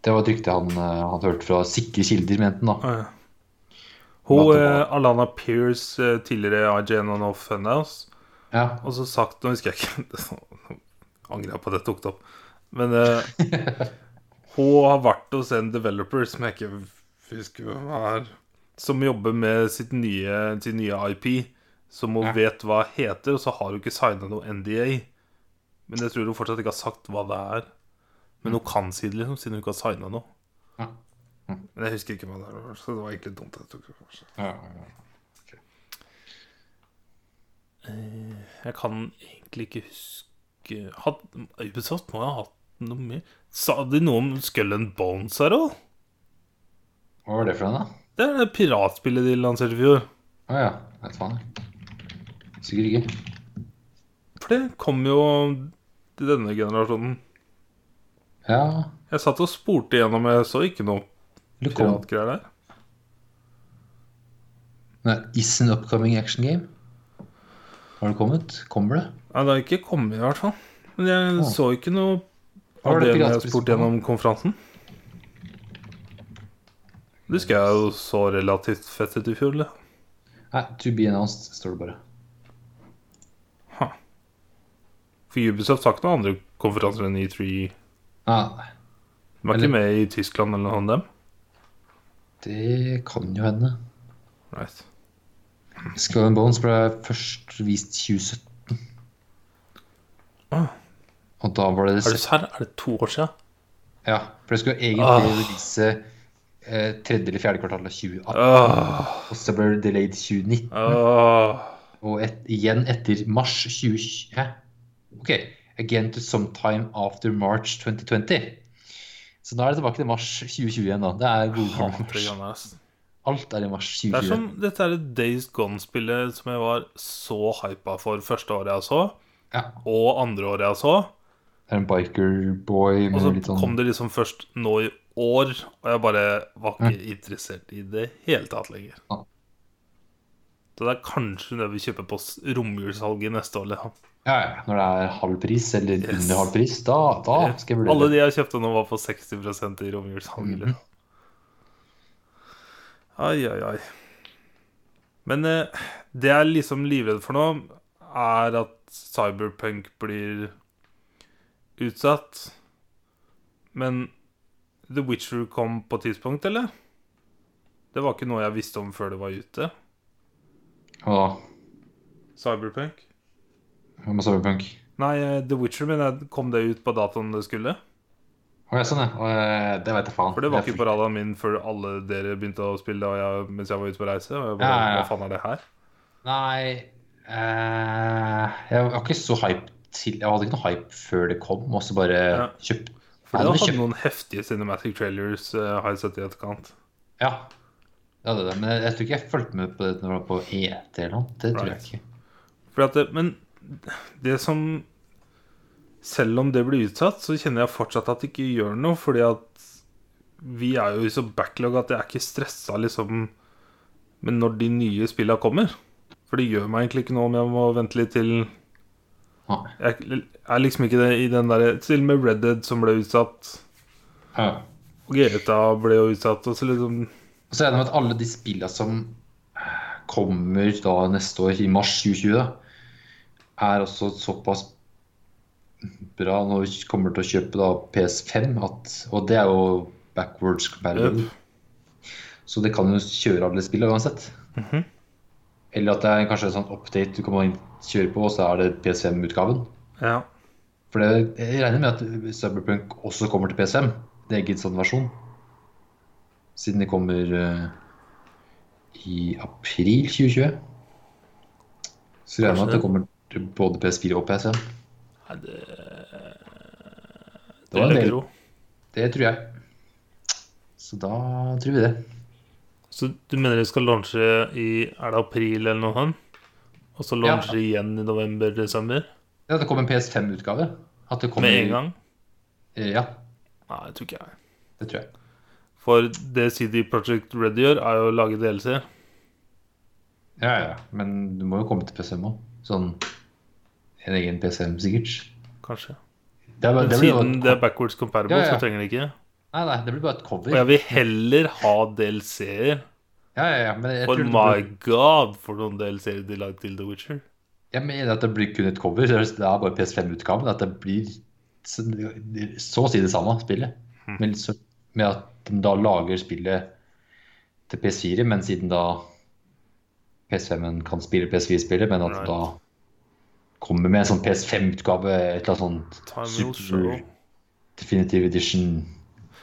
A: Det var et rykte han, eh, han hørte fra sikre kilder, mente han da.
B: Ah, ja. Hun,
A: Hva det
B: eh, Alana Pierce, eh, tidligere IGN og No Funhouse,
A: Ja,
B: Og så sagt Nå husker jeg ikke det er sånn- Nå angrer jeg på at jeg tok det opp. Men eh, hun har vært hos en developer som jeg ikke husker hvem er, som jobber med sitt nye, sin nye IP, som hun
A: Ja.
B: vet hva heter, og så har hun ikke signa noe NDA. Men jeg tror hun fortsatt ikke har sagt hva det er. Men hun kan si det, liksom, siden hun ikke har signa noe.
A: Mm. Ja. Mm.
B: Men jeg husker ikke hva det er, så det var egentlig dumt. at Jeg, tok det opp.
A: ja, ja.
B: jeg kan egentlig ikke huske Had, Ubisoft må ha hatt noe mer Sa de noe om Skull and Bones her òg?
A: Hva var det for en da?
B: Det er det piratspillet de lanserte i fjor.
A: Å ja. Vet faen, jeg. Sikkert ikke.
B: For det kom jo til denne generasjonen.
A: Ja.
B: Jeg satt og spurte igjennom, jeg så ikke noe
A: Eller kom
B: piratgreier der.
A: Nei, Is an upcoming action game? Har det kommet? Kommer det?
B: Nei, det har ikke kommet, i hvert fall. Men jeg
A: Å.
B: så ikke noe
A: Hva
B: av
A: var det
B: det når jeg
A: piratspillet
B: spurte
A: som kom?
B: gjennom konferansen. Det husker jeg jo så relativt fett ut i fjor, eller?
A: Nei, To be announced, står det bare.
B: For Ubisoft har ikke noen andre konferanser enn E E3.
A: Nei, nei,
B: De var ikke med i Tyskland eller noe sånt, dem?
A: det kan jo hende.
B: Right.
A: Skull and Bones ble først vist 2017.
B: Ah.
A: Og da var det
B: Er det serr? Er det to år sia?
A: Ja, for det skulle egentlig
B: Ah.
A: vise eh, tredje eller fjerde kvartal av 2018.
B: Åh,
A: Og så ble det delayed 2019.
B: åh.
A: Og et, igjen etter mars 2020 Hæ? Ok. Again to sometime after March 2020. Så da er det tilbake til mars 2020 igjen, da. Det er gode gamle
B: Hater det
A: mars.
B: grann her, ass.
A: Alt er i mars
B: Det er
A: 2020.
B: som dette er et Days Gone-spillet som jeg var så hypa for første året jeg så,
A: Ja,
B: og andre året jeg så.
A: det er en bikerboy
B: Og
A: med
B: så
A: litt sånn
B: kom det liksom først nå i år, og jeg bare var ikke interessert i det hele tatt lenger.
A: Ja.
B: Så det er kanskje det vi kjøper på s- romjulssalget neste år. Liksom.
A: Ja, ja. Når det er halv pris, eller
B: Yes.
A: under halv pris, da, da skal jeg
B: Alle
A: vurdere. det.
B: de jeg kjøpte nå, var på 60 i romjulssalget.
A: Mhm.
B: liksom. Ai, ai, ai. Men eh, det jeg er liksom livredd for nå, er at Cyberpunk blir utsatt. Men The Witcher kom på tidspunkt, eller? Det var ikke noe jeg visste om før det var ute.
A: Hva da?
B: Cyberpunk?
A: Hva med Cyberpunk?
B: Nei, eh, The Witcher, men jeg kom det ut på datoen det skulle?
A: Å, ja, sånn, ja. Å, eh, det veit jeg faen.
B: For det var
A: Jeg
B: ikke på radaren min før alle dere begynte å spille og jeg, mens jeg var ute på reise. Og jeg bare,
A: Ja, ja, ja.
B: hva faen er det her?
A: Nei eh, Jeg var ikke så hype til Jeg hadde ikke noe hype før det kom, og så bare
B: Ja.
A: kjøpt
B: For
A: Ja,
B: det
A: det
B: hadde
A: kjøpt-
B: noen heftige cinematic trailers eh, har jeg sett i etterkant.
A: Ja. ja det, er det. Men jeg, jeg tror ikke jeg fulgte med på det når det var på ET eller noe. Det tror jeg
B: Right.
A: ikke.
B: Fordi at det, men det som Selv om det blir utsatt, så kjenner jeg fortsatt at det ikke gjør noe, fordi at vi er jo i så backlog at jeg er ikke stressa liksom Men når de nye spilla kommer. For det gjør meg egentlig ikke noe om jeg må vente litt til
A: Nei.
B: Jeg er liksom ikke det i den derre Til og med Red Dead som ble utsatt.
A: Ja.
B: Og GTA ble jo utsatt. Og så liksom
A: Og så er jeg enig med at alle de spillene som kommer da neste år, i mars 2020, da, er også såpass bra når vi kommer til å kjøpe da PS5, at, og det er jo backwards comparable.
B: Yep.
A: Så det kan jo kjøre alle spillene uansett.
B: Mhm.
A: Eller at det er kanskje en sånn update du kan bare kjøre på, og så er det PS5-utgaven.
B: Ja.
A: For det, jeg regner med at Cyberpunk også kommer til PS5. Det er ikke en sånn versjon. Siden det kommer eh, i april 2020. Så regner jeg med at det kommer til både PS4 og PS5.
B: Nei, det,
A: Det, var en
B: vil jeg
A: del,
B: tro.
A: det tror jeg. Så da tror vi det.
B: Så du mener de skal launche i Er det april eller noe sånt? Og så launche igjen i november-desember?
A: Ja, det kom en PS5-utgave. At det kommer-
B: Med en gang?
A: Eh, Ja,
B: Nei, det tror ikke jeg.
A: det tror jeg.
B: For det CD Project Red gjør, er jo å lage DLC.
A: Ja, ja, ja. Men du må jo komme til PS5 òg. Sånn en egen PS5, sikkert.
B: Kanskje.
A: Det er bare-
B: Men
A: det blir jo-
B: siden det er backwards comparable,
A: Ja, ja.
B: så trenger det ikke.
A: Nei, nei, det blir bare et cover.
B: Og jeg vil heller ha DLC-er.
A: Ja, ja, ja, men jeg
B: For
A: tror det
B: my
A: blir-
B: god, for noen DLC-er de lagde til The Witcher.
A: Jeg mener at det blir kun et cover. så Det er bare PS5-utgaven. At det blir så, så å si det samme spillet.
B: Hm.
A: Men så, med at de da lager spillet til PS4, men siden da PS5-en kan spille PS4-spillet, men at de
B: Right.
A: da kommer med en sånn PS5-utgave, et eller annet
B: Time will
A: sånt
B: show.
A: super definitive edition.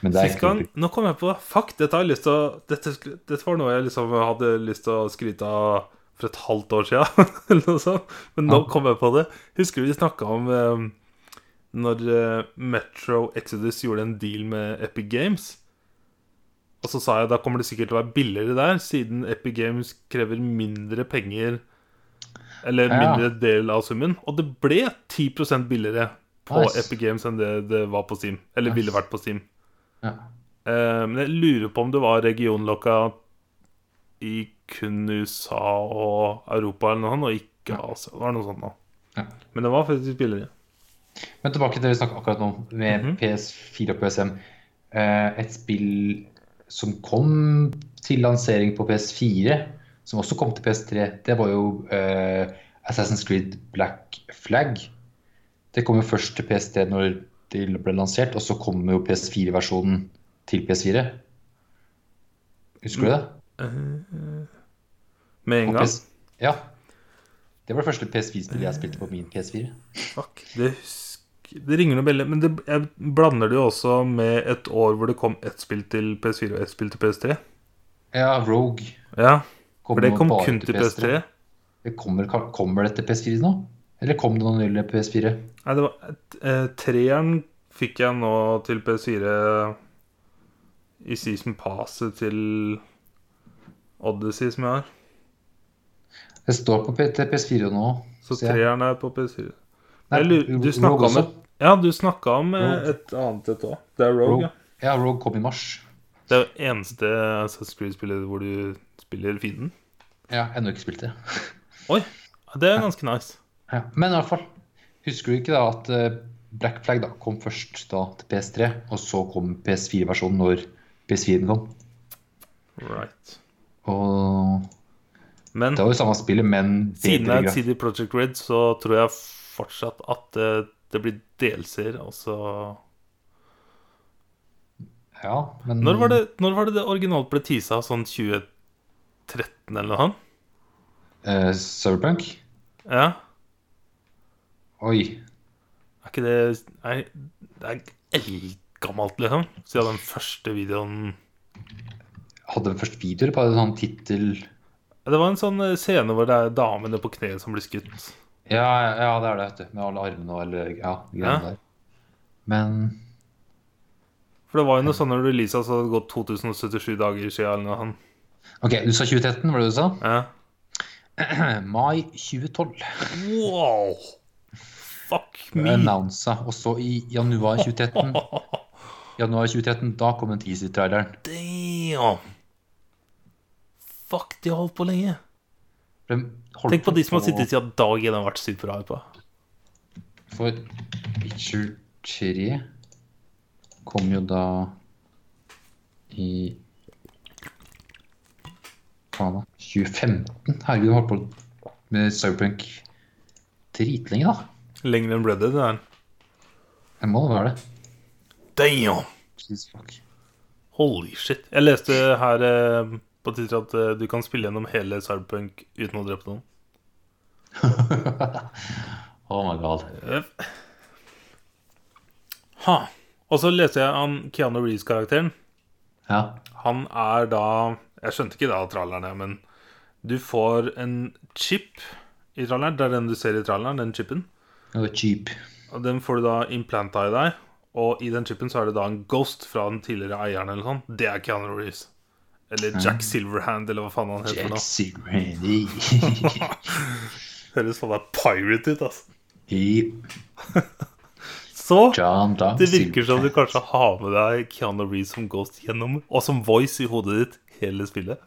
A: Men det er
B: Sist
A: ikke
B: gang, nå kom jeg på Fuck, dette har jeg lyst til å dette, sk- dette var noe jeg liksom hadde lyst til å skryte av for et halvt år siden. Eller noe sånt. Men nå
A: Ja.
B: kom jeg på det. Husker du vi snakka om eh, når eh, Metro Exodus gjorde en deal med Epic Games? Og så sa jeg da kommer det sikkert til å være billigere der, siden Epic Games krever mindre penger Eller
A: Ja.
B: mindre del av summen. Og det ble 10 billigere på
A: Nice.
B: Epic Games enn det det var på Steam. Eller ville vært på Steam.
A: Ja.
B: Eh, Men jeg lurer på om det var regionlokka i kun USA og Europa eller noe sånt, og ikke Asia. Det var noe sånt nå.
A: Ja.
B: Men det var faktisk billigere.
A: Men tilbake til det vi snakket akkurat nå, med
B: Mhm.
A: PS4 og PSM. Eh, et spill som kom til lansering på PS4, som også kom til PS3, det var jo eh, Assassin's Creed Black Flag. Det kom jo først til PS3 når det ble lansert, og så kom jo PS4-versjonen til PS4. Husker du det?
B: Med
A: På
B: en gang.
A: PS ja. Det var det første PS4-spillet jeg spilte på min PS4.
B: Fuck, det husker Det ringer noen bjeller. Men det, jeg blander det jo også med et år hvor det kom ett spill til PS4 og ett spill til PS3.
A: Ja, Rogue
B: Ja,
A: kom
B: for det
A: jo
B: kom
A: bare
B: kun til PS3.
A: Det kommer, kommer det til PS4 nå? Eller kom det noe nylig til PS4?
B: Nei, det var eh, Treeren fikk jeg nå til PS4 i season passet til Odyssey, som jeg har.
A: Det står på P- til PS4 nå.
B: Så
A: ser jeg.
B: treeren er på PS4.
A: Nei,
B: Jeg lurer, du
A: Rogue
B: snakka om
A: også.
B: et Ja, du snakka om eh,
A: Rogue.
B: et annet et òg. Det er Rogue,
A: Rogue.
B: ja.
A: Ja, Rogue kom i mars.
B: Det er jo eneste Assassin's Creed-spillet hvor du spiller fienden.
A: Ja, ennå ikke spilt det.
B: Oi! Det er ganske nice.
A: Ja. Men i hvert fall, husker du ikke da at eh, Black Flag da kom først da til PS3, og så kom PS4-versjonen når PS4-en kom?
B: Right.
A: Og
B: Men
A: det var jo samme spillet, men
B: Siden det
A: bedre
B: er
A: graf-
B: CD Project Red, så tror jeg fortsatt at eh, det blir delser, og så
A: Ja, men
B: Når var det når var det, det originalt ble teasa? Sånn 2013 eller noe sånt?
A: Eh, Cyberpunk?
B: Ja?
A: Oi.
B: Er ikke det Nei, det er eldgammelt, liksom. Siden den første videoen
A: Hadde den først videoer på en sånn tittel
B: Ja, Det var en sånn eh, scene hvor det er damene på kne som blir skutt.
A: ja, ja, det er det, vet du. Med alle armene og alle ja, de greiene
B: Ja.
A: der. Men
B: For det var jo noe sånn når releasa, så hadde det gått 2077 dager siden eller noe sånt.
A: OK, du sa 2013, var det du sa?
B: Ja.
A: Mai 2012
B: Wow! Fuck
A: ble
B: me!
A: annonsa, og så i januar 2013 Januar 2013, da kom den teaser-traileren.
B: Damn! Fuck, de har holdt på lenge.
A: For den holdt
B: Tenk på de som har sittet siden dag én og vært superhypa.
A: For Witcher 3 kom jo da i Faen, da. 2015? Herregud, holdt på med Cyberpunk dritlenge, da.
B: Lenger enn Red Dead. det der.
A: Det må da være det.
B: Damn!
A: Jesus fuck.
B: Holy shit. Jeg leste her eh, på Twitter at eh, du kan spille gjennom hele Cyberpunk uten å drepe noen.
A: Oh my god.
B: Yep. Ha. Og så leste jeg han Keanu Reeves-karakteren.
A: Ja.
B: Han er da Jeg skjønte ikke det av trallerne, men du får en chip i tralleren. Det er den du ser i tralleren, den chipen.
A: Det var cheap.
B: Og Den får du da implanta i deg, og i den chipen så er det da en ghost fra den tidligere eieren eller sånn. Det er Keanu Reeves. Eller Jack Silverhand, eller hva faen han heter
A: Jack
B: for noe.
A: Sigrandy.
B: Høres faen meg pirate ut, altså.
A: I
B: Så
A: John Dong
B: det virker som du kanskje har med deg Keanu Reeves som ghost gjennom, og som voice i hodet ditt hele spillet.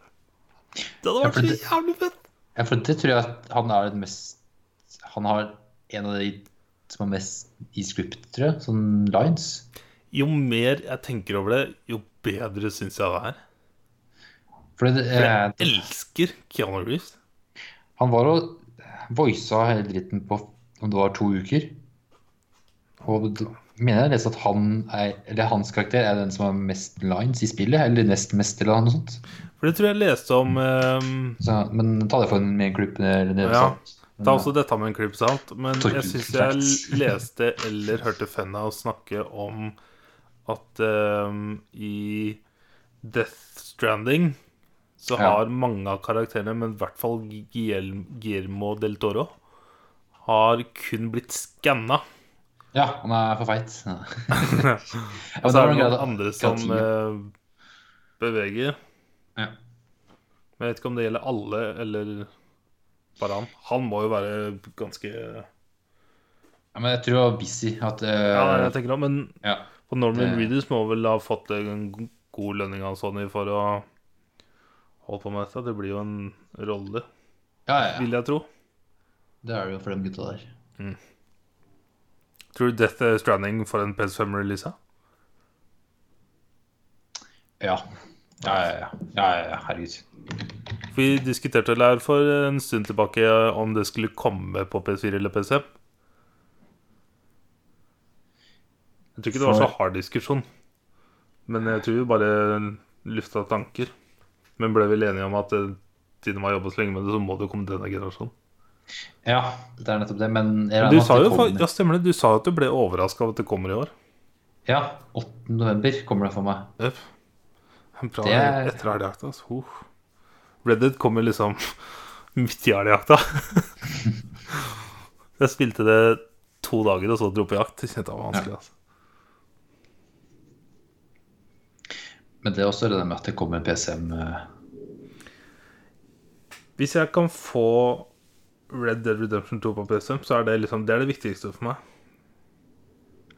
B: Det hadde
A: for
B: vært så
A: det-
B: jævlig fett!
A: Ja, for det tror jeg at han er den mest Han har en av de som er mest i script, tror jeg. Sånn lines.
B: Jo mer jeg tenker over det, jo bedre syns jeg det er.
A: For det,
B: Jeg
A: eh,
B: elsker Keanu Reeves.
A: han var og voisa hele dritten på om det var to uker. Og d- mener jeg leste at han er, eller hans karakter er den som har mest lines i spillet, eller nest mest, eller noe sånt.
B: For det tror jeg jeg leste om ehm,
A: Så, men ta det for en med en klipp eller det,
B: Ja.
A: sant?
B: Ta også dette med en klipp salt, men jeg
A: Torkel
B: syns
A: Facts.
B: jeg leste eller hørte Fenna snakke om at ehm, i Death Stranding så
A: Ja.
B: har mange av karakterene, men i hvert fall Guillel- Guillermo del Toro, har kun blitt skanna.
A: eh, ja, han er for feit. Ja. Ja, men
B: Og så
A: da
B: Altså, er det
A: var
B: noen
A: greit, da.
B: andre som
A: Greit.
B: eh, beveger.
A: Ja.
B: Men jeg vet ikke om det gjelder alle, eller bare han. Han må jo være ganske
A: Ja, Men jeg tror det var busy at eh,
B: Ja, jeg tenker om, men
A: ja.
B: Og Norman
A: Det-
B: Reedus må vel ha fått en go- god lønning av Sony for å holde på med dette. Det blir jo en rolle,
A: ja, ja, ja.
B: vil jeg tro.
A: Det er det jo for de gutta der.
B: Tror du Death Stranding får en PS5-release?
A: Ja. Ja, ja, ja. ja, ja, ja. Herregud.
B: Vi diskuterte det her for en stund tilbake om det skulle komme på PS4 eller PS5. Jeg tror ikke det var så hard diskusjon, men jeg tror vi bare lufta tanker. Men ble vel enige om at eh, siden man har jobba så lenge med det, så må det jo komme til denne generasjonen.
A: Ja, det er nettopp det, men jeg
B: Men Du
A: regner
B: sa
A: med at
B: jo
A: det
B: fa-
A: kommer.
B: ja, stemmer det. Du sa at du ble overraska av at det kommer i år.
A: Ja, 8. november kommer det for meg.
B: Yep. Bra
A: Det er-
B: etter elgjakta. altså. Huh. Reddit kommer liksom midt i elgjakta. jeg spilte det to dager, og så dro på jakt. Det kjente jeg var vanskelig. Altså.
A: Men det er også det der med at det kommer en PCM eh,
B: Hvis jeg kan få Red Dead Redemption 2 på PSM, så er det liksom Det er det viktigste for meg.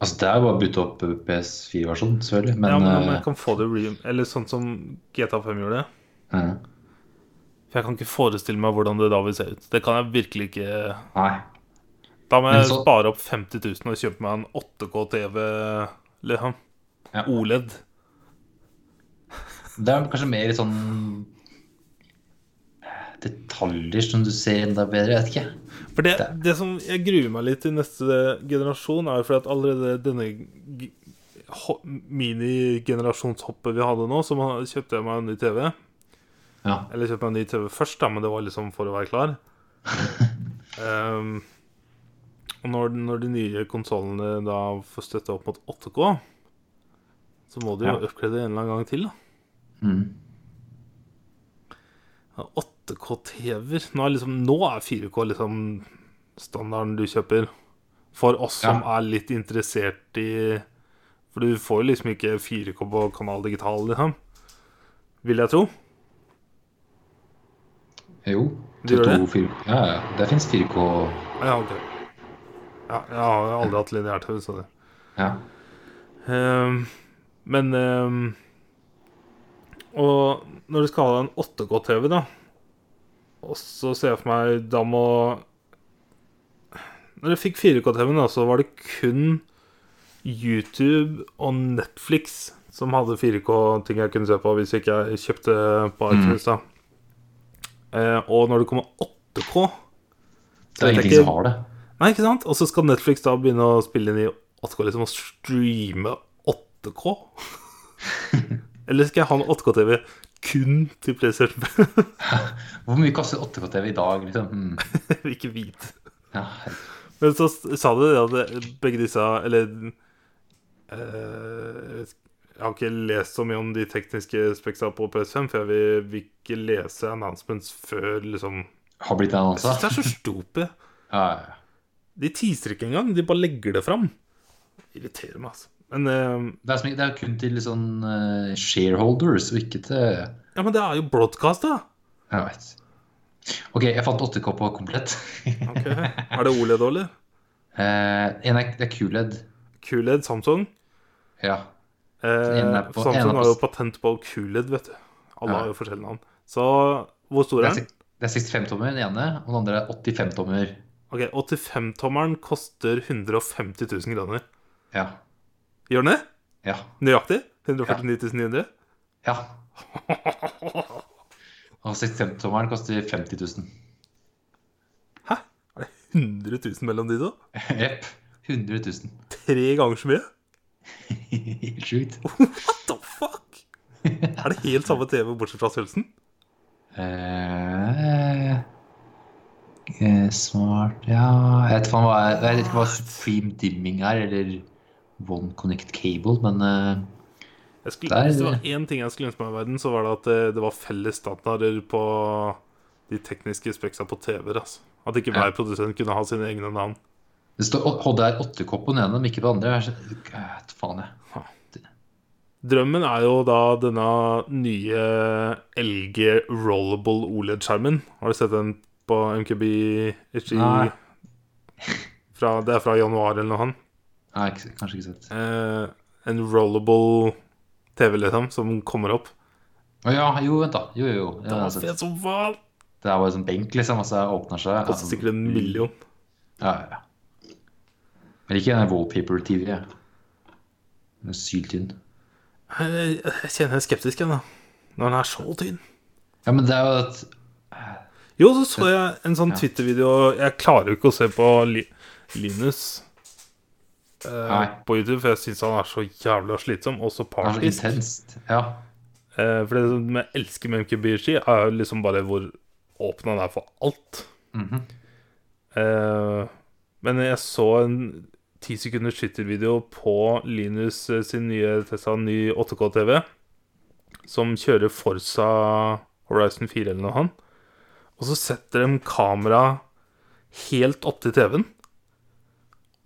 A: Altså, det er jo bare å bytte opp eh, PS4-versjonen, selvfølgelig, men,
B: ja, men om
A: eh,
B: jeg kan få det re Eller sånn som GTA5 gjorde.
A: eh,
B: For jeg kan ikke forestille meg hvordan det da vil se ut. Det kan jeg virkelig ikke
A: Nei.
B: Da må
A: Men
B: jeg
A: så-
B: spare opp 50 000 og kjøpe meg en 8K-TV, liksom.
A: Ja.
B: OLED.
A: Det er kanskje mer eh, i sånn detaljer som du ser enda bedre, jeg vet ikke.
B: For det, det som jeg gruer meg litt til neste generasjon, er jo fordi at allerede denne g- ho- minigenerasjonshoppet vi hadde nå, så man, kjøpte jeg meg en ny TV.
A: Ja.
B: Eller kjøpte meg en ny TV først, da, men det var liksom for å være klar. um, og når, den- når de nye konsollene da får støtte opp mot 8K, så må de jo
A: Ja.
B: upgrade en eller annen gang til, da.
A: Mm.
B: Ja, 8K-TV-er nå, er liksom, nå er 4K liksom standarden du kjøper. For oss som er litt interessert i For du får jo liksom ikke 4K på Kanal Digital, liksom. Vil jeg tro.
A: Jo.
B: Du gjør det?
A: To- fire- Ja, ja. Det fins 4K.
B: Ja, ok. Ja, jeg har jo aldri hatt lineær-TV, så det
A: Ja.
B: Ehm, Men ehm, Og når du skal ha en 8K-TV, da Og så ser jeg for meg Da må Når jeg fikk 4K-TV-en, da, så var det kun YouTube og Netflix som hadde 4K-ting jeg kunne se på hvis ikke jeg kjøpte på iTunes, da. Eh, og når det kommer 8K
A: Det er
B: Jeg
A: ingenting
B: tenker-
A: som har det.
B: Nei, ikke sant? Og så skal Netflix da begynne å spille inn i 8K liksom, og streame 8K. Eller skal jeg ha en 8K-TV kun til PlayStation 5?
A: Hvor mye koster 8K-TV i dag, liksom? Mm.
B: Jeg vil ikke vite.
A: Ja.
B: Men så s- sa du det at det- begge disse Eller eh, Jeg har ikke lest så mye om de tekniske speksa på PS5, for jeg vil, vil ikke lese announcements før liksom
A: Har blitt en
B: Jeg syns
A: annonse?
B: det er så stupid.
A: Ja, ja.
B: De teaser ikke engang. De bare legger det fram. Irriterer meg, altså. Men eh,
A: Det er, som, det er kun til sånn eh, shareholders, og ikke til
B: Ja, men det er jo broadcast, da.
A: Jeg vet. OK, jeg fant 8K på komplett.
B: Er det OLED òg, eller?
A: Eh, en er, det er QLED.
B: QLED, E Samsung.
A: Ja. En
B: Eh,
A: er på- en er
B: Samsung
A: på-
B: har jo patent på QLED, vet du. Alle
A: Ja.
B: har jo forskjellige navn. Så hvor stor
A: Det
B: er
A: er,
B: den?
A: sek- det er 65-tommer, den ene, og den andre er 85-tommer.
B: Ok, 85-tommeren koster 150 000 kroner.
A: Ja.
B: Gjør den det?
A: Ja.
B: Nøyaktig? 149 900?
A: ja. Og 65-tommeren koster 50 000.
B: Hæ? Er det 100 000 mellom de to?
A: Jepp. 100 000.
B: Tre ganger så mye?
A: Helt sjukt.
B: What the fuck? Er det helt samme TV bortsett fra størrelsen?
A: Eh, eh, smart Ja, jeg vet, faen hva, jeg vet ikke hva stream dimming er, eller one connect cable, men eh,
B: Jeg skulle,
A: Der-
B: hvis det var én ting jeg skulle ønske meg i verden, så var det at det, det var felles standarder på de tekniske speksa på TV-er. Altså. At ikke hver produsent kunne ha sine egne navn.
A: det står å- HDR 8-kopp på den ene, men ikke på den andre. Jeg er så- jeg vet faen, jeg.
B: Drømmen er jo da denne nye LG Rollable OLED-skjermen. Har du sett den på MKB HI?
A: Nei.
B: Fra, det er fra januar eller noe sånt.
A: Nei, ikke- kanskje ikke sett.
B: Eh, en rollable TV, liksom, som kommer opp.
A: Å ja, jo, vent, da. Jo, jo, jo. Ja,
B: Det
A: jeg har
B: var
A: sett.
B: fet som faen!
A: Det er bare en sånn benk, liksom, og så åpner seg. ja,
B: Koster sikkert en million.
A: Ja, ja, ja. Men ikke en wallpaper-TV. jeg. Den er Syltynn.
B: Jeg, jeg kjenner jeg er skeptisk igjen, da. Når den er så tynn.
A: Ja, men det er jo at
B: Jo, så så jeg en sånn
A: Ja.
B: Twitter-video Jeg klarer jo ikke å se på Li Linus eh,
A: Nei.
B: på YouTube, for jeg syns han er så jævla slitsom. Og så
A: Det er så
B: partisk.
A: intenst. Ja.
B: Eh, for det som jeg elsker med MKBG, er jo liksom bare hvor åpen han er for alt.
A: Mhm.
B: Eh, men jeg så en ti sekunders Twitter-video på Linus eh, sin nye Tesla ny 8K-TV, som kjører Forsa Horizon 4 eller noe han. Og så setter de kamera helt opp til TV-en.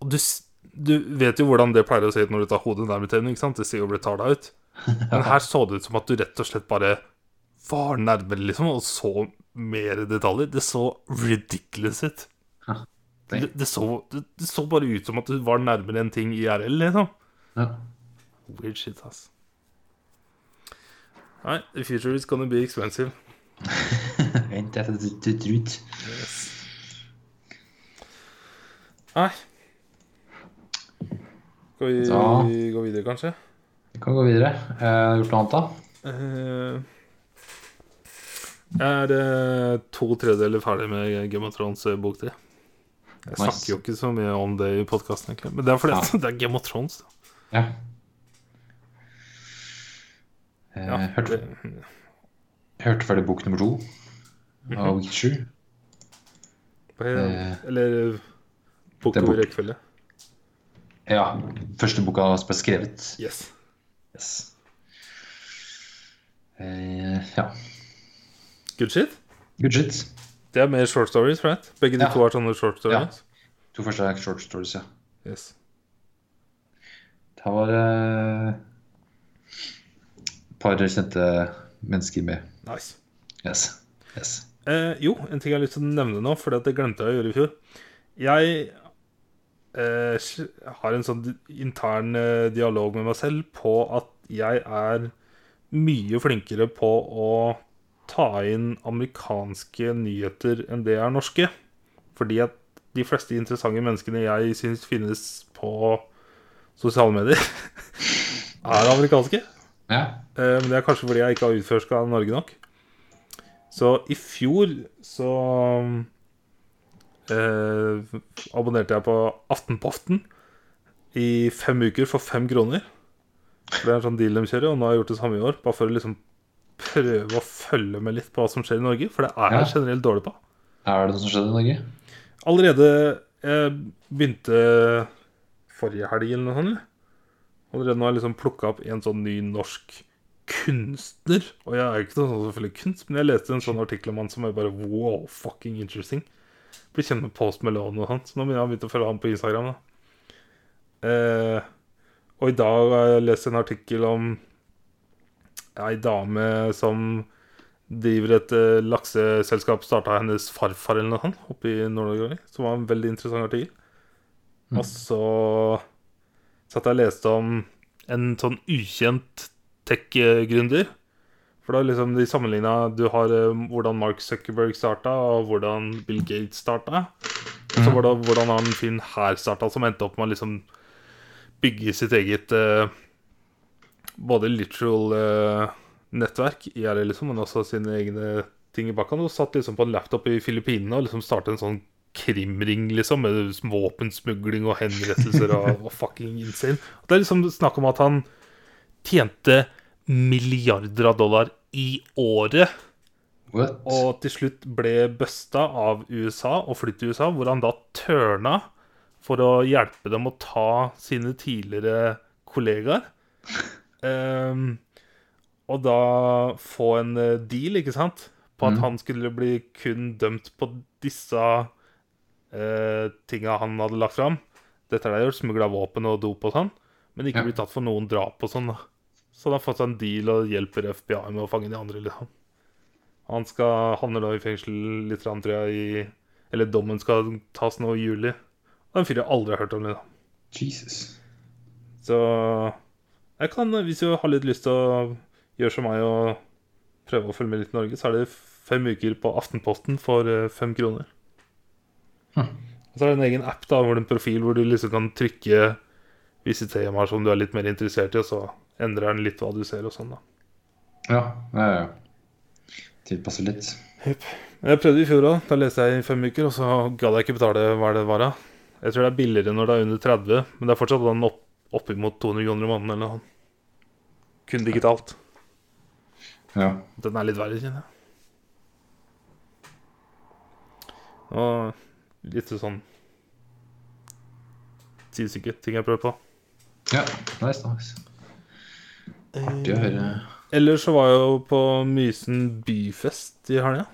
B: Og du, s- du vet jo hvordan det pleier å se ut når du tar hodet nærmere TV-en, ikke sant? Det ser jo retarda ut. Men her så det ut som at du rett og slett bare var nærmere, liksom, og så mer detaljer. Det så ridiculous ut.
A: Nei.
B: Det, det, så, det, det så bare ut som at du var nærmere en ting IRL, liksom.
A: ja.
B: Weird shit, ass. Nei, the future is gonna be expensive.
A: Vent, jeg får tut- tut- tut.
B: Nei. Skal vi
A: Da-
B: gå videre, kanskje?
A: Vi kan gå videre. Eh, Har du gjort noe annet, da?
B: Eh, jeg er eh, to tredjedeler ferdig med Game of Thrones eh, bok tre. Jeg
A: Nice.
B: snakker jo ikke så mye om det i podkasten, egentlig. Men det er fordi at det er Game of Thrones. da.
A: Ja. Eh,
B: Ja,
A: hørte,
B: det-
A: hørte ferdig bok nummer to av Witcher.
B: hva- Eller eh, bok
A: Det er
B: over
A: bok.
B: rekkefølge.
A: Ja. Første boka som ble skrevet.
B: Yes.
A: Yes. Eh, ja.
B: Good shit.
A: Good shit.
B: Det er mer short stories, right? Begge de
A: Ja.
B: to er sånne short stories.
A: To første er short stories, ja.
B: Yes.
A: Det var eh, et par kjente mennesker med.
B: Nice.
A: Yes. yes.
B: Eh, jo, en ting jeg har lyst til å nevne nå, for det glemte jeg å gjøre i fjor. Jeg eh, s- har en sånn di- intern eh, dialog med meg selv på at jeg er mye flinkere på å ta inn amerikanske nyheter enn det jeg er norske. Fordi at de fleste interessante menneskene jeg syns finnes på sosiale medier, er amerikanske.
A: Ja.
B: Eh, Men det er kanskje fordi jeg ikke har utforska Norge nok. Så i fjor så eh, abonnerte jeg på Aftenpoften i fem uker for fem kroner. For det er en sånn deal de kjører, og nå har jeg gjort det samme i år. Bare for å liksom prøve å følge med litt på hva som skjer i Norge, for det er jeg
A: Ja.
B: generelt dårlig på.
A: Er det noe som skjedde i Norge?
B: Allerede jeg begynte forrige helg eller noe sånt. eller? Allerede nå har jeg liksom plukka opp en sånn ny norsk kunstner. Og jeg er jo ikke noe sånn som følger kunst, men jeg leste en sånn artikkel om han som er bare wow, fucking interesting. Blir kjent med Post Melone og sånn, så nå begynner jeg å begynne å følge han på Instagram. da eh, Og i dag har jeg lest en artikkel om ei dame som driver et eh, lakseselskap starta av hennes farfar eller noe sånt, oppe i Nord-Norge, som var en veldig interessant artikkel. Og så satt jeg og leste om en sånn ukjent tech-gründer. For da liksom de sammenligna Du har eh, hvordan Mark Zuckerberg starta, og hvordan Bill Gates starta. Og så var det hvordan han Finn her starta, som endte opp med å liksom bygge sitt eget eh, både literal eh, nettverk, IRL liksom, men også sine egne ting i bakhånd. Og satt liksom på en laptop i Filippinene og liksom startet en sånn krimring, liksom, med våpensmugling og henrettelser og, og fucking insane. Og det er liksom snakk om at han tjente milliarder av dollar i året,
A: What?
B: og til slutt ble busta av USA og flyttet til USA, hvor han da tørna for å hjelpe dem å ta sine tidligere kollegaer. Ehm, og da få en eh, deal, ikke sant? På at
A: Mm.
B: han skulle bli kun dømt på disse eh, tinga han hadde lagt fram. Dette har de gjort, smugla våpen og dop og sånn. Men ikke
A: Ja.
B: blitt tatt for noen drap og sånn. da. Så han har fått seg en deal og hjelper FBI med å fange de andre, liksom. Han skal havner da i fengsel litt, grann, tror jeg, i Eller dommen skal tas nå i juli. Og en fyr jeg aldri har hørt om, liksom.
A: Jesus.
B: Så jeg kan, hvis du har litt lyst til å gjøre som meg og prøve å følge med litt i Norge, så er det fem uker på Aftenposten for eh, fem kroner.
A: Hm.
B: Og så er det en egen app da, hvor det er en profil hvor du liksom kan trykke visse temaer som du er litt mer interessert i, og så endrer den litt hva du ser og sånn da.
A: Ja, ja, ja. Tilpasser litt.
B: Men Jeg prøvde i fjor òg. Da leste jeg i fem uker, og så gadd jeg ikke betale hva det var. da. Jeg tror det er billigere når det er under 30, men det er fortsatt den opp, oppimot 200 kroner i måneden eller noe. Kun digitalt.
A: Ja.
B: Den er litt verre, kjenner jeg. Og litt sånn Tidssyke ting jeg prøver på.
A: ja. Nice, nice. Artig å høre.
B: Ellers Eh, så var jeg jo på Mysen byfest i helga.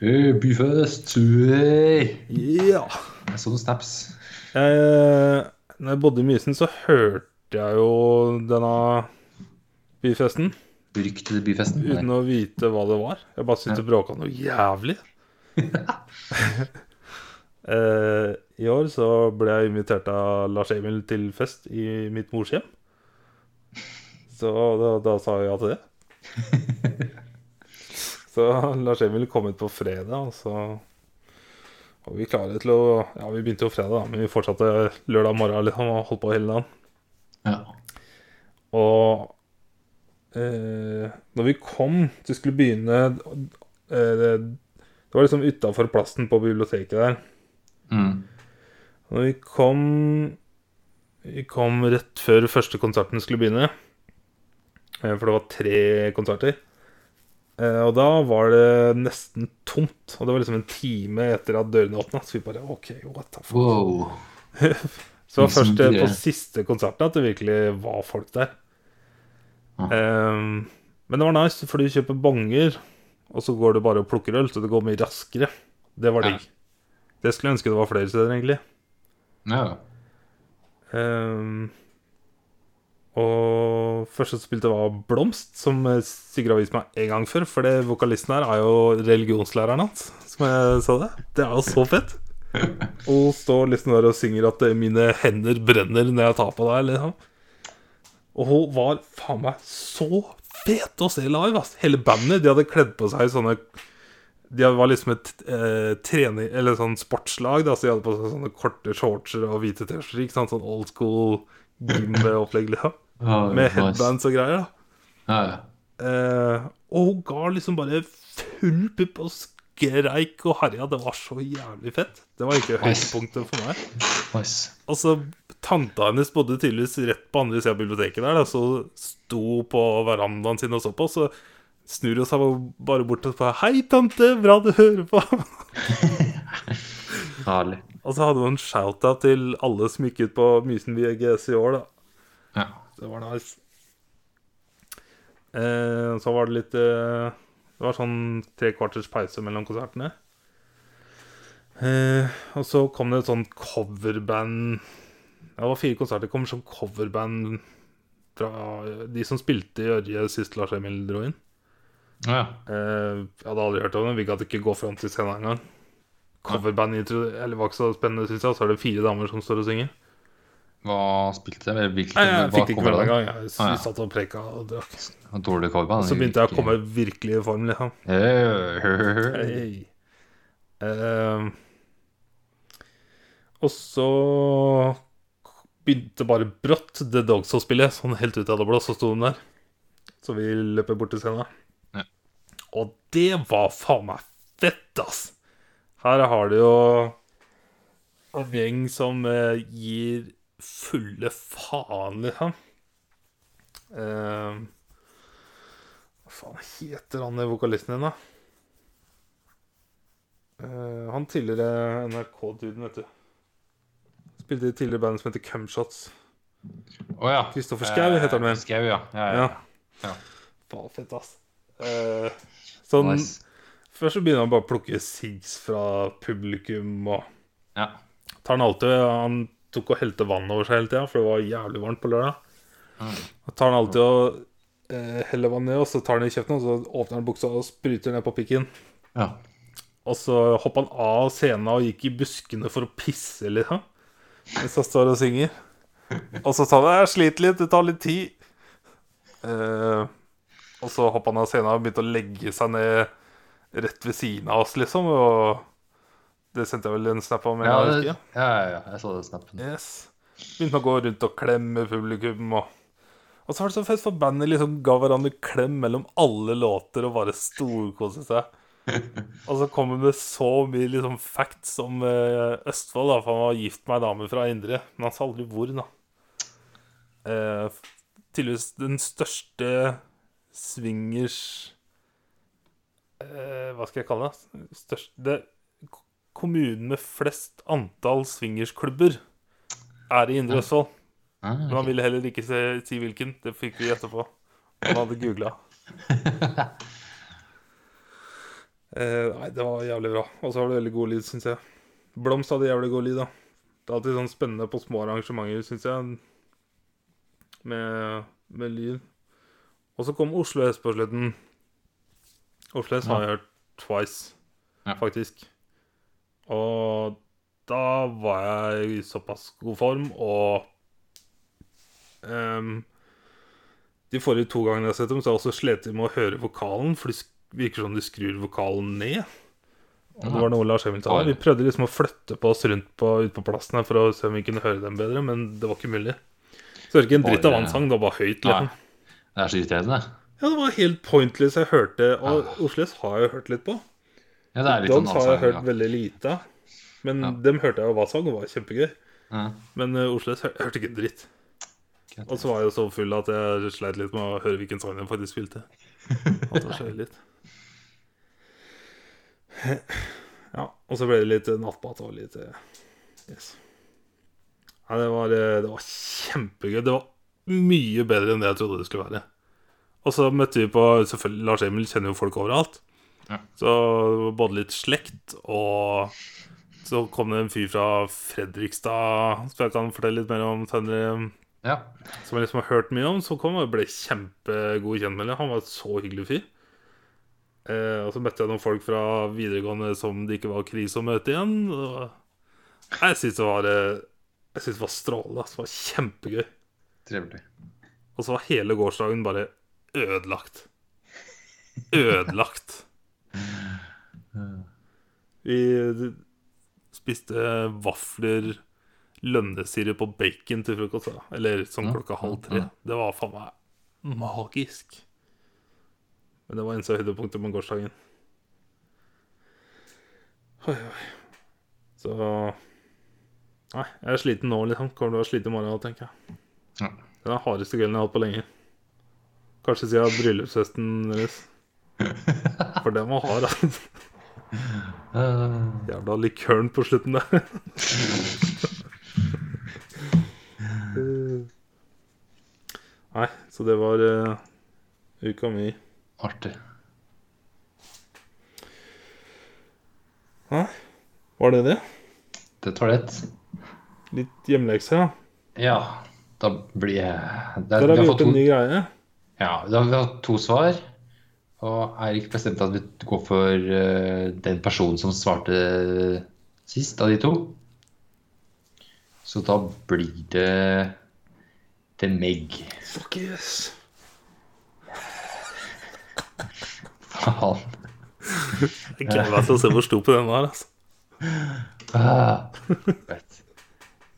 A: Hey, byfest! Hey!
B: Ja.
A: Jeg så noen snaps.
B: Jeg, eh, når jeg bodde i Mysen, så hørte jeg jo denne byfesten
A: Ryktede byfesten. Nei.
B: uten å vite hva det var. Jeg bare syntes det bråka noe jævlig. eh, I år så ble jeg invitert av Lars Emil til fest i mitt mors hjem. Så da, da sa jeg ja til det. så Lars Emil kom ut på fredag, og så var vi klare til å Ja, vi begynte jo fredag, da, men vi fortsatte lørdag morgen liksom, og holdt på hele dagen.
A: Ja.
B: Og eh, når vi kom til skulle begynne eh, Det var liksom utafor plassen på biblioteket der.
A: Mm.
B: Og vi kom Vi kom rett før første konserten skulle begynne. Eh, For det var tre konserter. Eh, Og da var det nesten tomt. Og det var liksom en time etter at dørene åpna. Så vi bare OK, what the fuck.
A: Wow.
B: Så det var
A: Liksom
B: først eh, på
A: det-
B: siste konserten at det virkelig var folk der.
A: Ja.
B: Ehm, men det var nice, for du kjøper bonger, og så går du bare og plukker øl, så det går mye raskere. Det var
A: Ja.
B: digg. Det skulle jeg ønske det var flere steder, egentlig.
A: Ja.
B: Ehm, og første som spilte, var Blomst, som eh, Sigurd har vist meg en gang før. For det vokalisten her er jo religionslæreren hans, som jeg sa det. Det er jo så fett. Og står liksom der og synger at eh, 'mine hender brenner når jeg tar på deg'. Liksom. Og hun var faen meg så fet å se live, ass. Hele bandet, de hadde kledd på seg sånne de var liksom et eh, trening, eller sånn sportslag. Da, så de hadde på seg sånne korte shortser og hvite T-skjorter. ikke sant? Sånn old school gym-opplegg. Liksom.
A: Ja,
B: Med
A: nice.
B: headbands og greier. da.
A: Ja, ja.
B: Eh, og hun ga liksom bare full pupp og skreik og herja. Det var så jævlig fett. Det var ikke høydepunktet for meg.
A: Nice.
B: Og så Tanta hennes bodde tydeligvis rett på andre sida av biblioteket der, da, så sto på verandaen sin og så på. Så snur hun seg bare bort og sa 'Hei, tante, bra du hører på'.
A: Herlig.
B: Og så hadde hun en shout-out til alle som gikk ut på Mysen VGS i år, da.
A: Ja.
B: Det var nice. Eh, og så var det litt eh, Det var sånn tre kvarters pause mellom konsertene. Eh, og så kom det et sånt coverband Ja, det var fire konserter. Det kom som coverband fra eh, de som spilte i Ørje sist Lars Emil dro inn.
A: Ja, ja.
B: Eh, jeg hadde aldri hørt om det. Vi gadd ikke gå fram til scenen engang. Coverband intro, eller var ikke så spennende, synes jeg. Så er det fire damer som står og synger.
A: Hva spilte jeg? Eller Hvilken,
B: Nei, jeg
A: hva
B: fikk det ikke med
A: coveret
B: meg
A: da?
B: engang. Jeg s-
A: Ah, ja.
B: satt og preka og drakk.
A: Det var Dårlig coverband.
B: Så begynte jeg å komme virkelig i form, liksom.
A: Hey.
B: Hey. Eh, og så begynte bare brått The Dogs å spille, sånn helt ut av det blå, så sto den der. Så vi løper bort til scenen.
A: Ja.
B: Og det var faen meg fett, ass! Her har du jo en gjeng som eh, gir fulle faen, liksom. Eh, Hva faen heter han eh, vokalisten din, da? Eh, han tidligere NRK-duden, vet du. Spilte i et tidligere band som heter Cumshots.
A: Å ja.
B: Kristoffer Schau
A: Eh,
B: heter han vel?
A: Schau, ja. Ja, ja.
B: Ja.
A: Ja.
B: Faen, fett, ass. Eh, sånn,
A: Nice.
B: Først så begynner han bare å plukke sigs fra publikum og
A: Ja.
B: tar han alltid Han tok og helte vann over seg hele tida, for det var jævlig varmt på lørdag.
A: Mm.
B: Og tar han alltid og eh, heller vann ned, og så tar han det i kjeften, og så åpner han buksa og spruter ned på pikken.
A: ja.
B: Og så hoppa han av scenen og gikk i buskene for å pisse, liksom. Mens han står og synger. Og så sa han 'jeg sliter litt, det tar litt tid'. Eh, og så hoppa han av scenen og begynte å legge seg ned rett ved siden av oss, liksom. Og det sendte jeg vel en snap om.
A: Ja,
B: jeg
A: det,
B: husker.
A: ja, ja, ja, jeg så det snappen.
B: Yes. Begynte å gå rundt og klemme publikum. Og, og så var det så fett, for bandet liksom ga hverandre klem mellom alle låter og bare storkoste seg. Og så kom hun med så mye liksom, facts om eh, Østfold, da, for han var gift med ei dame fra Indre. Men han sa aldri hvor, da. Eh, tydeligvis den største swingers eh, Hva skal jeg kalle det? Største det, k- Kommunen med flest antall swingersklubber er i Indre Østfold.
A: Ah,
B: Men han ville heller ikke se, si hvilken. Det fikk vi gjette på. Han hadde googla. eh, nei, det var jævlig bra. Og så har du veldig god lyd, syns jeg. Blomst hadde jævlig god lyd, da. Det er alltid sånn spennende på små arrangementer, syns jeg, med, med lyd. Og så kom Oslo S på slutten. Oslo S har jeg hørt twice,
A: Ja.
B: faktisk. Og da var jeg i såpass god form, og Ehm, de forrige to gangene jeg har sett dem, så har jeg også slet med å høre vokalen, for det sk- virker som de skrur vokalen ned. Og det var noe Lars Emil sa.
A: Oi.
B: Vi prøvde liksom å flytte på oss rundt på, ut på plassen her for å se om vi kunne høre dem bedre, men det var ikke mulig. Så hørte ikke en dritt
A: Oi,
B: av
A: ja.
B: hans sang, det var bare høyt.
A: Nei.
B: Liksom.
A: Det er så irriterende.
B: Ja, det var helt pointless. Jeg hørte Og
A: Ah.
B: Oslo S har jeg hørt litt på.
A: Ja, det er litt
B: Dogs
A: sånn
B: har jeg
A: avsang,
B: hørt veldig lite av. Men
A: Ja.
B: dem hørte jeg jo hva sang, og var kjempegøy.
A: Ja.
B: Men uh, Oslo S hør, hørte ikke en dritt.
A: Greit.
B: Og så var jeg så full at jeg sleit litt med å høre hvilken sang jeg faktisk spilte. At det skjer litt. Ja, og så ble det litt nattmat og litt eh, yes. Nei, det var, eh, det var kjempegøy. Det var mye bedre enn det jeg trodde det skulle være. Og så møtte vi på Selvfølgelig, Lars Emil kjenner jo folk overalt.
A: Ja.
B: Så det var både litt slekt, og så kom det en fyr fra Fredrikstad som jeg kan fortelle litt mer om senere
A: Ja.
B: som jeg liksom har hørt mye om, som kom og ble kjempegod kjent med. Han var et så hyggelig fyr. Eh, og så møtte jeg noen folk fra videregående som det ikke var krise å møte igjen. Og jeg syns det var eh, Jeg synes det var strålende. ass. Det var kjempegøy.
A: Trivelig.
B: Og så var hele gårsdagen bare ødelagt. Ødelagt. Vi spiste vafler, lønnesirup og bacon til frokost. da. Eller sånn klokka halv tre. Det var faen meg magisk. Men det var eneste høydepunktet på gårsdagen. Oi, oi. Så Nei, jeg er sliten nå, liksom. Kommer til å være sliten i morgen, tenker jeg.
A: Ja.
B: Det er den hardeste kvelden jeg har hatt på lenge. Kanskje siden bryllupsfesten deres. For den var hard, altså.
A: Eh,
B: Jævla likøren på slutten der. Nei, så det var eh, uka mi.
A: artig.
B: Var det det?
A: Det tar litt.
B: Litt hjemmelekse, ja.
A: Ja. Da blir jeg det,
B: Der har
A: vi,
B: vi
A: har fått
B: gjort
A: to,
B: en ny greie.
A: ja, da har vi hatt to svar. Og Eirik bestemte at vi går for eh, den personen som svarte eh, sist av de to. Så da blir det det Meg.
B: Fuck yes.
A: Faen.
B: Jeg gleder meg til å se hvor stor på den var, altså.
A: Ah, vet.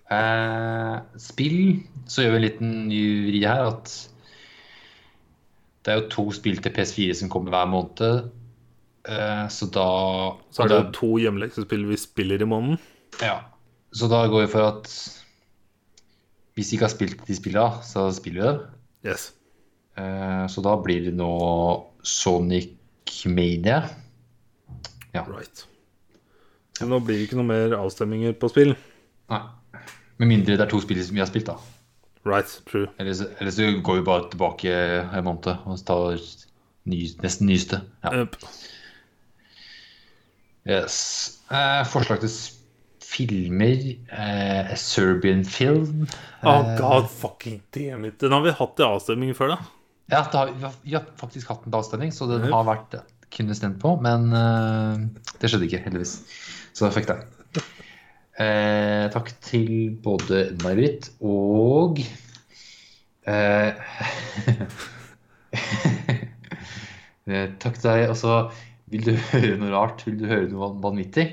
A: Eh, spill, så gjør vi en liten ny vri her at det er jo to spill til PS4 som kommer hver måned. Eh, så da
B: Så er det jo to hjemmeleksespill vi spiller i måneden.
A: ja. Så da går vi for at hvis vi ikke har spilt de spillene, så spiller vi dem.
B: Yes.
A: Eh, så da blir det nå Sonic Mania.
B: Right. Så nå blir det ikke noe mer avstemminger på spill.
A: Nei. Med mindre det er to spill som vi har spilt, da.
B: Right, true.
A: Ellers, ellers så går vi bare tilbake en måned og tar ny, nesten nyeste. Ja.
B: Yep.
A: Yes. Eh, forslag til s- filmer. Eh, Serbian film. Eh.
B: Oh god fucking damn it. Den har vi hatt i avstemning før, da.
A: Ja, det har, vi har- vi har faktisk hatt en avstemning, så den har vært kunne stemt på. Men eh, det skjedde ikke, heldigvis. Så da fikk den. Eh, takk til både May-Britt og eh, eh, Takk til deg. Altså, vil du høre noe rart? Vil du høre noe van- vanvittig?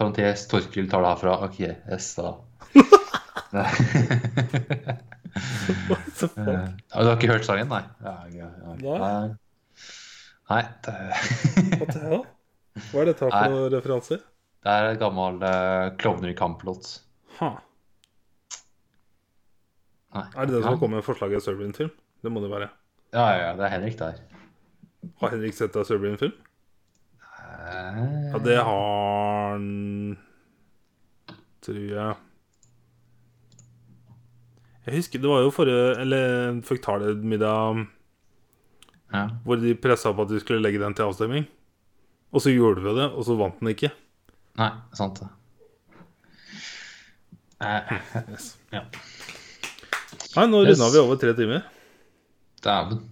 A: Parentes Torkil tar det herfra. Ok, yes, da. Eh, ja, du har ikke hørt sangen, nei? Ja, ja, ja,
B: Nei.
A: Nei. Nei, det
B: What the hell? Hva er dette her
A: Eh. Nei.
B: for noen referanser?
A: det er en gammel eh, Klovner i kamp-låt.
B: Ha.
A: Nei.
B: Er det den som
A: ja.
B: kom med forslaget Serbian-film? Det må det være.
A: Ja, ja, ja, det er Henrik der.
B: Har Henrik sett deg Serbian-film?
A: Eh,
B: Ja, det har han Tror jeg. Jeg husker det var jo forrige Eller føktalemiddag
A: ja.
B: hvor de pressa på at vi skulle legge den til avstemning. Og så gjorde vi det, og så vant den ikke.
A: Nei, sant det. Eh,
B: Yes.
A: Ja.
B: Nei, nå
A: Yes.
B: runda vi over tre timer.
A: Dæven.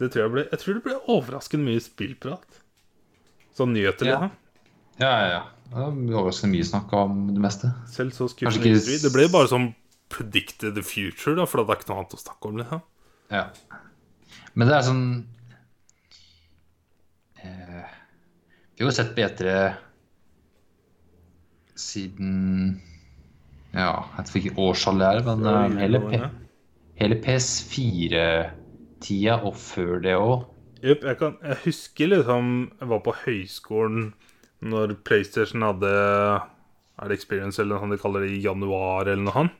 B: Det tror jeg, ble, jeg tror det ble overraskende mye spillprat. Sånn nyheter,
A: Ja.
B: ja.
A: Ja, ja, ja. Det er overraskende mye snakk om det meste.
B: Selv så
A: Kanskje
B: skuffende
A: ikke-
B: industri. Det ble bare sånn predict the future, da, for det er ikke noe annet å snakke om. Liksom.
A: Ja. Men det er sånn eh, Vi har jo sett bedre siden Ja, jeg vet ikke hvilket årstall det er, men eh, hele, P hele PS4-tida og før det òg
B: Jep, jeg, kan, jeg husker liksom Jeg var på høyskolen når PlayStation hadde Er det Experience eller han de kaller det i januar eller noe han?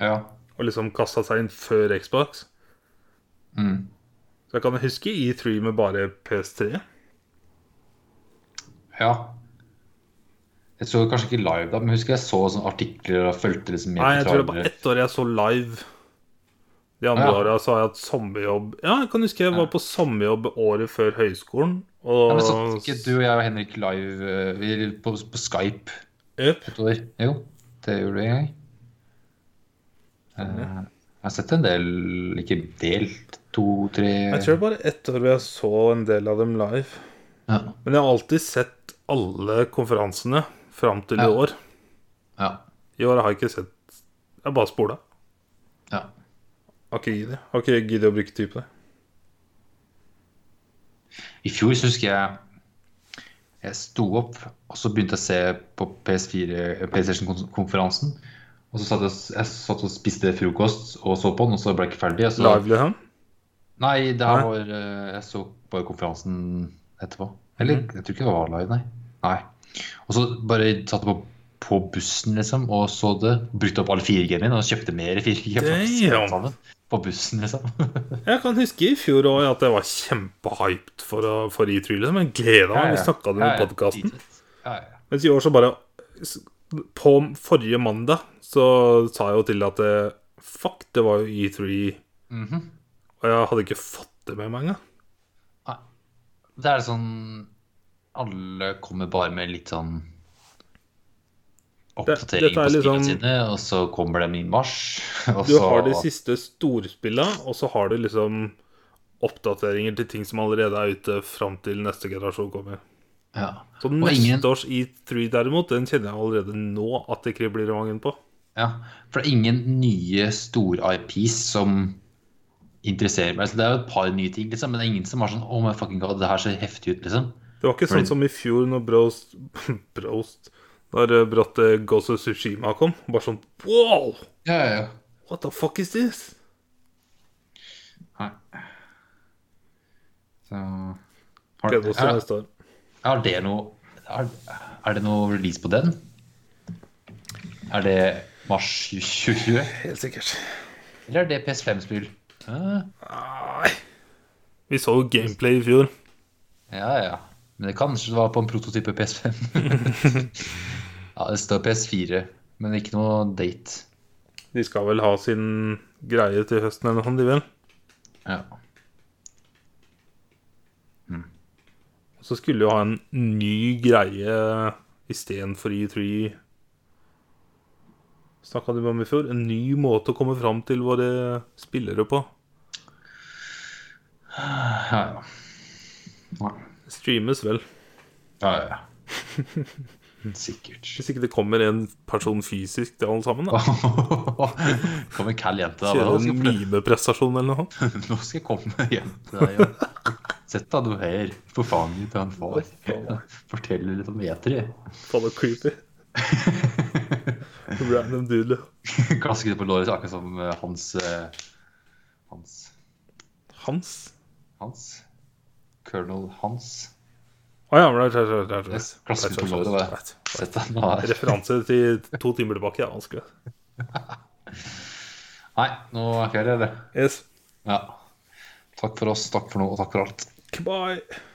A: Ja.
B: Og liksom kasta seg inn før Xbox.
A: Mm.
B: Så jeg kan huske E3 med bare PS3.
A: ja. Jeg så kanskje ikke live, da, men jeg husker jeg så sånne artikler og fulgte liksom med
B: Nei,
A: på
B: jeg tror det var
A: trailere.
B: ett år jeg så live. De andre
A: Ja.
B: åra så har jeg hatt sommerjobb. Ja, jeg kan huske jeg var på sommerjobb året før høyskolen. Og
A: Ja, men satt ikke du og jeg og Henrik live eh, vi- på, på Skype
B: Jep.
A: et år? Jo, det gjorde vi en gang. Eh, jeg har sett en del, ikke delt, to-tre
B: Jeg tror det var ett år hvor jeg så en del av dem live.
A: ja.
B: Men jeg har alltid sett alle konferansene fram til
A: Ja.
B: i år.
A: Ja.
B: I år har jeg ikke sett Jeg har bare spola.
A: ja.
B: Har ikke giddet. Har ikke giddet å bruke tid på det.
A: I fjor så husker jeg jeg sto opp, og så begynte jeg å se på PS4, eh, PlayStation-konferansen. Og så satt jeg, jeg satt og spiste frokost og så på den, og så ble jeg ikke ferdig. Og så,
B: Live, liksom.
A: Nei, det her
B: Nei?
A: var eh, Jeg så bare konferansen etterpå.
B: Mhm.
A: Eller jeg tror ikke det var live, nei. nei. Og så bare satte jeg på, på bussen, liksom, og så det. Brukte opp alle 4G-ene mine og kjøpte mer 4G. for å se
B: Damn!
A: alt sammen På bussen, liksom.
B: Jeg kan huske i fjor òg at jeg var kjempehyped for, å- for E3. Liksom. Jeg gleda meg. Vi snakka det
A: Ja,
B: i
A: ja,
B: podkasten.
A: dritfett. Ja, ja.
B: Mens i år så bare På forrige mandag så sa jeg jo til at eh, Fuck, det var jo E3
A: Mhm.
B: Og jeg hadde ikke fått det med meg engang
A: Det er sånn Alle kommer bare med litt sånn
B: Det-
A: Oppdatering
B: dette er
A: på spillene
B: liksom-
A: sine, og så kommer de i mars. Og
B: Du
A: så
B: har de siste storspillene Og så har du liksom oppdateringer til ting som allerede er ute Frem til neste generasjon kommer
A: ja.
B: Så
A: Og
B: neste
A: ingen-
B: års E3 derimot Den kjenner jeg allerede nå at det kribler i magen på
A: Ja, for det er ingen nye store IPs som interesserer meg. Altså, det er jo et par nye ting, liksom, men det er ingen som har sånn Oh my fucking god, det her ser heftig ut, liksom.
B: Det var ikke
A: Fordi-
B: sånn som i fjor når Brost Brost Når eh, brått eh, Ghost of Tsushima kom Bare sånn, wow,
A: Ja, ja, ja.
B: what the fuck is this?
A: Nei. Så har,
B: Gleder oss til
A: er,
B: neste år
A: er det noe er, er det noe release på den? Er det mars 2020?
B: Helt sikkert.
A: Eller er det PS5-spill? Ja,
B: Nei. Vi så jo gameplay i fjor.
A: ja. ja. Men det kanskje det var på en prototype PS5. ja, det står PS4, men ikke noe date.
B: De skal vel ha sin greie til høsten eller noe, de vil.
A: Ja.
B: Så skulle jo ha en ny greie istedenfor E3. Snakka de om i fjor? En ny måte å komme fram til våre spillere på.
A: Ja, ja.
B: Streames vel.
A: Ja, ja, ja. Sikkert.
B: Hvis ikke det kommer en person fysisk til alle sammen, da.
A: Kom en kall jente. da.
B: Kjøre
A: Nå
B: en
A: skal jeg-
B: mimeprestasjon eller noe.
A: nå skal jeg komme hjem til deg. igjen. Sett deg nå her på fanget til han far. Fortell litt om etri.
B: Faen, det er creepy. Random doodle.
A: Klasker det på låret, akkurat som eh, hans eh, Hans
B: Hans.
A: Hans? Colonel Hans.
B: Å ja, right, right, right, right, right.
A: Yes, klassisk
B: Right, right,
A: område, det.
B: right, right.
A: Sett deg nå her.
B: sånn. Referanse til to timer tilbake det er vanskelig.
A: Nei, nå er jeg ferdig, eller?
B: Yes.
A: Ja. Takk for oss, takk for nå, og takk for alt.
B: Goodbye.